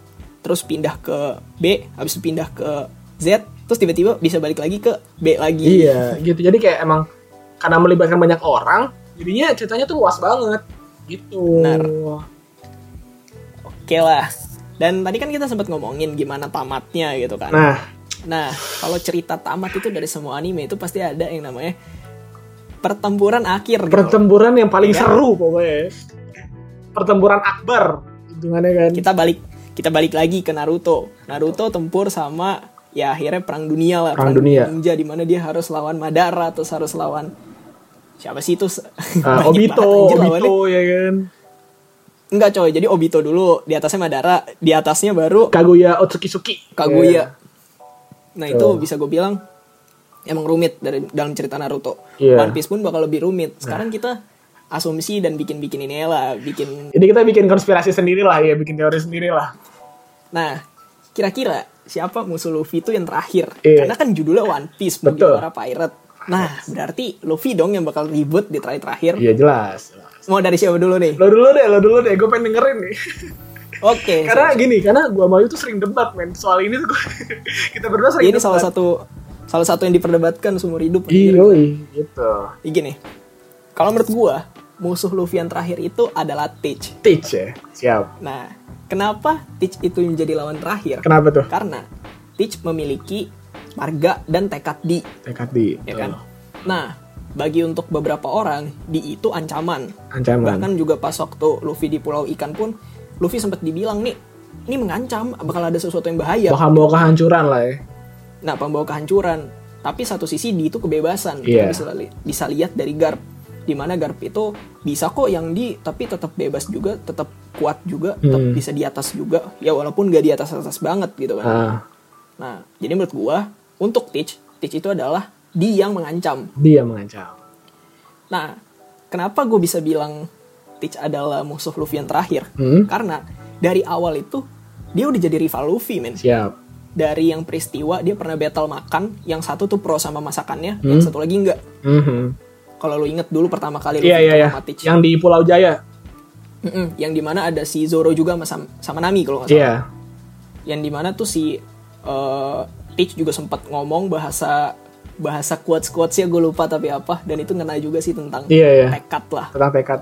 [SPEAKER 3] terus pindah ke B, habis itu pindah ke Z, terus tiba-tiba bisa balik lagi ke B lagi.
[SPEAKER 5] Iya, gitu. Jadi kayak emang karena melibatkan banyak orang, jadinya ceritanya tuh luas banget. Gitu.
[SPEAKER 3] Benar. Oke lah. Dan tadi kan kita sempat ngomongin gimana tamatnya gitu kan.
[SPEAKER 5] Nah,
[SPEAKER 3] Nah, kalau cerita tamat itu dari semua anime itu pasti ada yang namanya pertempuran akhir. gitu.
[SPEAKER 5] pertempuran yang paling
[SPEAKER 3] Iya.
[SPEAKER 5] seru pokoknya. Pertempuran akbar, hitungannya kan.
[SPEAKER 3] kita balik kita balik lagi ke Naruto. Naruto tempur sama ya akhirnya perang dunia lah.
[SPEAKER 5] Perang dunia.
[SPEAKER 3] ninja di mana dia harus lawan Madara terus harus lawan siapa sih itu?
[SPEAKER 5] Eh,
[SPEAKER 3] Banyak
[SPEAKER 5] Obito,
[SPEAKER 3] banget anjir lawannya.
[SPEAKER 5] Obito ya kan.
[SPEAKER 3] Enggak coy, jadi Obito dulu di atasnya Madara, di atasnya baru
[SPEAKER 5] Kaguya Otsukisuki.
[SPEAKER 3] Kaguya.
[SPEAKER 5] Iya.
[SPEAKER 3] Nah
[SPEAKER 5] Tuh.
[SPEAKER 3] itu bisa gue bilang emang rumit dari dalam cerita Naruto.
[SPEAKER 5] Iya. Nah.
[SPEAKER 3] One Piece pun bakal lebih rumit. Sekarang kita asumsi dan bikin-bikin ini lah, bikin
[SPEAKER 5] Jadi Iya. kita bikin konspirasi sendiri lah ya, bikin teori sendiri lah.
[SPEAKER 3] Nah, kira-kira siapa musuh Luffy itu yang terakhir?
[SPEAKER 5] Iya.
[SPEAKER 3] Karena kan judulnya One Piece,
[SPEAKER 5] Betul.
[SPEAKER 3] Mugiwara Pirate. Nah, berarti Luffy dong yang bakal ribut di terakhir-terakhir.
[SPEAKER 5] Iya jelas.
[SPEAKER 3] Mau dari siapa dulu nih?
[SPEAKER 5] Lo dulu deh, lo dulu deh, gue pengen dengerin nih.
[SPEAKER 3] Oke.
[SPEAKER 5] karena gini, karena gue sama Yu tuh sering debat men soal ini tuh. gua- kita berdua sering
[SPEAKER 3] ini
[SPEAKER 5] debat.
[SPEAKER 3] salah satu salah satu yang diperdebatkan seumur hidup.
[SPEAKER 5] kan? Iya,
[SPEAKER 3] anjir.
[SPEAKER 5] yoi, gitu.
[SPEAKER 3] Jadi Gini. Kalau menurut gua, musuh Luffy yang terakhir itu adalah Teach.
[SPEAKER 5] Teach ya, siap.
[SPEAKER 3] Nah, kenapa Teach itu menjadi lawan terakhir?
[SPEAKER 5] Kenapa tuh?
[SPEAKER 3] Karena Teach memiliki marga dan tekad di
[SPEAKER 5] Tekad di
[SPEAKER 3] ya kan? Nah, bagi untuk beberapa orang di itu ancaman.
[SPEAKER 5] ancaman.
[SPEAKER 3] Bahkan juga pas waktu Luffy di Pulau Ikan pun Luffy sempat dibilang nih, ini mengancam bakal ada sesuatu yang bahaya.
[SPEAKER 5] Bahkan mau kehancuran lah ya.
[SPEAKER 3] Nah, pembawa kehancuran. Tapi satu sisi di itu kebebasan. Kita
[SPEAKER 5] Iya.
[SPEAKER 3] bisa, li- bisa lihat dari Garp di mana Garp itu bisa kok yang di tapi tetap bebas juga, tetap kuat juga, tetap
[SPEAKER 5] Hmm.
[SPEAKER 3] bisa di atas juga. Ya walaupun gak di atas atas banget gitu kan.
[SPEAKER 5] Ah,
[SPEAKER 3] Nah, jadi menurut gua untuk Teach, Teach itu adalah dia yang mengancam.
[SPEAKER 5] dia mengancam.
[SPEAKER 3] Nah, kenapa gue bisa bilang Teach adalah musuh Luffy yang terakhir?
[SPEAKER 5] Hmm?
[SPEAKER 3] Karena dari awal itu dia udah jadi rival Luffy, men.
[SPEAKER 5] Siap.
[SPEAKER 3] Dari yang peristiwa dia pernah battle makan, yang satu tuh pro sama masakannya,
[SPEAKER 5] Hmm?
[SPEAKER 3] yang satu lagi enggak.
[SPEAKER 5] Mhm.
[SPEAKER 3] Kalau lu inget dulu pertama kali
[SPEAKER 5] Iya, iya, iya.
[SPEAKER 3] sama Teach.
[SPEAKER 5] Yang di Pulau Jaya.
[SPEAKER 3] Mm-mm, yang dimana ada si Zoro juga sama, sama Nami kalau nggak salah.
[SPEAKER 5] Iya.
[SPEAKER 3] Yang dimana tuh si eh, Teach juga sempat ngomong bahasa bahasa quotes-quotesnya gue lupa tapi apa dan itu ngena juga sih tentang
[SPEAKER 5] Iya, iya.
[SPEAKER 3] tekad lah
[SPEAKER 5] Tentang tekad.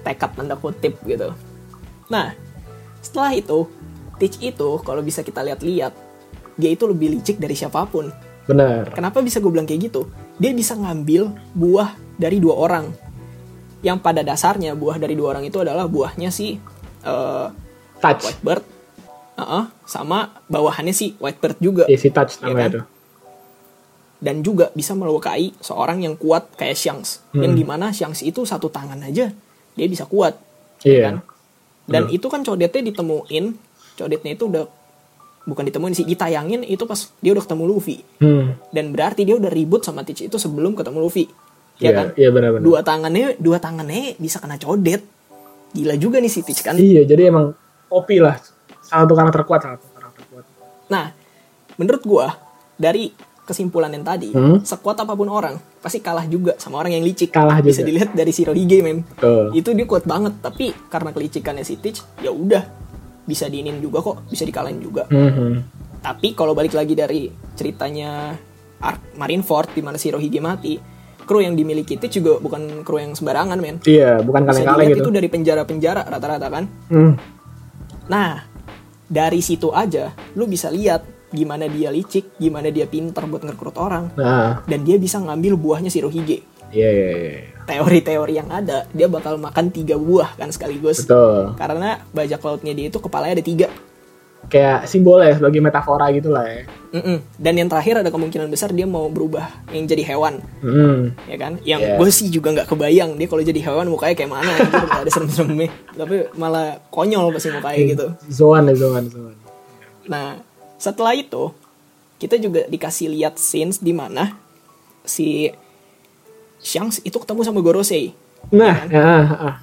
[SPEAKER 3] tekad tanda kutip gitu. Nah, setelah itu, Teach itu kalau bisa kita lihat-lihat, dia itu lebih licik dari siapapun.
[SPEAKER 5] Bener.
[SPEAKER 3] Kenapa bisa gue bilang kayak gitu? Dia bisa ngambil buah dari dua orang. Yang pada dasarnya buah dari dua orang itu adalah buahnya si eh,
[SPEAKER 5] Touch.
[SPEAKER 3] Whitebird Heeh, sama bawahannya si Whitebird juga
[SPEAKER 5] Iya si
[SPEAKER 3] Iya
[SPEAKER 5] touch namanya
[SPEAKER 3] kan?
[SPEAKER 5] tuh.
[SPEAKER 3] dan juga bisa melukai seorang yang kuat kayak Shanks yang
[SPEAKER 5] Hmm.
[SPEAKER 3] dimana Shanks itu satu tangan aja dia bisa kuat
[SPEAKER 5] Iya.
[SPEAKER 3] kan? dan itu kan codetnya ditemuin codetnya itu udah bukan ditemuin sih ditayangin itu pas dia udah ketemu Luffy
[SPEAKER 5] Hmm.
[SPEAKER 3] dan berarti dia udah ribut sama Teach itu sebelum ketemu Luffy
[SPEAKER 5] Iya
[SPEAKER 3] ya kan
[SPEAKER 5] Iya benar-benar.
[SPEAKER 3] dua tangannya dua tangannya bisa kena codet gila juga nih si Teach kan
[SPEAKER 5] Iya jadi emang OP lah. Salah satu karakter kuat salah satu karakter kuat.
[SPEAKER 3] nah menurut gua dari kesimpulan yang tadi
[SPEAKER 5] Hmm?
[SPEAKER 3] sekuat apapun orang pasti kalah juga sama orang yang licik
[SPEAKER 5] Kalah
[SPEAKER 3] bisa
[SPEAKER 5] juga.
[SPEAKER 3] dilihat dari Shirohige men
[SPEAKER 5] Betul.
[SPEAKER 3] itu dia kuat banget tapi karena kelicikannya si Teach ya udah bisa diinin juga kok bisa dikalahin juga
[SPEAKER 5] Mhm.
[SPEAKER 3] Tapi kalau balik lagi dari ceritanya Ark Marineford di mana si Rohige mati, kru yang dimiliki itu juga bukan kru yang sembarangan, men.
[SPEAKER 5] Iya bukan
[SPEAKER 3] Bisa
[SPEAKER 5] kaleng-kaleng
[SPEAKER 3] dilihat
[SPEAKER 5] gitu.
[SPEAKER 3] itu dari penjara-penjara rata-rata kan.
[SPEAKER 5] Hmm.
[SPEAKER 3] Nah, dari situ aja lu bisa lihat gimana dia licik, gimana dia pinter buat ngerekrut orang
[SPEAKER 5] Nah
[SPEAKER 3] dan dia bisa ngambil buahnya si Rohige.
[SPEAKER 5] iya iya iya.
[SPEAKER 3] Teori-teori yang ada, dia bakal makan tiga buah kan sekaligus.
[SPEAKER 5] Betul.
[SPEAKER 3] Karena bajak lautnya dia itu kepalanya ada tiga.
[SPEAKER 5] Kayak simbol ya sebagai metafora gitu lah ya.
[SPEAKER 3] Mm-mm. Dan yang terakhir ada kemungkinan besar dia mau berubah yang jadi hewan.
[SPEAKER 5] Hmm.
[SPEAKER 3] ya kan yang
[SPEAKER 5] Iya.
[SPEAKER 3] gue sih juga nggak kebayang dia kalau jadi hewan mukanya kayak mana anjir nggak ada serem-seremnya tapi malah konyol pasti mukanya gitu
[SPEAKER 5] Zoan ya Zoan Zoan.
[SPEAKER 3] nah setelah itu kita juga dikasih lihat scenes di mana si Shanks itu ketemu sama Gorosei
[SPEAKER 5] Nah,
[SPEAKER 3] Iya kan?
[SPEAKER 5] ya, ah, ah.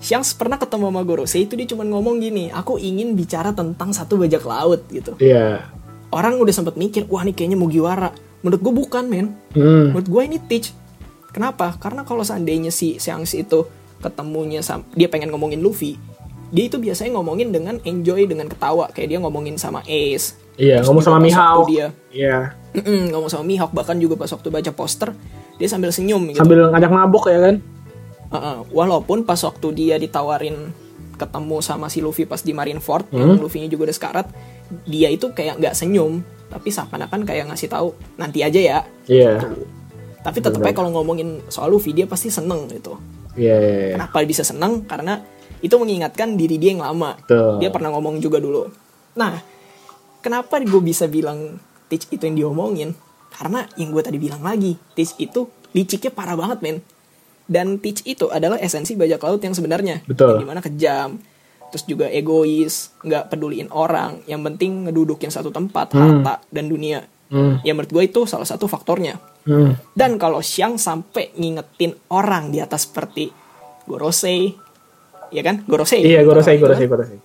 [SPEAKER 3] Shanks pernah ketemu sama Gorosei itu dia cuma ngomong gini aku ingin bicara tentang satu bajak laut gitu
[SPEAKER 5] iya.
[SPEAKER 3] orang udah sempat mikir wah ini kayaknya Mugiwara menurut gue bukan men
[SPEAKER 5] Hmm.
[SPEAKER 3] menurut gue ini teach kenapa karena kalau seandainya si Shanks itu ketemunya sam- dia pengen ngomongin Luffy dia itu biasanya ngomongin dengan enjoy dengan ketawa kayak dia ngomongin sama Ace
[SPEAKER 5] Iya,
[SPEAKER 3] Terus
[SPEAKER 5] ngomong
[SPEAKER 3] juga
[SPEAKER 5] sama
[SPEAKER 3] pas
[SPEAKER 5] Mihawk.
[SPEAKER 3] waktu dia
[SPEAKER 5] Iya,
[SPEAKER 3] Mm-mm, ngomong sama Mihawk bahkan juga pas waktu baca poster dia sambil senyum gitu
[SPEAKER 5] sambil ngajak mabok ya kan?
[SPEAKER 3] Uh-uh. walaupun pas waktu dia ditawarin ketemu sama si Luffy pas di Marineford yang
[SPEAKER 5] Hmm?
[SPEAKER 3] Luffy-nya juga udah sekarat dia itu kayak nggak senyum tapi seakan-akan kayak ngasih tahu nanti aja ya
[SPEAKER 5] Iya.
[SPEAKER 3] tapi tetep aja
[SPEAKER 5] Benar.
[SPEAKER 3] kalau ngomongin soal Luffy dia pasti seneng gitu
[SPEAKER 5] Iya, iya, iya.
[SPEAKER 3] kenapa bisa seneng karena itu mengingatkan diri dia yang lama
[SPEAKER 5] Betul.
[SPEAKER 3] dia pernah ngomong juga dulu nah kenapa gue bisa bilang Teach itu yang diomongin karena yang gue tadi bilang lagi Teach itu liciknya parah banget men dan Teach itu adalah esensi bajak laut yang sebenarnya
[SPEAKER 5] Betul.
[SPEAKER 3] yang dimana kejam terus juga egois nggak peduliin orang yang penting ngedudukin satu tempat harta dan dunia
[SPEAKER 5] Hmm.
[SPEAKER 3] ya menurut gue itu salah satu faktornya
[SPEAKER 5] Hmm.
[SPEAKER 3] dan kalau siang sampai ngingetin orang di atas seperti Gorosei, ya kan? Gorosei.
[SPEAKER 5] Iya, Gorosei,
[SPEAKER 3] Orang itu
[SPEAKER 5] Gorosei,
[SPEAKER 3] kan.
[SPEAKER 5] Gorosei.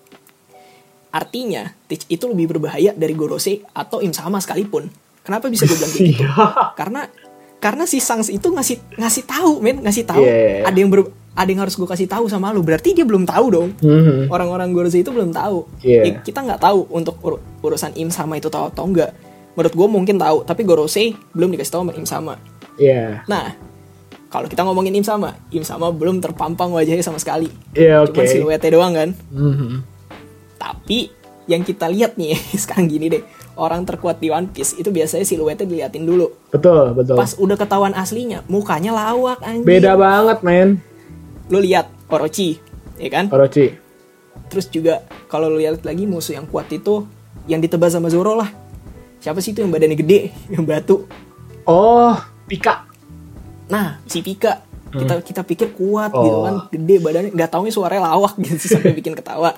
[SPEAKER 3] Artinya, Teach itu lebih berbahaya dari Gorosei atau Im sama sekalipun. Kenapa bisa gue bilang kayak gitu?
[SPEAKER 5] Iya.
[SPEAKER 3] Karena karena si Sangs itu ngasih ngasih tahu, men, ngasih tahu.
[SPEAKER 5] Iya, iya, iya.
[SPEAKER 3] Ada yang ber- ada yang harus gue kasih tahu sama lu. Berarti dia belum tahu dong.
[SPEAKER 5] Mhm.
[SPEAKER 3] Orang-orang Gorosei itu belum tahu.
[SPEAKER 5] Iya.
[SPEAKER 3] Ya, kita nggak tahu untuk ur- urusan Im sama itu tahu atau enggak. Menurut gue mungkin tahu, tapi Gorosei belum dikasih tahu sama Im sama.
[SPEAKER 5] Iya.
[SPEAKER 3] Nah, kalau kita ngomongin Im sama, Im sama belum terpampang wajahnya sama sekali.
[SPEAKER 5] Iya, oke.
[SPEAKER 3] Cuman siluetnya doang kan.
[SPEAKER 5] Mhm.
[SPEAKER 3] Tapi yang kita lihat nih sekarang gini deh, orang terkuat di One Piece itu biasanya siluetnya diliatin dulu.
[SPEAKER 5] Betul, betul.
[SPEAKER 3] Pas udah ketahuan aslinya, mukanya lawak anjing.
[SPEAKER 5] Beda banget, men.
[SPEAKER 3] Lu lihat Orochi, ya kan?
[SPEAKER 5] Orochi.
[SPEAKER 3] Terus juga kalau lu lihat lagi musuh yang kuat itu yang ditebas sama Zoro lah. Siapa sih itu yang badannya gede, yang batu?
[SPEAKER 5] Oh, Pika.
[SPEAKER 3] Nah, si Pika kita kita pikir kuat gitu
[SPEAKER 5] Oh.
[SPEAKER 3] kan, gede badannya, nggak taunya suaranya lawak gitu sih, sampai bikin ketawa.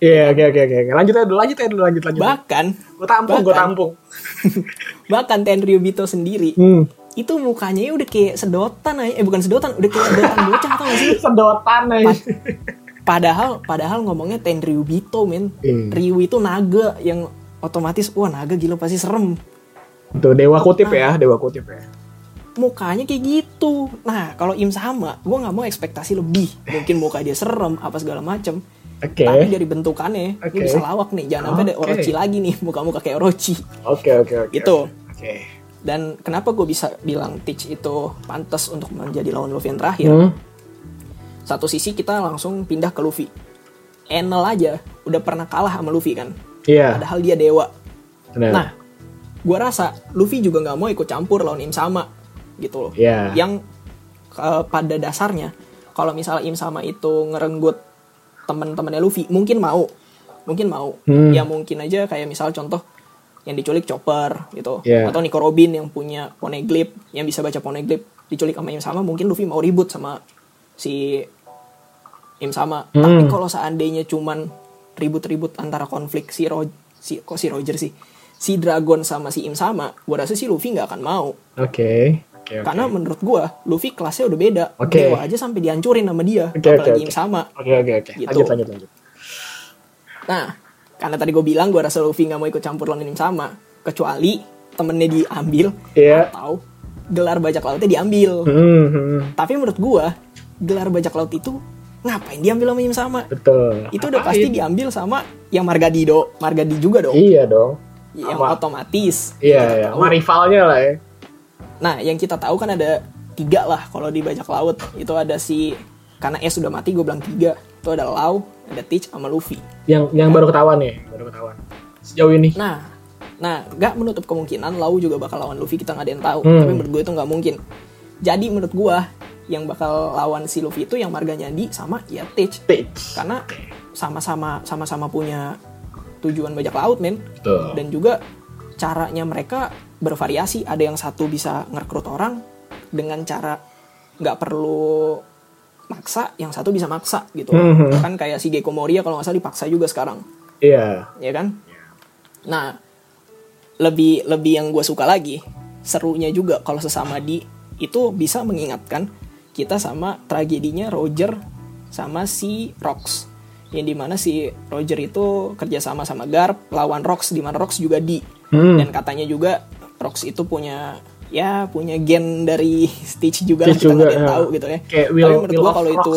[SPEAKER 5] Iya, oke, oke, oke. oke. Lanjut aja dulu, lanjut aja dulu, lanjut, lanjut.
[SPEAKER 3] Bahkan
[SPEAKER 5] Gue tampung, gue
[SPEAKER 3] bahkan-
[SPEAKER 5] tampung.
[SPEAKER 3] Bahkan Tenryubito sendiri
[SPEAKER 5] Hmm.
[SPEAKER 3] itu mukanya udah kayak sedotan aja. eh bukan sedotan, udah kayak sedotan bocah tau gak sih?
[SPEAKER 5] Sedotan aja.
[SPEAKER 3] Pad- padahal padahal ngomongnya Tenryubito men.
[SPEAKER 5] Iya.
[SPEAKER 3] Ryu itu naga yang otomatis wah naga gila pasti serem.
[SPEAKER 5] Tuh, dewa kutip ya, dewa kutip ya.
[SPEAKER 3] mukanya kayak gitu. Nah, kalau Im sama, gue nggak mau ekspektasi lebih. Mungkin muka dia serem, apa segala macem.
[SPEAKER 5] Oke.
[SPEAKER 3] Tapi dari bentukannya, dia
[SPEAKER 5] Oke.
[SPEAKER 3] bisa lawak nih. Jangan sampai ada
[SPEAKER 5] Oke.
[SPEAKER 3] Orochi lagi nih, muka-muka kayak Orochi.
[SPEAKER 5] Oke, oke, oke.
[SPEAKER 3] Gitu.
[SPEAKER 5] Oke.
[SPEAKER 3] Dan kenapa gue bisa bilang Teach itu pantas untuk menjadi lawan Luffy yang terakhir?
[SPEAKER 5] Hmm.
[SPEAKER 3] Satu sisi kita langsung pindah ke Luffy. Enel aja udah pernah kalah sama Luffy kan.
[SPEAKER 5] Iya.
[SPEAKER 3] Padahal dia dewa.
[SPEAKER 5] benar.
[SPEAKER 3] Nah, gue rasa Luffy juga nggak mau ikut campur lawan Im sama gitu loh.
[SPEAKER 5] Iya.
[SPEAKER 3] Yang eh, pada dasarnya kalau misalnya Im sama itu ngerenggut teman-temannya Luffy mungkin mau. mungkin mau
[SPEAKER 5] Hmm.
[SPEAKER 3] ya mungkin aja kayak misal contoh yang diculik Chopper gitu
[SPEAKER 5] Yeah.
[SPEAKER 3] atau Nico Robin yang punya Poneglyph yang bisa baca Poneglyph diculik sama yang sama mungkin Luffy mau ribut sama si Im sama.
[SPEAKER 5] Hmm.
[SPEAKER 3] Tapi kalau seandainya cuman ribut-ribut antara konflik si Ro si kok si Roger sih. Si Dragon sama si Im sama, gua rasa sih Luffy nggak akan mau.
[SPEAKER 5] Oke. Oke, oke.
[SPEAKER 3] Karena menurut gua Luffy kelasnya udah beda.
[SPEAKER 5] Oke.
[SPEAKER 3] Dewa aja sampai dihancurin sama dia,
[SPEAKER 5] Oke, oke,
[SPEAKER 3] apalagi
[SPEAKER 5] oke.
[SPEAKER 3] Im sama.
[SPEAKER 5] Oke oke oke.
[SPEAKER 3] Gitu.
[SPEAKER 5] Lanjut lanjut lanjut.
[SPEAKER 3] Nah, karena tadi gue bilang gue rasa Luffy nggak mau ikut campur lawan Im sama, kecuali temennya diambil
[SPEAKER 5] Iya.
[SPEAKER 3] atau gelar bajak lautnya diambil.
[SPEAKER 5] Hmm, hmm,
[SPEAKER 3] Tapi menurut gua gelar bajak laut itu ngapain diambil sama Im sama?
[SPEAKER 5] betul.
[SPEAKER 3] itu udah
[SPEAKER 5] Ngapain?
[SPEAKER 3] pasti diambil sama yang Margadido Margadi juga dong
[SPEAKER 5] Iya dong.
[SPEAKER 3] yang
[SPEAKER 5] Apa?
[SPEAKER 3] otomatis
[SPEAKER 5] Iya
[SPEAKER 3] Kita
[SPEAKER 5] iya.
[SPEAKER 3] tahu.
[SPEAKER 5] Sama rivalnya lah ya.
[SPEAKER 3] nah yang kita tahu kan ada tiga lah kalau di bajak laut itu ada si karena S sudah mati gue bilang tiga itu ada Lau ada Teach sama Luffy
[SPEAKER 5] Yang yang baru ketahuan nih, baru ketahuan. Sejauh ini.
[SPEAKER 3] nah nah nggak menutup kemungkinan Lau juga bakal lawan Luffy kita nggak ada yang tahu
[SPEAKER 5] Hmm.
[SPEAKER 3] tapi menurut gue itu nggak mungkin jadi menurut gue yang bakal lawan si Luffy itu yang Marganyandi sama ya Teach
[SPEAKER 5] Stage.
[SPEAKER 3] karena sama-sama sama-sama punya tujuan bajak laut men
[SPEAKER 5] Betul.
[SPEAKER 3] dan juga caranya mereka bervariasi ada yang satu bisa ngerekrut orang dengan cara nggak perlu maksa yang satu bisa maksa gitu
[SPEAKER 5] Mhm.
[SPEAKER 3] kan kayak si Gecko Moria kalau nggak salah dipaksa juga sekarang
[SPEAKER 5] Iya.
[SPEAKER 3] ya kan nah lebih lebih yang gue suka lagi serunya juga kalau sesama di itu bisa mengingatkan kita sama tragedinya Roger sama si Rox yang dimana si Roger itu kerjasama sama Garp lawan Rox dimana Rox juga di
[SPEAKER 5] Hmm.
[SPEAKER 3] dan katanya juga Rox itu punya ya punya gen dari Stitch juga lah,
[SPEAKER 5] Stitch
[SPEAKER 3] kita nggak ada
[SPEAKER 5] juga,
[SPEAKER 3] yang
[SPEAKER 5] ya.
[SPEAKER 3] tahu gitu ya
[SPEAKER 5] Kayak
[SPEAKER 3] tapi
[SPEAKER 5] Will-
[SPEAKER 3] menurut
[SPEAKER 5] Will
[SPEAKER 3] gua
[SPEAKER 5] of
[SPEAKER 3] kalau
[SPEAKER 5] Rocks.
[SPEAKER 3] itu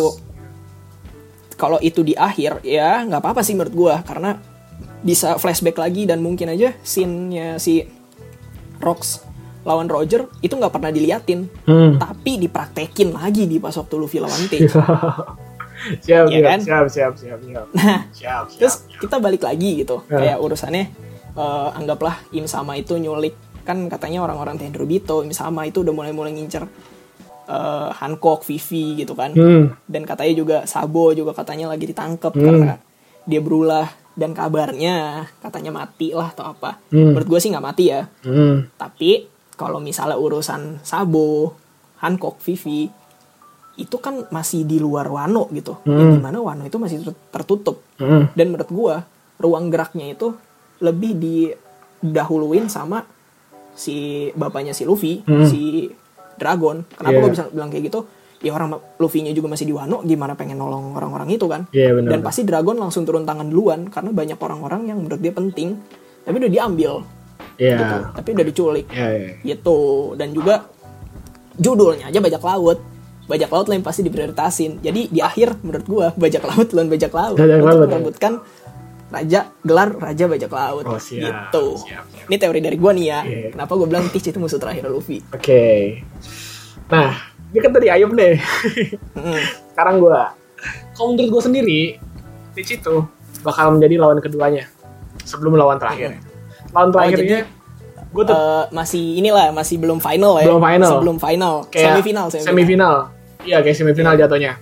[SPEAKER 3] kalau itu di akhir ya nggak apa-apa sih menurut gua karena bisa flashback lagi dan mungkin aja scene-nya si Rox lawan Roger itu nggak pernah diliatin
[SPEAKER 5] Hmm.
[SPEAKER 3] tapi dipraktekin lagi di pas waktu Luffy lawan T
[SPEAKER 5] siap,
[SPEAKER 3] Iya
[SPEAKER 5] siap,
[SPEAKER 3] kan?
[SPEAKER 5] siap, siap, siap, siap. siap, siap.
[SPEAKER 3] Nah, Terus kita balik lagi gitu,
[SPEAKER 5] Ya.
[SPEAKER 3] kayak urusannya eh, anggaplah Im sama itu nyulik kan katanya orang-orang Tendrobito Im sama itu udah mulai-mulai ngincer eh, Hancock, Vivi gitu kan.
[SPEAKER 5] Hmm.
[SPEAKER 3] Dan katanya juga Sabo juga katanya lagi ditangkep karena dia berulah dan kabarnya katanya mati lah atau apa.
[SPEAKER 5] Hmm.
[SPEAKER 3] Menurut gue sih nggak mati ya.
[SPEAKER 5] Hmm.
[SPEAKER 3] Tapi kalau misalnya urusan Sabo, Hancock, Vivi itu kan masih di luar Wano gitu. Yang dimana Wano itu masih ter- tertutup
[SPEAKER 5] Hmm.
[SPEAKER 3] dan menurut gua ruang geraknya itu lebih didahuluin sama si bapaknya si Luffy si Dragon kenapa
[SPEAKER 5] Hmm. Iya.
[SPEAKER 3] gua bisa bilang kayak gitu ya orang Luffy-nya juga masih di Wano gimana pengen nolong orang-orang itu kan
[SPEAKER 5] Iya, benar.
[SPEAKER 3] dan pasti Dragon langsung turun tangan duluan karena banyak orang-orang yang menurut dia penting tapi udah diambil
[SPEAKER 5] Iya.
[SPEAKER 3] gitu. tapi udah diculik
[SPEAKER 5] Iya, iya.
[SPEAKER 3] gitu dan juga judulnya aja bajak laut bajak laut lain pasti diprioritasin jadi di akhir menurut gua bajak laut lawan bajak laut
[SPEAKER 5] Bajak
[SPEAKER 3] untuk
[SPEAKER 5] laut, ya.
[SPEAKER 3] merebutkan raja gelar raja bajak laut
[SPEAKER 5] Oh, siap,
[SPEAKER 3] gitu
[SPEAKER 5] siap, siap.
[SPEAKER 3] ini teori dari gua nih ya
[SPEAKER 5] Iya.
[SPEAKER 3] kenapa gua bilang Teach itu musuh terakhir Luffy
[SPEAKER 5] Oke. Nah, ini kan tadi ayam deh.
[SPEAKER 3] Mm.
[SPEAKER 5] Sekarang gua kalau menurut gua sendiri, Stitch itu bakal menjadi lawan keduanya sebelum lawan
[SPEAKER 3] Iya.
[SPEAKER 5] terakhir. Lawan terakhirnya gua tuh
[SPEAKER 3] Eh, masih inilah masih belum final ya
[SPEAKER 5] Belum final.
[SPEAKER 3] sebelum final
[SPEAKER 5] kayak
[SPEAKER 3] eh, semifinal
[SPEAKER 5] semifinal. Iya, kayak semifinal jatuhnya.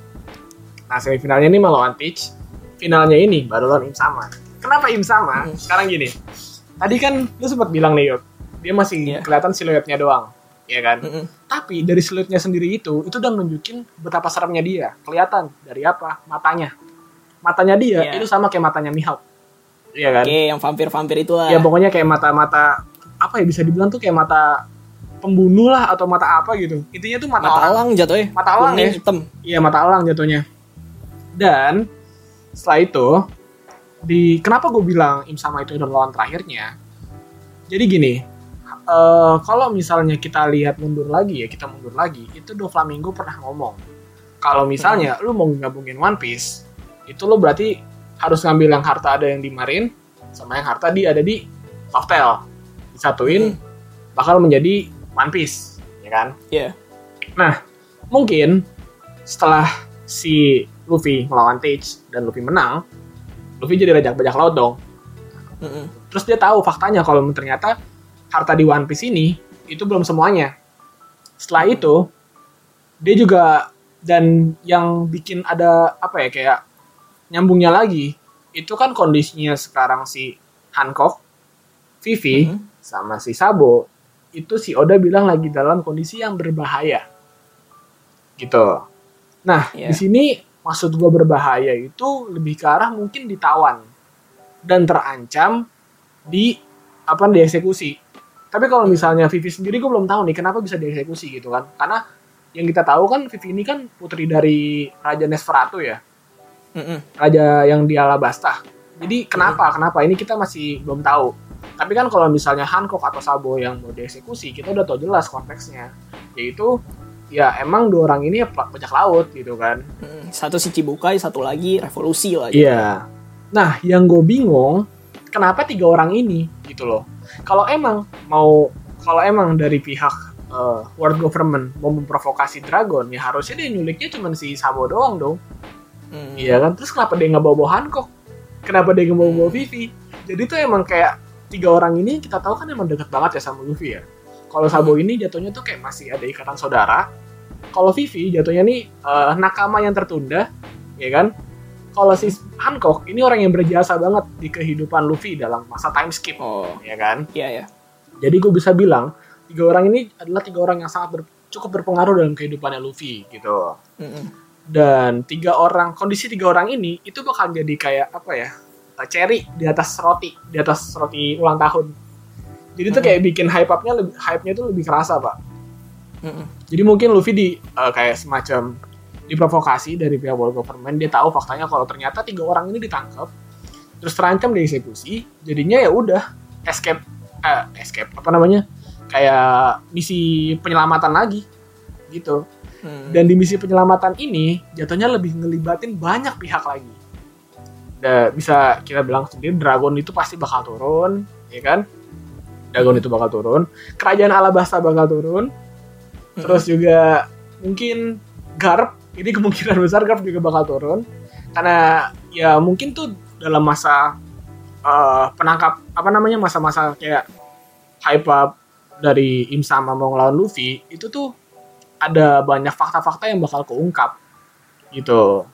[SPEAKER 5] Nah, semifinalnya ini malah lawan Teach. Finalnya ini baru lawan Im Sama. Kenapa Im Sama?
[SPEAKER 3] Hmm.
[SPEAKER 5] Sekarang gini. Tadi kan lu sempat bilang nih, Yop, dia masih
[SPEAKER 3] Iya. Hmm.
[SPEAKER 5] kelihatan siluetnya doang. Iya kan?
[SPEAKER 3] Mm-mm.
[SPEAKER 5] Tapi dari siluetnya sendiri itu, itu udah nunjukin betapa seremnya dia. Kelihatan dari apa? Matanya. Matanya dia
[SPEAKER 3] Iya.
[SPEAKER 5] itu sama kayak matanya Mihawk. Iya kan?
[SPEAKER 3] oke yang vampir-vampir itulah
[SPEAKER 5] ya pokoknya kayak mata-mata apa ya bisa dibilang tuh kayak mata pembunuh lah atau mata apa gitu intinya tuh mata,
[SPEAKER 3] mata
[SPEAKER 5] orang.
[SPEAKER 3] elang jatuhnya
[SPEAKER 5] Mata elang
[SPEAKER 3] kuning
[SPEAKER 5] ya.
[SPEAKER 3] hitam
[SPEAKER 5] iya mata elang jatuhnya dan setelah itu di kenapa gue bilang Im sama itu udah lawan terakhirnya jadi gini eh, kalau misalnya kita lihat mundur lagi ya kita mundur lagi itu Doflamingo pernah ngomong kalau misalnya lu mau gabungin One Piece itu lu berarti harus ngambil yang harta ada yang di Marin sama yang harta di ada di Softel disatuin bakal menjadi One Piece ya kan
[SPEAKER 3] Iya.
[SPEAKER 5] nah mungkin setelah si Luffy melawan Teach dan Luffy menang Luffy jadi raja bajak laut dong
[SPEAKER 3] Mm-mm.
[SPEAKER 5] terus dia tahu faktanya kalau ternyata harta di One Piece ini itu belum semuanya. Setelah itu dia juga dan yang bikin ada apa ya kayak nyambungnya lagi itu kan kondisinya sekarang si Hancock, Vivi,
[SPEAKER 3] Mhm.
[SPEAKER 5] sama si Sabo itu si Oda bilang lagi dalam kondisi yang berbahaya. Gitu. Nah,
[SPEAKER 3] Iya.
[SPEAKER 5] di sini maksud gua berbahaya itu lebih ke arah mungkin ditawan dan terancam di apa dieksekusi. Tapi kalau misalnya Vivi sendiri gue belum tahu nih kenapa bisa dieksekusi gitu kan. Karena yang kita tahu kan Vivi ini kan putri dari Raja Nesferatu ya
[SPEAKER 3] Mm-mm.
[SPEAKER 5] raja yang di Alabasta. Jadi kenapa? Kenapa? Ini kita masih belum tahu. Tapi kan kalau misalnya Hancock atau Sabo yang mau dieksekusi, kita udah tahu jelas konteksnya. Yaitu ya emang dua orang ini ya pe- pajak laut gitu kan.
[SPEAKER 3] Mm-mm. Satu si Cibukai, satu lagi revolusi lagi.
[SPEAKER 5] Iya. Nah, yang gue bingung kenapa tiga orang ini gitu loh. Kalau emang mau kalau emang dari pihak eh, world government mau memprovokasi dragon ya harusnya dia nyuliknya cuma si Sabo doang dong.
[SPEAKER 3] Mm.
[SPEAKER 5] Iya kan? Terus kenapa dia nggak bawa-bawa Hancock? Kenapa dia nggak bawa-bawa Vivi? Jadi tuh emang kayak tiga orang ini kita tahu kan emang deket banget ya sama Luffy ya. Kalau Sabo ini jatuhnya tuh kayak masih ada ikatan saudara. Kalau Vivi jatuhnya nih eh, nakama yang tertunda, ya kan? Kalau si Hancock ini orang yang berjasa banget di kehidupan Luffy dalam masa time skip,
[SPEAKER 3] Oh,
[SPEAKER 5] ya kan?
[SPEAKER 3] iya ya.
[SPEAKER 5] Jadi gue bisa bilang tiga orang ini adalah tiga orang yang sangat ber- cukup berpengaruh dalam kehidupannya Luffy gitu
[SPEAKER 3] Mm-mm.
[SPEAKER 5] dan tiga orang kondisi tiga orang ini itu bakal jadi kayak apa ya eh, cherry di atas roti di atas roti ulang tahun jadi tuh kayak bikin hype upnya lebih hype nya itu lebih kerasa pak
[SPEAKER 3] Mm-mm.
[SPEAKER 5] jadi mungkin Luffy di eh, kayak semacam diprovokasi dari pihak world government dia tahu faktanya kalau ternyata tiga orang ini ditangkap terus terancam dieksekusi jadinya ya udah escape eh, escape apa namanya kayak misi penyelamatan lagi gitu
[SPEAKER 3] Mm.
[SPEAKER 5] dan di misi penyelamatan ini jatuhnya lebih ngelibatin banyak pihak lagi. Da- bisa kita bilang sendiri Dragon itu pasti bakal turun, ya kan? Dragon itu bakal turun, kerajaan Alabasta bakal turun, terus juga mungkin Garp, ini kemungkinan besar Garp juga bakal turun, karena ya mungkin tuh dalam masa eh, penangkap apa namanya masa-masa kayak hype up dari Imsama mau ngelawan Luffy itu tuh ada banyak fakta-fakta yang bakal keungkap gitu.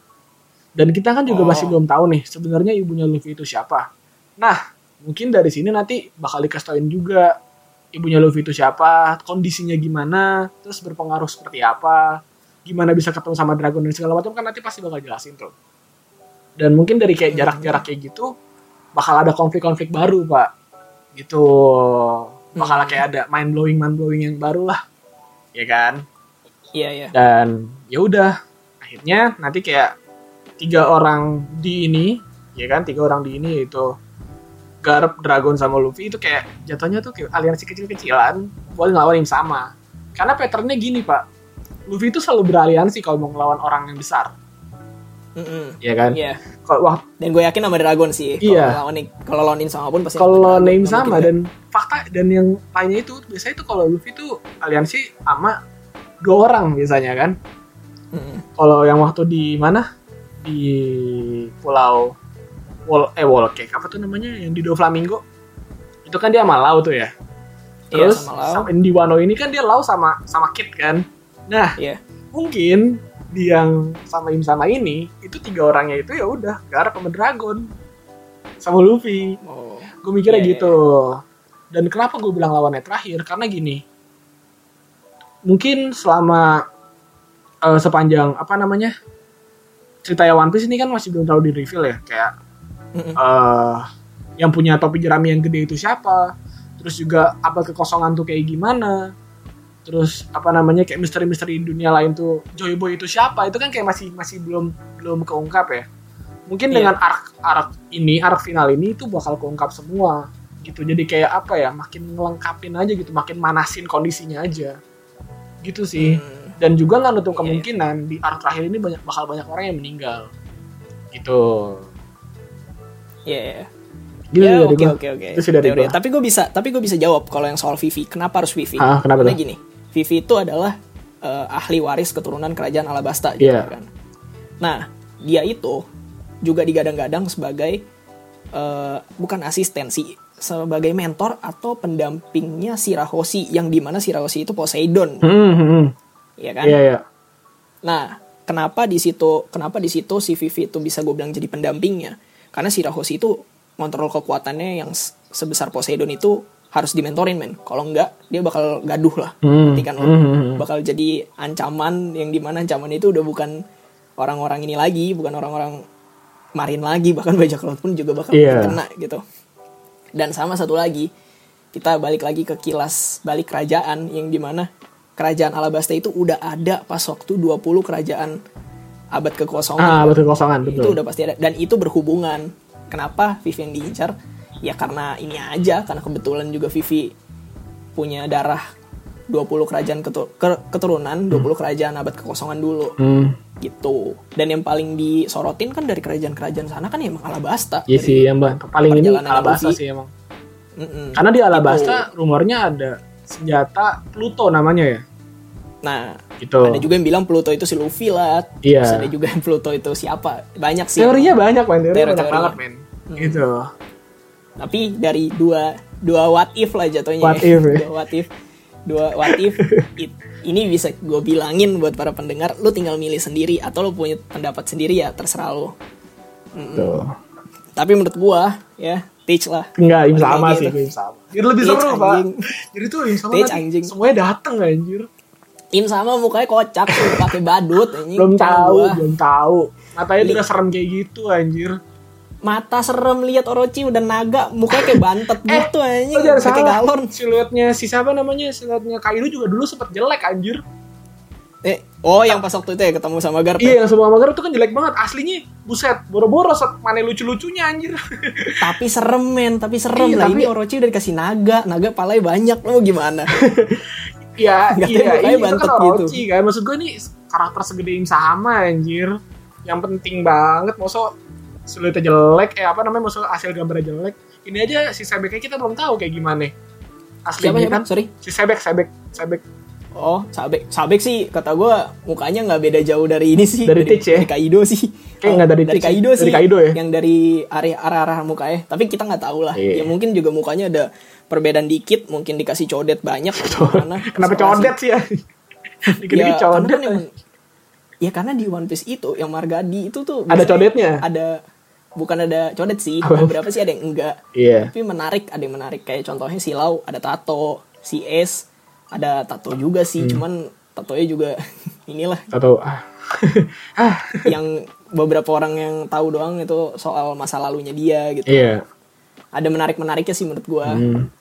[SPEAKER 5] Dan kita kan juga
[SPEAKER 3] Oh.
[SPEAKER 5] masih belum tahu nih sebenarnya ibunya Luffy itu siapa. Nah, mungkin dari sini nanti bakal dikasih juga ibunya Luffy itu siapa, kondisinya gimana, terus berpengaruh seperti apa, gimana bisa ketemu sama Dragon dan segala macam kan nanti pasti bakal jelasin tuh. Dan mungkin dari kayak jarak-jarak kayak gitu bakal ada konflik-konflik baru, Pak. Gitu. Bakal kayak ada mind blowing mind blowing yang baru lah. Ya kan?
[SPEAKER 3] Iya ya.
[SPEAKER 5] dan ya udah akhirnya nanti kayak tiga orang di ini ya kan tiga orang di ini yaitu Garp, Dragon sama Luffy itu kayak jatuhnya tuh kayak aliansi kecil-kecilan buat ngelawan yang sama karena patternnya gini pak Luffy itu selalu beraliansi kalau mau ngelawan orang yang besar
[SPEAKER 3] Mm-mm.
[SPEAKER 5] ya kan
[SPEAKER 3] Iya.
[SPEAKER 5] kalau wah
[SPEAKER 3] Dan gue yakin sama Dragon sih. Kalau
[SPEAKER 5] Iya.
[SPEAKER 3] lawan kalau lawanin sama pun pasti.
[SPEAKER 5] kalau
[SPEAKER 3] sama Dragon.
[SPEAKER 5] name
[SPEAKER 3] Nggak
[SPEAKER 5] sama
[SPEAKER 3] mungkin
[SPEAKER 5] dan fakta dan yang lainnya itu biasanya itu kalau Luffy itu aliansi sama dua orang biasanya kan
[SPEAKER 3] nggak- Mm-mm.
[SPEAKER 5] kalau yang waktu di mana di pulau Wol eh Wolkek apa tuh namanya yang di Doflamingo itu kan dia sama Lau tuh ya
[SPEAKER 3] Iya,
[SPEAKER 5] terus
[SPEAKER 3] sama Lau.
[SPEAKER 5] sama- di Wano ini kan dia Lau sama sama Kit kan nah
[SPEAKER 3] Iya.
[SPEAKER 5] mungkin di yang sama Im sama ini itu tiga orangnya itu ya udah Gara sama Dragon sama Luffy
[SPEAKER 3] Oh.
[SPEAKER 5] gue mikirnya
[SPEAKER 3] Iya,
[SPEAKER 5] gitu dan kenapa gue bilang lawannya terakhir karena gini mungkin selama eh, sepanjang apa namanya cerita One Piece ini kan masih belum terlalu di reveal ya kayak
[SPEAKER 3] Mm-mm.
[SPEAKER 5] eh, yang punya topi jerami yang gede itu siapa terus juga apa kekosongan tuh kayak gimana terus apa namanya kayak misteri-misteri dunia lain tuh Joy Boy itu siapa itu kan kayak masih masih belum belum keungkap ya mungkin
[SPEAKER 3] Iya.
[SPEAKER 5] dengan arc arc ini arc final ini itu bakal keungkap semua gitu jadi kayak apa ya makin ngelengkapin aja gitu makin manasin kondisinya aja gitu sih
[SPEAKER 3] Mm.
[SPEAKER 5] dan juga nggak nutup
[SPEAKER 3] Iya, iya.
[SPEAKER 5] kemungkinan di arc terakhir ini banyak bakal banyak orang yang meninggal gitu
[SPEAKER 3] Iya. iya.
[SPEAKER 5] gitu
[SPEAKER 3] Ya,
[SPEAKER 5] sih dari
[SPEAKER 3] oke
[SPEAKER 5] gua.
[SPEAKER 3] oke oke.
[SPEAKER 5] Itu sih dari
[SPEAKER 3] Teori.
[SPEAKER 5] gua.
[SPEAKER 3] Tapi gue bisa tapi gue bisa jawab kalau yang soal Vivi. Kenapa harus Vivi?
[SPEAKER 5] Ah, kenapa
[SPEAKER 3] Karena
[SPEAKER 5] tuh?
[SPEAKER 3] gini, Vivi itu adalah eh, ahli waris keturunan kerajaan Alabasta gitu
[SPEAKER 5] Iya.
[SPEAKER 3] kan. Nah, dia itu juga digadang-gadang sebagai eh, bukan asistensi sebagai mentor atau pendampingnya Shirahoshi yang dimana Shirahoshi itu Poseidon,
[SPEAKER 5] Hmm, hmm, hmm.
[SPEAKER 3] ya kan?
[SPEAKER 5] iya iya
[SPEAKER 3] Nah, kenapa di situ kenapa di situ si Vivi itu bisa gue bilang jadi pendampingnya? karena si Rahoshi itu kontrol kekuatannya yang s- sebesar Poseidon itu harus dimentorin men kalau enggak dia bakal gaduh lah Ngerti kan lo? bakal jadi ancaman yang dimana ancaman itu udah bukan orang-orang ini lagi bukan orang-orang marin lagi bahkan bajak laut pun juga bakal
[SPEAKER 5] Iya.
[SPEAKER 3] kena gitu dan sama satu lagi kita balik lagi ke kilas balik kerajaan yang dimana kerajaan Alabasta itu udah ada pas waktu 20 kerajaan abad kekosongan
[SPEAKER 5] ah betul kosongan betul
[SPEAKER 3] itu udah pasti ada dan itu berhubungan kenapa Vivi yang diincar ya karena ini aja karena kebetulan juga Vivi punya darah 20 kerajaan ketu- ke- keturunan 20 kerajaan abad kekosongan dulu
[SPEAKER 5] hmm.
[SPEAKER 3] gitu dan yang paling disorotin kan dari kerajaan-kerajaan sana kan emang Alabasta
[SPEAKER 5] Iya
[SPEAKER 3] Dari-
[SPEAKER 5] sih yang ba- paling ini
[SPEAKER 3] perjalanan Gitu.
[SPEAKER 5] Alabasta
[SPEAKER 3] Luffy.
[SPEAKER 5] sih emang
[SPEAKER 3] Mm-mm.
[SPEAKER 5] karena di Alabasta rumornya ada senjata Pluto namanya ya
[SPEAKER 3] nah
[SPEAKER 5] gitu
[SPEAKER 3] ada juga yang bilang Pluto itu si Luffy lah
[SPEAKER 5] Iya.
[SPEAKER 3] Terus ada juga yang Pluto itu siapa banyak sih
[SPEAKER 5] teorinya banyak men teorinya
[SPEAKER 3] Teori-
[SPEAKER 5] banyak
[SPEAKER 3] teori. Hmm.
[SPEAKER 5] banget men gitu
[SPEAKER 3] tapi dari dua dua what if lah jatuhnya
[SPEAKER 5] What
[SPEAKER 3] ya.
[SPEAKER 5] if, ya.
[SPEAKER 3] dua what if dua what if it- ini bisa gue bilangin buat para pendengar lu tinggal milih sendiri atau lu punya pendapat sendiri ya terserah lu Gitu.
[SPEAKER 5] tuh
[SPEAKER 3] tapi menurut gua ya teach lah
[SPEAKER 5] enggak im
[SPEAKER 3] Kayak
[SPEAKER 5] sama sih
[SPEAKER 3] gitu.
[SPEAKER 5] im sama jadi lebih
[SPEAKER 3] Teach,
[SPEAKER 5] seru pak
[SPEAKER 3] anjing.
[SPEAKER 5] jadi tuh im sama
[SPEAKER 3] Teach,
[SPEAKER 5] nanti
[SPEAKER 3] anjing.
[SPEAKER 5] semuanya dateng anjir
[SPEAKER 3] im sama mukanya kocak tuh, pakai badut anjing.
[SPEAKER 5] belum
[SPEAKER 3] Kalau
[SPEAKER 5] tahu
[SPEAKER 3] gua,
[SPEAKER 5] belum tahu matanya tuh
[SPEAKER 3] Li-
[SPEAKER 5] udah serem kayak gitu anjir
[SPEAKER 3] mata serem lihat Orochi udah naga mukanya kayak bantet gitu anjing
[SPEAKER 5] Lo Eh, jangan
[SPEAKER 3] pakai
[SPEAKER 5] salah
[SPEAKER 3] galon
[SPEAKER 5] siluetnya si siapa namanya siluetnya Kaido juga dulu sempet jelek anjir
[SPEAKER 3] eh, oh yang pas waktu itu ya ketemu sama Garp ya?
[SPEAKER 5] Iya yang semua mager itu kan jelek banget aslinya buset boro-boro set mana lucu-lucunya anjir
[SPEAKER 3] tapi serem men tapi serem
[SPEAKER 5] Iya,
[SPEAKER 3] lah
[SPEAKER 5] tapi-
[SPEAKER 3] ini Orochi udah dikasih naga naga palanya banyak lo gimana
[SPEAKER 5] ya
[SPEAKER 3] Nggak tahu, mukanya
[SPEAKER 5] iya ini itu
[SPEAKER 3] bantet
[SPEAKER 5] kan
[SPEAKER 3] gitu.
[SPEAKER 5] Orochi kan maksud gue ini karakter segedein sama anjir yang penting banget masa siluetnya jelek eh apa namanya masa hasil gambarnya jelek ini aja si sebeknya kita belum tahu kayak gimana
[SPEAKER 3] siapa
[SPEAKER 5] aslinya
[SPEAKER 3] siapa ya,
[SPEAKER 5] kan
[SPEAKER 3] sorry
[SPEAKER 5] si sebek sebek sebek
[SPEAKER 3] Iya Oh, Sabek. Sabek sih kata gue mukanya nggak beda jauh dari ini sih.
[SPEAKER 5] Dari Teach ya?
[SPEAKER 3] Dari Kaido sih.
[SPEAKER 5] Kayak nggak dari Teach sih.
[SPEAKER 3] Kaido
[SPEAKER 5] Dari
[SPEAKER 3] sih.
[SPEAKER 5] Kaido ya?
[SPEAKER 3] Yang dari area arah arah mukanya. Tapi kita nggak tahu lah.
[SPEAKER 5] Iya.
[SPEAKER 3] Ya mungkin juga mukanya ada perbedaan dikit. Mungkin dikasih codet banyak. karena
[SPEAKER 5] kenapa codet sih ya
[SPEAKER 3] Ya,
[SPEAKER 5] dikit-dikit
[SPEAKER 3] karena
[SPEAKER 5] codet
[SPEAKER 3] kan emang- ya karena di One Piece itu yang Margadi itu tuh
[SPEAKER 5] Ada
[SPEAKER 3] biasanya
[SPEAKER 5] codetnya?
[SPEAKER 3] Ada bukan ada codet sih.
[SPEAKER 5] Apa?
[SPEAKER 3] Beberapa sih ada yang enggak.
[SPEAKER 5] iya
[SPEAKER 3] Tapi menarik, ada yang menarik kayak contohnya si Lau ada tato, si Es ada tato juga sih,
[SPEAKER 5] Hmm.
[SPEAKER 3] cuman tatonya juga inilah
[SPEAKER 5] atau ah
[SPEAKER 3] yang beberapa orang yang tahu doang itu soal masa lalunya dia gitu.
[SPEAKER 5] iya Hmm.
[SPEAKER 3] Ada menarik-menariknya sih menurut gua.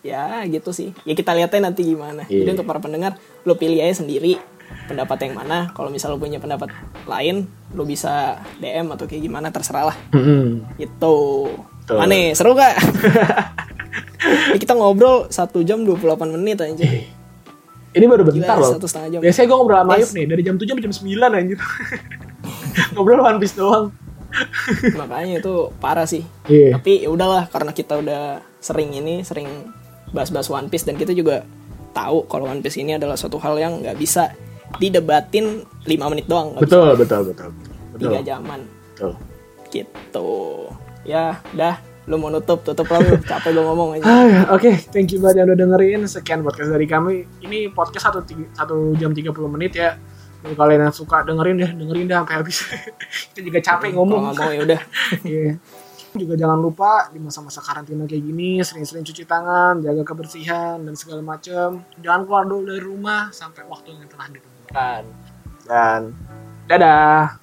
[SPEAKER 3] Ya, gitu sih. Ya kita lihatnya nanti gimana.
[SPEAKER 5] Iya.
[SPEAKER 3] Jadi untuk para pendengar, lo pilih aja sendiri pendapat yang mana. Kalau misal lo punya pendapat lain, lo bisa DM atau kayak gimana terserah lah.
[SPEAKER 5] Mm-mm.
[SPEAKER 3] Gitu.
[SPEAKER 5] Betul.
[SPEAKER 3] Aneh, seru gak? Ini kita ngobrol 1 jam 28 menit aja.
[SPEAKER 5] Iya. Ini baru bentar
[SPEAKER 3] Gila,
[SPEAKER 5] loh.
[SPEAKER 3] satu setengah jam.
[SPEAKER 5] Biasanya gue ngobrol sama
[SPEAKER 3] Yes.
[SPEAKER 5] Ayub nih dari jam 7 sampai jam 9 anjir. ngobrol One Piece doang.
[SPEAKER 3] Makanya itu parah sih.
[SPEAKER 5] Iya.
[SPEAKER 3] Tapi ya udahlah karena kita udah sering ini, sering bahas-bahas One Piece dan kita juga tahu kalau One Piece ini adalah suatu hal yang nggak bisa didebatin 5 menit doang. nggak bisa
[SPEAKER 5] Betul, betul, betul. Betul.
[SPEAKER 3] Tiga jaman
[SPEAKER 5] Betul.
[SPEAKER 3] gitu. Ya, dah. Lu mau nutup, tutup lah. lu. Capek gue ngomong aja.
[SPEAKER 5] Ah, Oke, thank you banget yang udah dengerin. Sekian podcast dari kami. Ini podcast 1, jam 30 menit ya. Kalau kalian yang suka dengerin deh, dengerin deh sampai habis. Kita juga capek
[SPEAKER 3] Kalau
[SPEAKER 5] ngomong.
[SPEAKER 3] nggak mau ya udah.
[SPEAKER 5] Iya. Juga jangan lupa di masa-masa karantina kayak gini sering-sering cuci tangan, jaga kebersihan dan segala macam. Jangan keluar dulu dari rumah sampai waktu yang telah ditentukan. Dan dadah.